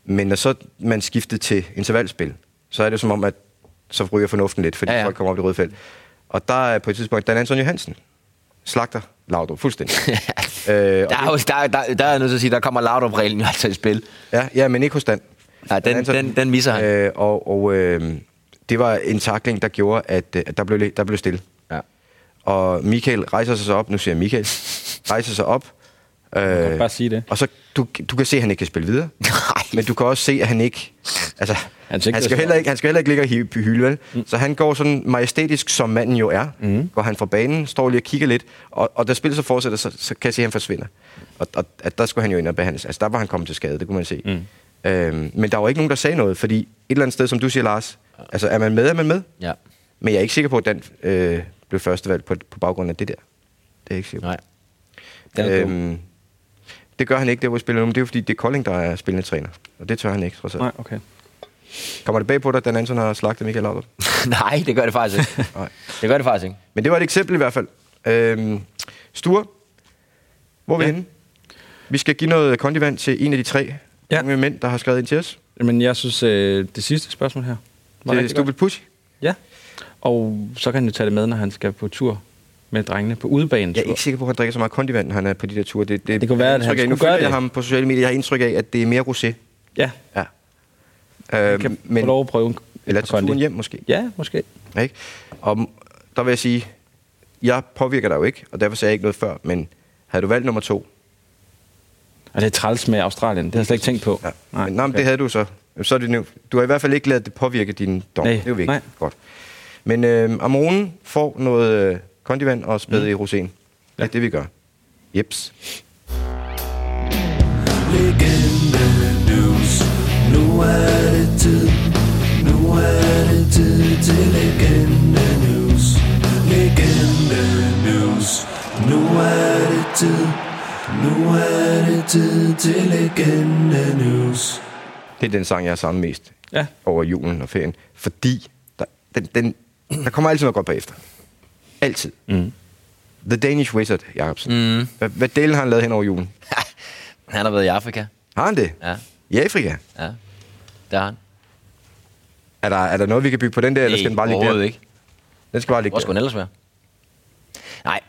Speaker 2: men når så man skiftede til intervalspil, så er det som om, at så ryger fornuften lidt, fordi ja, ja. folk kommer op i det røde felt. Og der er på et tidspunkt Dan Anton Johansen slagter Laudrup fuldstændig. øh, og
Speaker 4: Der er, jo- der, der, der er jeg nødt til at sige, der kommer Laudrup-reglen jo altså i spil.
Speaker 2: Ja, ja men ikke hos Dan.
Speaker 4: Nej, den- den- den misser han.
Speaker 2: Øh, og og øh, det var en takling, der gjorde, at øh, at der blev, der blev stille.
Speaker 4: Ja.
Speaker 2: Og Michael rejser sig så op, nu siger jeg Michael, rejser sig op. Øh,
Speaker 3: Bare sige det.
Speaker 2: og så, du, du kan se, at han ikke kan spille videre. Nej. Men du kan også se, at han ikke... Altså, han,
Speaker 3: ser ikke
Speaker 2: han, skal
Speaker 3: så-
Speaker 2: heller ikke, han skal heller ikke ligge og hive- hylde, vel? Mm. Så han går sådan majestætisk, som manden jo er. Mm. Går han fra banen, står lige og kigger lidt. Og, og da spillet så fortsætter, så, så kan jeg se, at han forsvinder. Og, og at der skulle han jo ind og behandles. Altså, der var han kommet til skade, det kunne man se. Mm. Øhm, men der var ikke nogen, der sagde noget, fordi et eller andet sted, som du siger, Lars, altså, er man med, er man med?
Speaker 4: Ja.
Speaker 2: Men jeg er ikke sikker på, at Dan øh, blev førstevalgt på, på baggrund af det der. Det er jeg ikke sikker på.
Speaker 4: Nej. Den er
Speaker 2: Øhm, det gør han ikke, der hvor vi spiller nu, men det er jo fordi, det er Kolding, der er spillende træner. Og det tør han ikke, trods alt.
Speaker 3: Nej, okay.
Speaker 2: Kommer det bag på dig, at Dan Anton har slagtet Michael Laudrup?
Speaker 4: Nej, det gør det faktisk ikke.
Speaker 2: Nej.
Speaker 4: Det gør det faktisk ikke.
Speaker 2: Men det var et eksempel i hvert fald. Øhm, Sture, hvor er vi ja. henne? Vi skal give noget kondivand til en af de tre ja. unge mænd, der har skrevet ind til os.
Speaker 3: Men jeg synes, øh, det sidste spørgsmål her var
Speaker 2: Til
Speaker 3: rigtig godt.
Speaker 2: Stupid Pussy.
Speaker 3: Ja. Og så kan han jo tage det med, når han skal på tur med drengene på udebanen.
Speaker 2: Jeg er ikke sikker på, at han drikker så meget kondivand, når han er på de der ture. Det,
Speaker 3: Det kunne være, at han
Speaker 2: indtryk af- Nu
Speaker 3: skulle gøre
Speaker 2: følger jeg
Speaker 3: det.
Speaker 2: ham på sociale medier. Jeg har indtryk af, at det er mere rosé.
Speaker 3: Ja.
Speaker 2: Ja. Øh,
Speaker 3: kan få lov at prøve en-
Speaker 2: Eller
Speaker 3: et par
Speaker 2: tage turen
Speaker 3: kondi.
Speaker 2: hjem, måske.
Speaker 3: Ja, måske.
Speaker 2: Ikke? Og m- der vil jeg sige, jeg påvirker dig jo ikke, og derfor sagde jeg ikke noget før, men havde du valgt nummer to?
Speaker 3: Og det er træls med Australien. Det har jeg slet ikke tænkt på. Ja.
Speaker 2: Nej, men, nej, men det havde du så. Jamen, Så er det nu. Du har i hvert fald ikke lavet det påvirke din dom.
Speaker 3: Nej,
Speaker 2: det er jo vigtigt.
Speaker 3: nej.
Speaker 2: Godt. Men øh, Amronen får noget øh, kondivand og spæde mm. i rosen. Det er det, vi gør. Jeps.
Speaker 8: Legende news. Nu er det tid. Nu er det tid til legende news. Legende news. Nu er det tid. Nu er det tid til legende news.
Speaker 2: Det er den sang, jeg har savnet mest
Speaker 3: ja.
Speaker 2: over julen og ferien. Fordi der, den, den, der kommer altid noget godt bagefter. Altid. Mm. The Danish Wizard, Jacobsen. Mm. Hvad, hvad delen har han lavet hen over julen?
Speaker 4: Han har været i Afrika.
Speaker 2: Har han det?
Speaker 4: Ja.
Speaker 2: I Afrika?
Speaker 4: Ja, det har han.
Speaker 2: Er der, er der noget, vi kan bygge på den der, eller skal den bare ligge
Speaker 4: overhovedet
Speaker 2: der?
Speaker 4: ikke.
Speaker 2: Den skal bare ligge
Speaker 4: Hvor skulle den
Speaker 2: der.
Speaker 4: ellers være? Nej,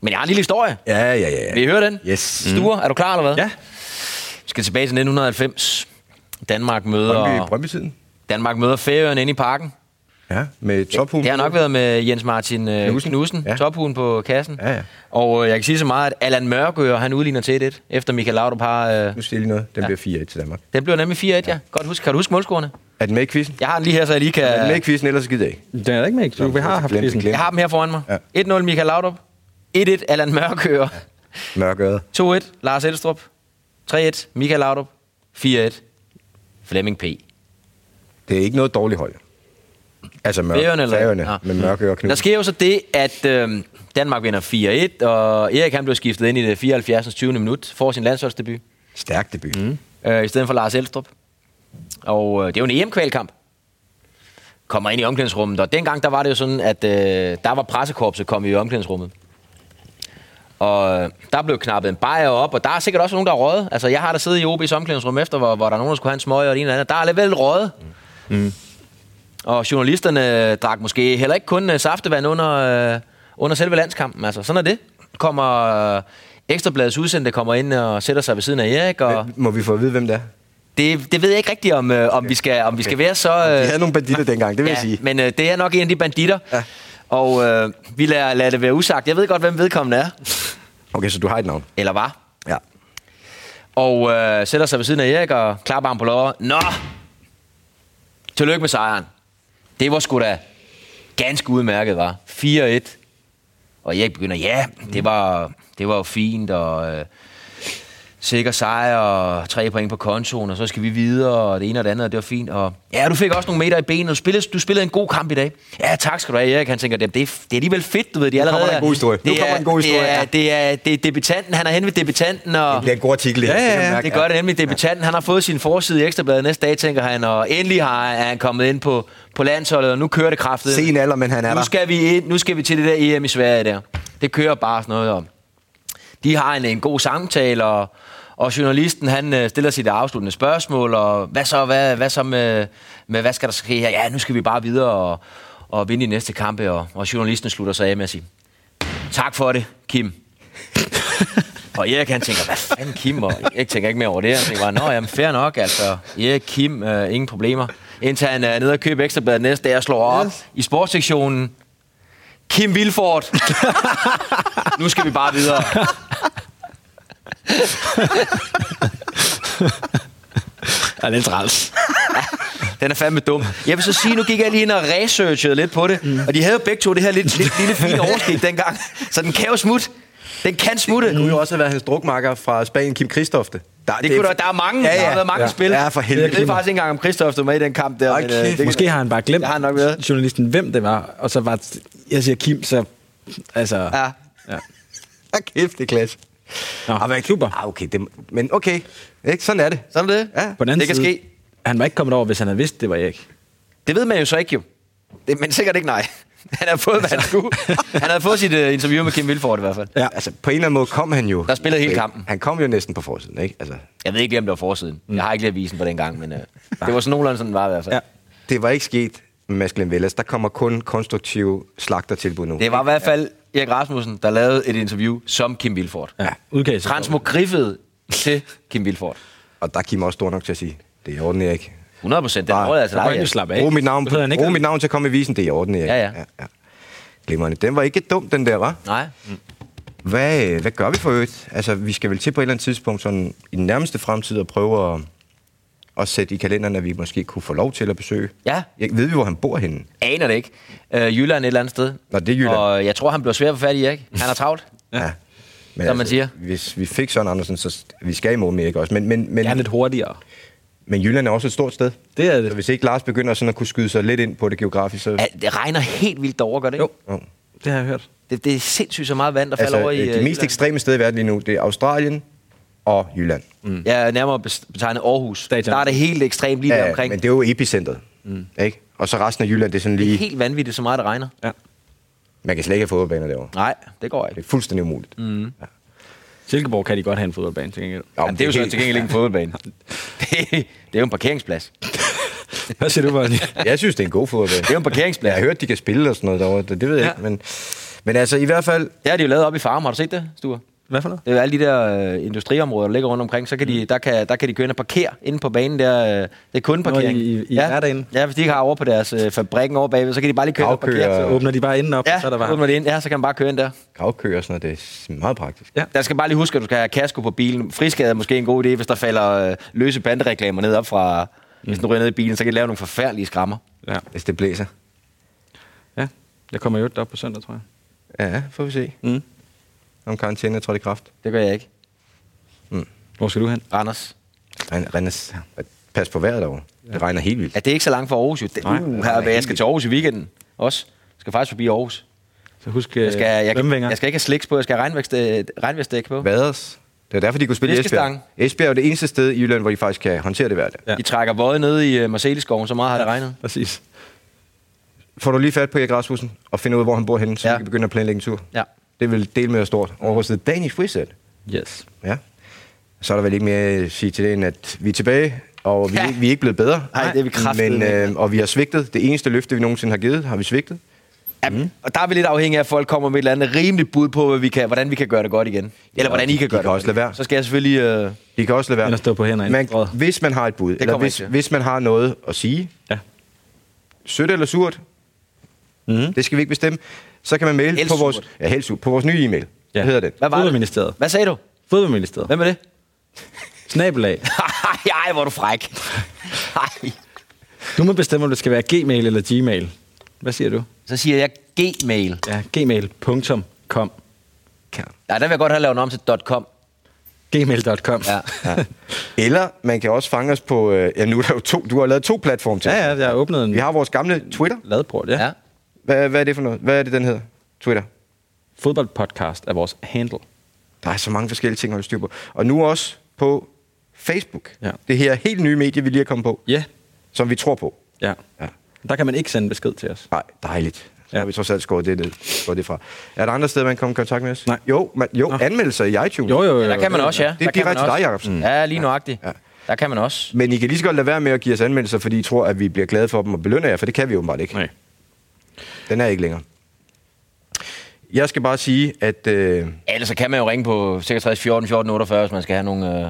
Speaker 4: men jeg har en lille historie.
Speaker 2: Ja, ja, ja.
Speaker 4: Vil I høre den? Mm.
Speaker 2: Yes.
Speaker 4: Sture, er du klar eller hvad?
Speaker 3: Ja.
Speaker 4: Vi skal tilbage til 1990. Danmark møder...
Speaker 2: Brøndby, Brøndby-tiden.
Speaker 4: Danmark møder Færøerne inde i parken.
Speaker 2: Ja, med tophuen.
Speaker 4: Det har nok været med Jens Martin øh,
Speaker 2: Knudsen.
Speaker 4: Knudsen, Knudsen
Speaker 2: Ja.
Speaker 4: ja. tophuen på kassen.
Speaker 2: Ja, ja.
Speaker 4: Og øh, jeg kan sige så meget, at Allan Mørgøer, han udligner til 1-1, efter Michael Laudrup har... Øh,
Speaker 2: Nu siger jeg lige noget. Den bliver 4-1 til Danmark.
Speaker 4: den blev nemlig 4-1, ja. ja. Godt husk. Kan du huske målscorerne?
Speaker 2: Er den med i quizzen?
Speaker 4: Jeg har den lige her, så jeg lige kan...
Speaker 2: Er den med i quizzen, ellers gider jeg ikke.
Speaker 3: Den er ikke med, ikke? Vi har haft
Speaker 2: Glem det,
Speaker 3: quizzen.
Speaker 2: glem det.
Speaker 4: Jeg har dem her foran mig.
Speaker 2: Ja.
Speaker 4: Ja. 1-0 Michael Laudrup. 1-1 Allan Mørkøer.
Speaker 2: Mørkøret.
Speaker 4: 2-1 Lars Elstrup. 3-1 Michael Laudrup. 4-1 Flemming P.
Speaker 2: Det er ikke noget dårligt hold. Altså mørk,
Speaker 4: Færøerne eller-
Speaker 2: færøerne
Speaker 4: Nå.
Speaker 2: med mørke og
Speaker 4: Knut. Der
Speaker 2: knud.
Speaker 4: sker jo så det, at øh, Danmark vinder 4-1, og Erik han blev skiftet ind i det 74. 20. minut, får sin landsholdsdebut,
Speaker 2: Stærk debut. Mm.
Speaker 4: øh, i stedet for Lars Elstrup. Og øh, det er jo en EM-kvalkamp. Kommer ind i omklædningsrummet, og dengang der var det jo sådan, at øh, der var pressekorpset kommet i omklædningsrummet. Og øh, der blev knappet en bajer op, og der er sikkert også nogen, der er røget. Altså, jeg har da siddet i OB's omklædningsrum efter, hvor, hvor der er nogen, der skulle have en smøg og det ene eller andet. Der er alligevel røget. Mm. Og journalisterne øh, drak måske heller ikke kun øh, saftevand under, øh, under selve landskampen. Altså, sådan er det. Kommer øh, Ekstrabladets udsendte kommer ind og sætter sig ved siden af Erik. Og
Speaker 2: Må vi få at vide, hvem det er?
Speaker 4: det, det ved jeg ikke rigtigt, om, øh, om, vi, skal, om vi skal være så... Øh,
Speaker 2: De havde nogle banditter dengang, det vil
Speaker 4: ja,
Speaker 2: jeg sige.
Speaker 4: Men øh, det er nok en af de banditter. Ja. Og øh, vi lader, lader det være usagt. Jeg ved godt, hvem vedkommende er.
Speaker 2: Okay, så du har et navn.
Speaker 4: Eller var.
Speaker 2: Ja.
Speaker 4: og øh, sætter sig ved siden af Erik og klapper ham på låret. Nå! Tillykke med sejren. Det var sgu da ganske udmærket, var. 4-1. Og Erik begynder, ja, det var, det var jo fint, og øh, sikker sejr, og tre point på kontoen, og så skal vi videre, og det ene og det andet, og det var fint. Og, ja, du fik også nogle meter i benet, du spillede, du spillede en god kamp i dag. Ja, tak skal du have, Erik. Han tænker, det, det, er- det er alligevel fedt, du ved. De allerede,
Speaker 2: kommer der en god historie. Nu
Speaker 4: Det
Speaker 2: kommer
Speaker 4: er,
Speaker 2: en god historie,
Speaker 4: Det
Speaker 2: ja.
Speaker 4: er, det er, det er debutanten, han er hen ved debutanten, og...
Speaker 2: Det bliver en god artikel. det her.
Speaker 4: Ja,
Speaker 2: kan jeg
Speaker 4: ja, ja.
Speaker 2: mærke.
Speaker 4: Det gør det nemlig. Debutanten, han har fået sin forside i Ekstrabladet næste dag, tænker han, og endelig har, er han kommet ind på, på landsholdet, og nu kører det kraftigt.
Speaker 2: Sen alder, men han er
Speaker 4: nu
Speaker 2: der.
Speaker 4: skal, vi ind, nu skal vi til det der EM i Sverige der. Det kører bare sådan noget om. De har en, en god samtale, og, og journalisten han øh, stiller sit afsluttende spørgsmål, og hvad så, hvad, hvad så med, med, hvad skal der ske her? Ja, nu skal vi bare videre og, og vinde de næste kampe, og, og journalisten slutter sig af med at sige, tak for det, Kim. og Erik han tænker, hvad fanden Kim? Og jeg tænker ikke mere over det. Han tænker bare, nå jamen fair nok, altså. Erik, Kim, øh, ingen problemer. Indtil han øh, er nede og købe ekstrabladet næste dag og slår op yes. i sportssektionen. Kim Vilfort. nu skal vi bare videre.
Speaker 3: Ja, det er træls.
Speaker 4: Den er fandme dum. Jeg vil så sige, nu gik jeg lige ind og researchede lidt på det. Mm. Og de havde jo begge to det her lidt, lidt lille fine overskæg dengang. Så den kan jo smutte. Den kan smutte.
Speaker 2: Det kunne jo også have været hans drukmakker fra Spanien, Kim Kristofte. Der,
Speaker 4: Det, det kunne der, der er mange, ja, ja, der har været mange
Speaker 2: ja.
Speaker 4: ja, spil.
Speaker 2: Ja, for helvede.
Speaker 4: Jeg ved faktisk ikke engang, om Christoph var med i den kamp der.
Speaker 2: Ej,
Speaker 4: øh,
Speaker 2: kæft,
Speaker 4: det,
Speaker 3: Måske har han bare glemt
Speaker 4: Det har han nok været.
Speaker 3: journalisten, hvem det var. Og så var... Jeg siger Kim, så... Altså...
Speaker 4: Ja.
Speaker 3: ja.
Speaker 2: Ah, kæft, det er klasse.
Speaker 3: Nå,
Speaker 2: Ah, men-
Speaker 3: super.
Speaker 2: Ah, okay, det, men okay. Ikke? Sådan er det.
Speaker 4: Sådan er det.
Speaker 2: Ja.
Speaker 3: På den anden
Speaker 4: Det kan
Speaker 3: side,
Speaker 4: ske.
Speaker 3: Han var ikke kommet over, hvis han havde vidst, det var Erik.
Speaker 4: det ved man jo så ikke jo. Det, men sikkert ikke nej. Han havde fået, hvad han skulle. Han havde fået sit uh, interview med Kim Vilfort i hvert fald.
Speaker 2: Ja. Altså, på en eller anden måde kom han jo... Øh,
Speaker 4: Der spillede hele kampen.
Speaker 2: Han kom jo næsten på forsiden, ikke? Altså,
Speaker 4: Jeg ved ikke lige, om det var forsiden. Jeg har ikke lige avisen på den gang, men uh, det var sådan nogenlunde, sådan det var i hvert fald.
Speaker 3: Ja.
Speaker 4: Ja.
Speaker 2: det var ikke sket med Maskulin Vellas. Der kommer kun konstruktive slagtertilbud nu.
Speaker 4: Det var i hvert fald Erik Rasmussen, der lavede et interview som Kim Vilfort.
Speaker 3: Ja. Udkast.
Speaker 4: Transmogriffet til Kim Vilfort.
Speaker 2: Og der er Kim også stor nok til at sige, det er i orden, Erik.
Speaker 4: 100 procent. Den
Speaker 2: Bare-
Speaker 4: råd altså
Speaker 3: Du kan
Speaker 4: dig.
Speaker 3: jo
Speaker 4: ja.
Speaker 3: slappe af.
Speaker 2: Ah, Brug mit navn,
Speaker 3: Så hedder han ikke
Speaker 2: brug mit navn til at komme i visen, det er i orden, Erik.
Speaker 4: Ja, ja.
Speaker 2: ja. Glimrende. Den var ikke dum, den der, var.
Speaker 4: Nej.
Speaker 2: Hvad, øh, hvad gør vi for øvrigt? Altså, vi skal vel til på et eller andet tidspunkt sådan, i den nærmeste fremtid at prøve at og sætte i kalenderen, at vi måske kunne få lov til at besøge?
Speaker 4: Ja.
Speaker 2: Jeg, ved vi, hvor han bor henne?
Speaker 4: Aner det ikke. Øh, Jylland et eller andet sted.
Speaker 2: Nå, det er Jylland.
Speaker 4: Og jeg tror, han bliver svær at få fat i, ikke? Han er travlt.
Speaker 2: Ja. Men altså,
Speaker 4: Som man siger.
Speaker 2: Hvis vi fik Søren Andersen, så vi skal i mål med ikke også. Men, men, men,
Speaker 3: Han er lidt hurtigere.
Speaker 2: men Jylland er også et stort sted.
Speaker 3: Det er det.
Speaker 2: Så hvis ikke Lars begynder sådan at kunne skyde sig lidt ind på det geografisk, så...
Speaker 4: Ja, det regner helt vildt derovre, gør det ikke?
Speaker 2: Jo.
Speaker 3: Det har jeg hørt.
Speaker 4: Det, det er sindssygt så meget vand, der falder
Speaker 2: Altså,
Speaker 4: over i...
Speaker 2: øh,
Speaker 4: øh,
Speaker 2: de mest
Speaker 4: Jylland.
Speaker 2: ekstreme steder i verden lige nu, det er Australien og Jylland.
Speaker 4: Mm. Jeg er nærmere bes- betegnet Aarhus. Stadion. Der er det helt ekstremt lige der omkring.
Speaker 2: men det er jo epicentret. Mm. Ikke? Og så resten af Jylland, det er sådan lige...
Speaker 4: Helt vanvittigt, så meget det regner.
Speaker 3: Ja.
Speaker 2: Man kan slet ikke have fodboldbaner derovre.
Speaker 4: Nej, det går ikke.
Speaker 2: Det er fuldstændig umuligt. Mm.
Speaker 3: Silkeborg kan de godt have en fodboldbane til gengæld.
Speaker 4: Jamen, det er jo så til gengæld ikke en fodboldbane. det, det er jo en parkeringsplads.
Speaker 3: Hvad siger du, Barney?
Speaker 2: Jeg synes, det er en god fodboldbane.
Speaker 4: Det er jo en
Speaker 2: Jeg
Speaker 4: parkeringsplads.
Speaker 2: har hørt, de kan spille og sådan noget derovre. Det, det ved jeg
Speaker 4: Ja.
Speaker 2: ja. ikke, men... Men altså, i hvert fald...
Speaker 4: Det har de jo lavet op i Farum. Har du set det, Sture?
Speaker 3: Hvad for noget? Mm.
Speaker 4: Det er jo alle de der øh, industriområder, der ligger rundt omkring. Så kan de, der, kan, der kan de køre ind og parkere inde på banen der. Øh, det er kundeparkering.
Speaker 3: Nå, i- i- i
Speaker 4: ja.
Speaker 3: hverdagen.
Speaker 4: Ja, hvis de ikke har over på deres øh, fabrikken over bagved, så kan de bare lige køre ind og parkere.
Speaker 2: Gravkøer.
Speaker 4: Så.
Speaker 3: Så åbner de bare inden op,
Speaker 4: Ja,
Speaker 3: og så er der bare...
Speaker 4: åbner de ind. Ja, så kan man bare køre ind der.
Speaker 2: gravkøer og sådan noget, det er meget praktisk.
Speaker 3: Ja.
Speaker 4: Der skal bare lige huske, at du skal have kasko på bilen. Friskade er måske en god idé, hvis der falder øh, løse bandereklamer ned op fra... Mm. Hvis den ryger ned i bilen, så kan de lave nogle forfærdelige skrammer.
Speaker 3: Ja.
Speaker 2: Hvis det blæser.
Speaker 3: ja. Jeg kommer jo op på søndag, tror jeg.
Speaker 2: Ja, får vi se.
Speaker 3: Mm.
Speaker 2: Om karantæne er trådt i kraft.
Speaker 4: Det gør jeg ikke.
Speaker 3: Hvor skal du hen?
Speaker 4: Randers.
Speaker 2: Ren- Rennes, pas på vejret derovre. Det regner helt vildt.
Speaker 4: Ja, det er ikke så langt fra Aarhus. Jo. Det,
Speaker 3: Nej.
Speaker 4: uh, her, jeg skal til Aarhus i weekenden også. Jeg skal faktisk forbi Aarhus.
Speaker 3: Så husk
Speaker 2: Øh,
Speaker 3: øh,
Speaker 4: Jeg skal, jeg, jeg,
Speaker 3: svømmevinger.
Speaker 4: jeg skal ikke have sliks på, jeg skal have regnvækst, øh, regnvækstdæk på.
Speaker 2: Vaders. Det er derfor, de kunne spille i Esbjerg.
Speaker 4: Fiskestangen.
Speaker 2: Esbjerg er jo det eneste sted i Jylland, hvor de faktisk kan håndtere det hver dag.
Speaker 3: Ja.
Speaker 4: Ja. I trækker våde ned i øh, Marceliskoven, så meget har det regnet.
Speaker 3: Præcis.
Speaker 2: Får du lige fat på Erik Rasmussen og finder ud, hvor han bor henne, så
Speaker 4: Ja.
Speaker 2: ja. vi kan begynde at planlægge en tur.
Speaker 4: Ja.
Speaker 2: Det vil dele med os stort. Over hos The Danish Wizard.
Speaker 3: Yes.
Speaker 2: Ja. Så er der vel ikke mere at sige til det, end at vi er tilbage, og vi,
Speaker 4: Ja.
Speaker 2: ja. vi er ikke blevet bedre.
Speaker 4: Nej, det er vi kraftedeme
Speaker 2: men,
Speaker 4: ikke.
Speaker 2: øh, Og vi har svigtet. Det eneste løfte, vi nogensinde har givet, har vi svigtet.
Speaker 4: Ja, Mm. og der er vi lidt afhængige af, at folk kommer med et eller andet rimeligt bud på, hvad vi kan, hvordan vi kan gøre det godt igen. Eller hvordan I
Speaker 2: de
Speaker 4: kan gøre
Speaker 2: kan
Speaker 4: det godt
Speaker 2: også lade
Speaker 4: igen.
Speaker 2: være.
Speaker 4: Så skal jeg selvfølgelig... Øh,
Speaker 2: De kan også lade være.
Speaker 3: Eller stå på hænder i
Speaker 2: man,
Speaker 3: strøget.
Speaker 2: Hvis man har et bud, eller
Speaker 4: kommer
Speaker 2: hvis,
Speaker 4: ikke til.
Speaker 2: hvis man har noget at sige,
Speaker 3: Ja.
Speaker 2: sødt eller surt, mm. det skal vi ikke bestemme, så kan man mail
Speaker 4: Helst
Speaker 2: på vores,
Speaker 4: Mhm. surt.
Speaker 2: ja, helst surt, på vores nye e-mail. Ja. Hvad hedder den?
Speaker 4: Hvad var det?
Speaker 3: Fodboldministeriet.
Speaker 4: hvad sagde du?
Speaker 3: Fodboldministeriet.
Speaker 4: Hvem er det?
Speaker 3: Snabelag.
Speaker 4: Ej, hvor er du fræk. Ej.
Speaker 3: Du må bestemme, om det skal være gmail eller gmail. Hvad siger du?
Speaker 4: Så siger jeg gmail.
Speaker 3: Ja, gmail.com.
Speaker 4: Nej, der vil jeg godt have lavet den om til .com.
Speaker 3: Gmail.com.
Speaker 4: Ja.
Speaker 2: Ja. Eller man kan også fange os på, øh, ja nu er der jo to, du har lavet to platforme til.
Speaker 3: ja, ja, jeg har åbnet en
Speaker 2: Vi har vores gamle Twitter.
Speaker 3: ladport, ja.
Speaker 4: ja.
Speaker 3: ja.
Speaker 2: Hvad, hvad er det for noget? Hvad er det, den hedder? Twitter.
Speaker 3: Fodboldpodcast er vores handle.
Speaker 2: Der er så mange forskellige ting at holde styr på. Og nu også på Facebook.
Speaker 3: Ja.
Speaker 2: Det her helt nye medie, vi lige er kommet på,
Speaker 3: Ja.
Speaker 2: som vi tror på.
Speaker 3: Ja.
Speaker 2: Ja.
Speaker 3: Der kan man ikke sende besked til os.
Speaker 2: Nej, dejligt. Så
Speaker 3: Ja.
Speaker 2: ja. har vi trods alt skåret det, det, skåret det fra. Er der andre steder, man kan komme i kontakt med os?
Speaker 3: Nej.
Speaker 2: Jo, man, jo
Speaker 3: Nå.
Speaker 2: anmeldelser i iTunes.
Speaker 3: Jo, jo, jo.
Speaker 4: Ja, der kan man også, ja.
Speaker 2: Øh, Det er
Speaker 4: Der kan man
Speaker 2: direkte til dig,
Speaker 4: også.
Speaker 2: Jacobsen.
Speaker 4: Ja, lige nøjagtigt. Ja. Der kan man også.
Speaker 2: Men I kan lige så godt lade være med at give os anmeldelser, fordi I tror, at vi bliver glade for dem og belønner jer, for det kan vi åbenbart ikke.
Speaker 3: Nej.
Speaker 2: Den er ikke længere. Jeg skal bare sige, at øh,
Speaker 4: Ja, Ellers så kan man jo ringe på 66 14 14 48, hvis man skal have nogle øh,
Speaker 2: jeg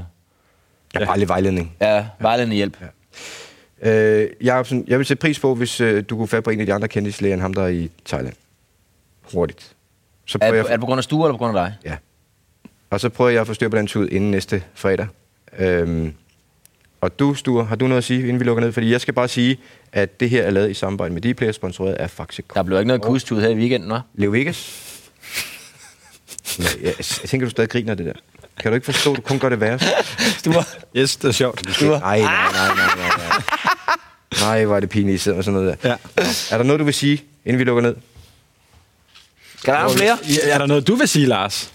Speaker 2: har bare lidt vejledning.
Speaker 4: ja, vejledende hjælp. Ja.
Speaker 2: Øh, Jacobsen, jeg vil sætte pris på, hvis øh, du kunne fat på en af de andre kendtislæger end ham, der er i Thailand. Hurtigt. Så
Speaker 4: Er,
Speaker 2: prøver
Speaker 4: det- er
Speaker 2: jeg,
Speaker 4: det på grund af Sture eller på grund af dig?
Speaker 2: ja. Og så prøver jeg at få styr på den tud inden næste fredag. Øhm, og du, Sture, har du noget at sige, inden vi lukker ned? Fordi jeg skal bare sige, at det her er lavet i samarbejde med Dplay, sponsoreret af Faxe
Speaker 4: Der blev ikke noget kustud her i weekenden, hva'?
Speaker 2: Leo Vegas? Nå, jeg, jeg tænker, du stadig griner af det der. Kan du ikke forstå, at du kun gør det værre?
Speaker 3: Yes, det er sjovt.
Speaker 2: Nej, nej, nej, nej, nej, nej. Nej, hvor er det pinligt, I sidder med sådan noget der.
Speaker 3: Ja.
Speaker 2: Er der noget, du vil sige, inden vi lukker ned?
Speaker 4: Skal der være nogle flere?
Speaker 3: Ja, er der noget, du vil sige, Lars?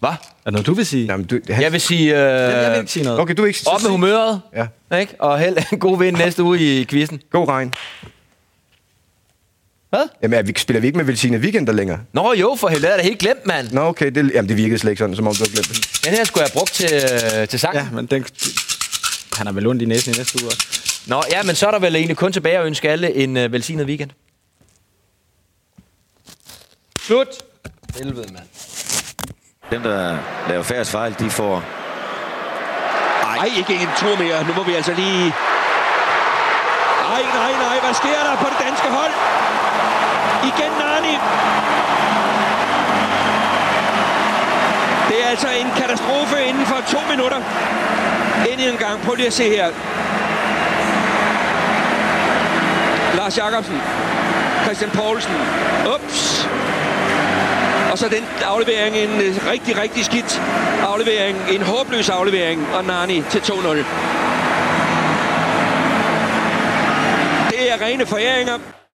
Speaker 4: Hvad?
Speaker 3: Er der noget, du vil sige?
Speaker 2: Jamen, du, han,
Speaker 4: Jeg vil sige,
Speaker 3: Jeg vil
Speaker 4: øh,
Speaker 3: ikke sige noget.
Speaker 2: Okay, du er ikke...
Speaker 4: op med humøret.
Speaker 2: Ja.
Speaker 4: Ikke? Og held en god vind næste uge i quizzen.
Speaker 2: God regn.
Speaker 4: Hvad?
Speaker 2: Jamen, er vi, spiller vi ikke med Velsigne Weekender længere?
Speaker 4: Nå jo, for helvede, jeg er det helt glemt, mand.
Speaker 2: Nå, okay, det, jamen, det virkede slet ikke sådan, som om du har glemt det.
Speaker 4: Den her skulle jeg have brugt til, øh, til sang. Ja.
Speaker 3: Ja, men den... Han har vel ondt i næsen i næste uge også.
Speaker 4: Nå, ja, men så er der vel egentlig kun tilbage at ønske alle en øh, velsignet weekend. Slut. Helvede, mand.
Speaker 11: Dem, der laver færdes fejl, de får
Speaker 12: Nej, ikke en tur mere. Nu må vi altså lige... Nej, nej, nej. Hvad sker der på det danske hold? Igen Nani. Det er altså en katastrofe inden for to minutter.
Speaker 4: Endnu en gang. Prøv lige at se her. Lars Jakobsen. Christian Poulsen. Ups. Og så den aflevering, en øh, rigtig, rigtig skidt aflevering. En håbløs aflevering af Nani til 2-0. Det er rene foræringer.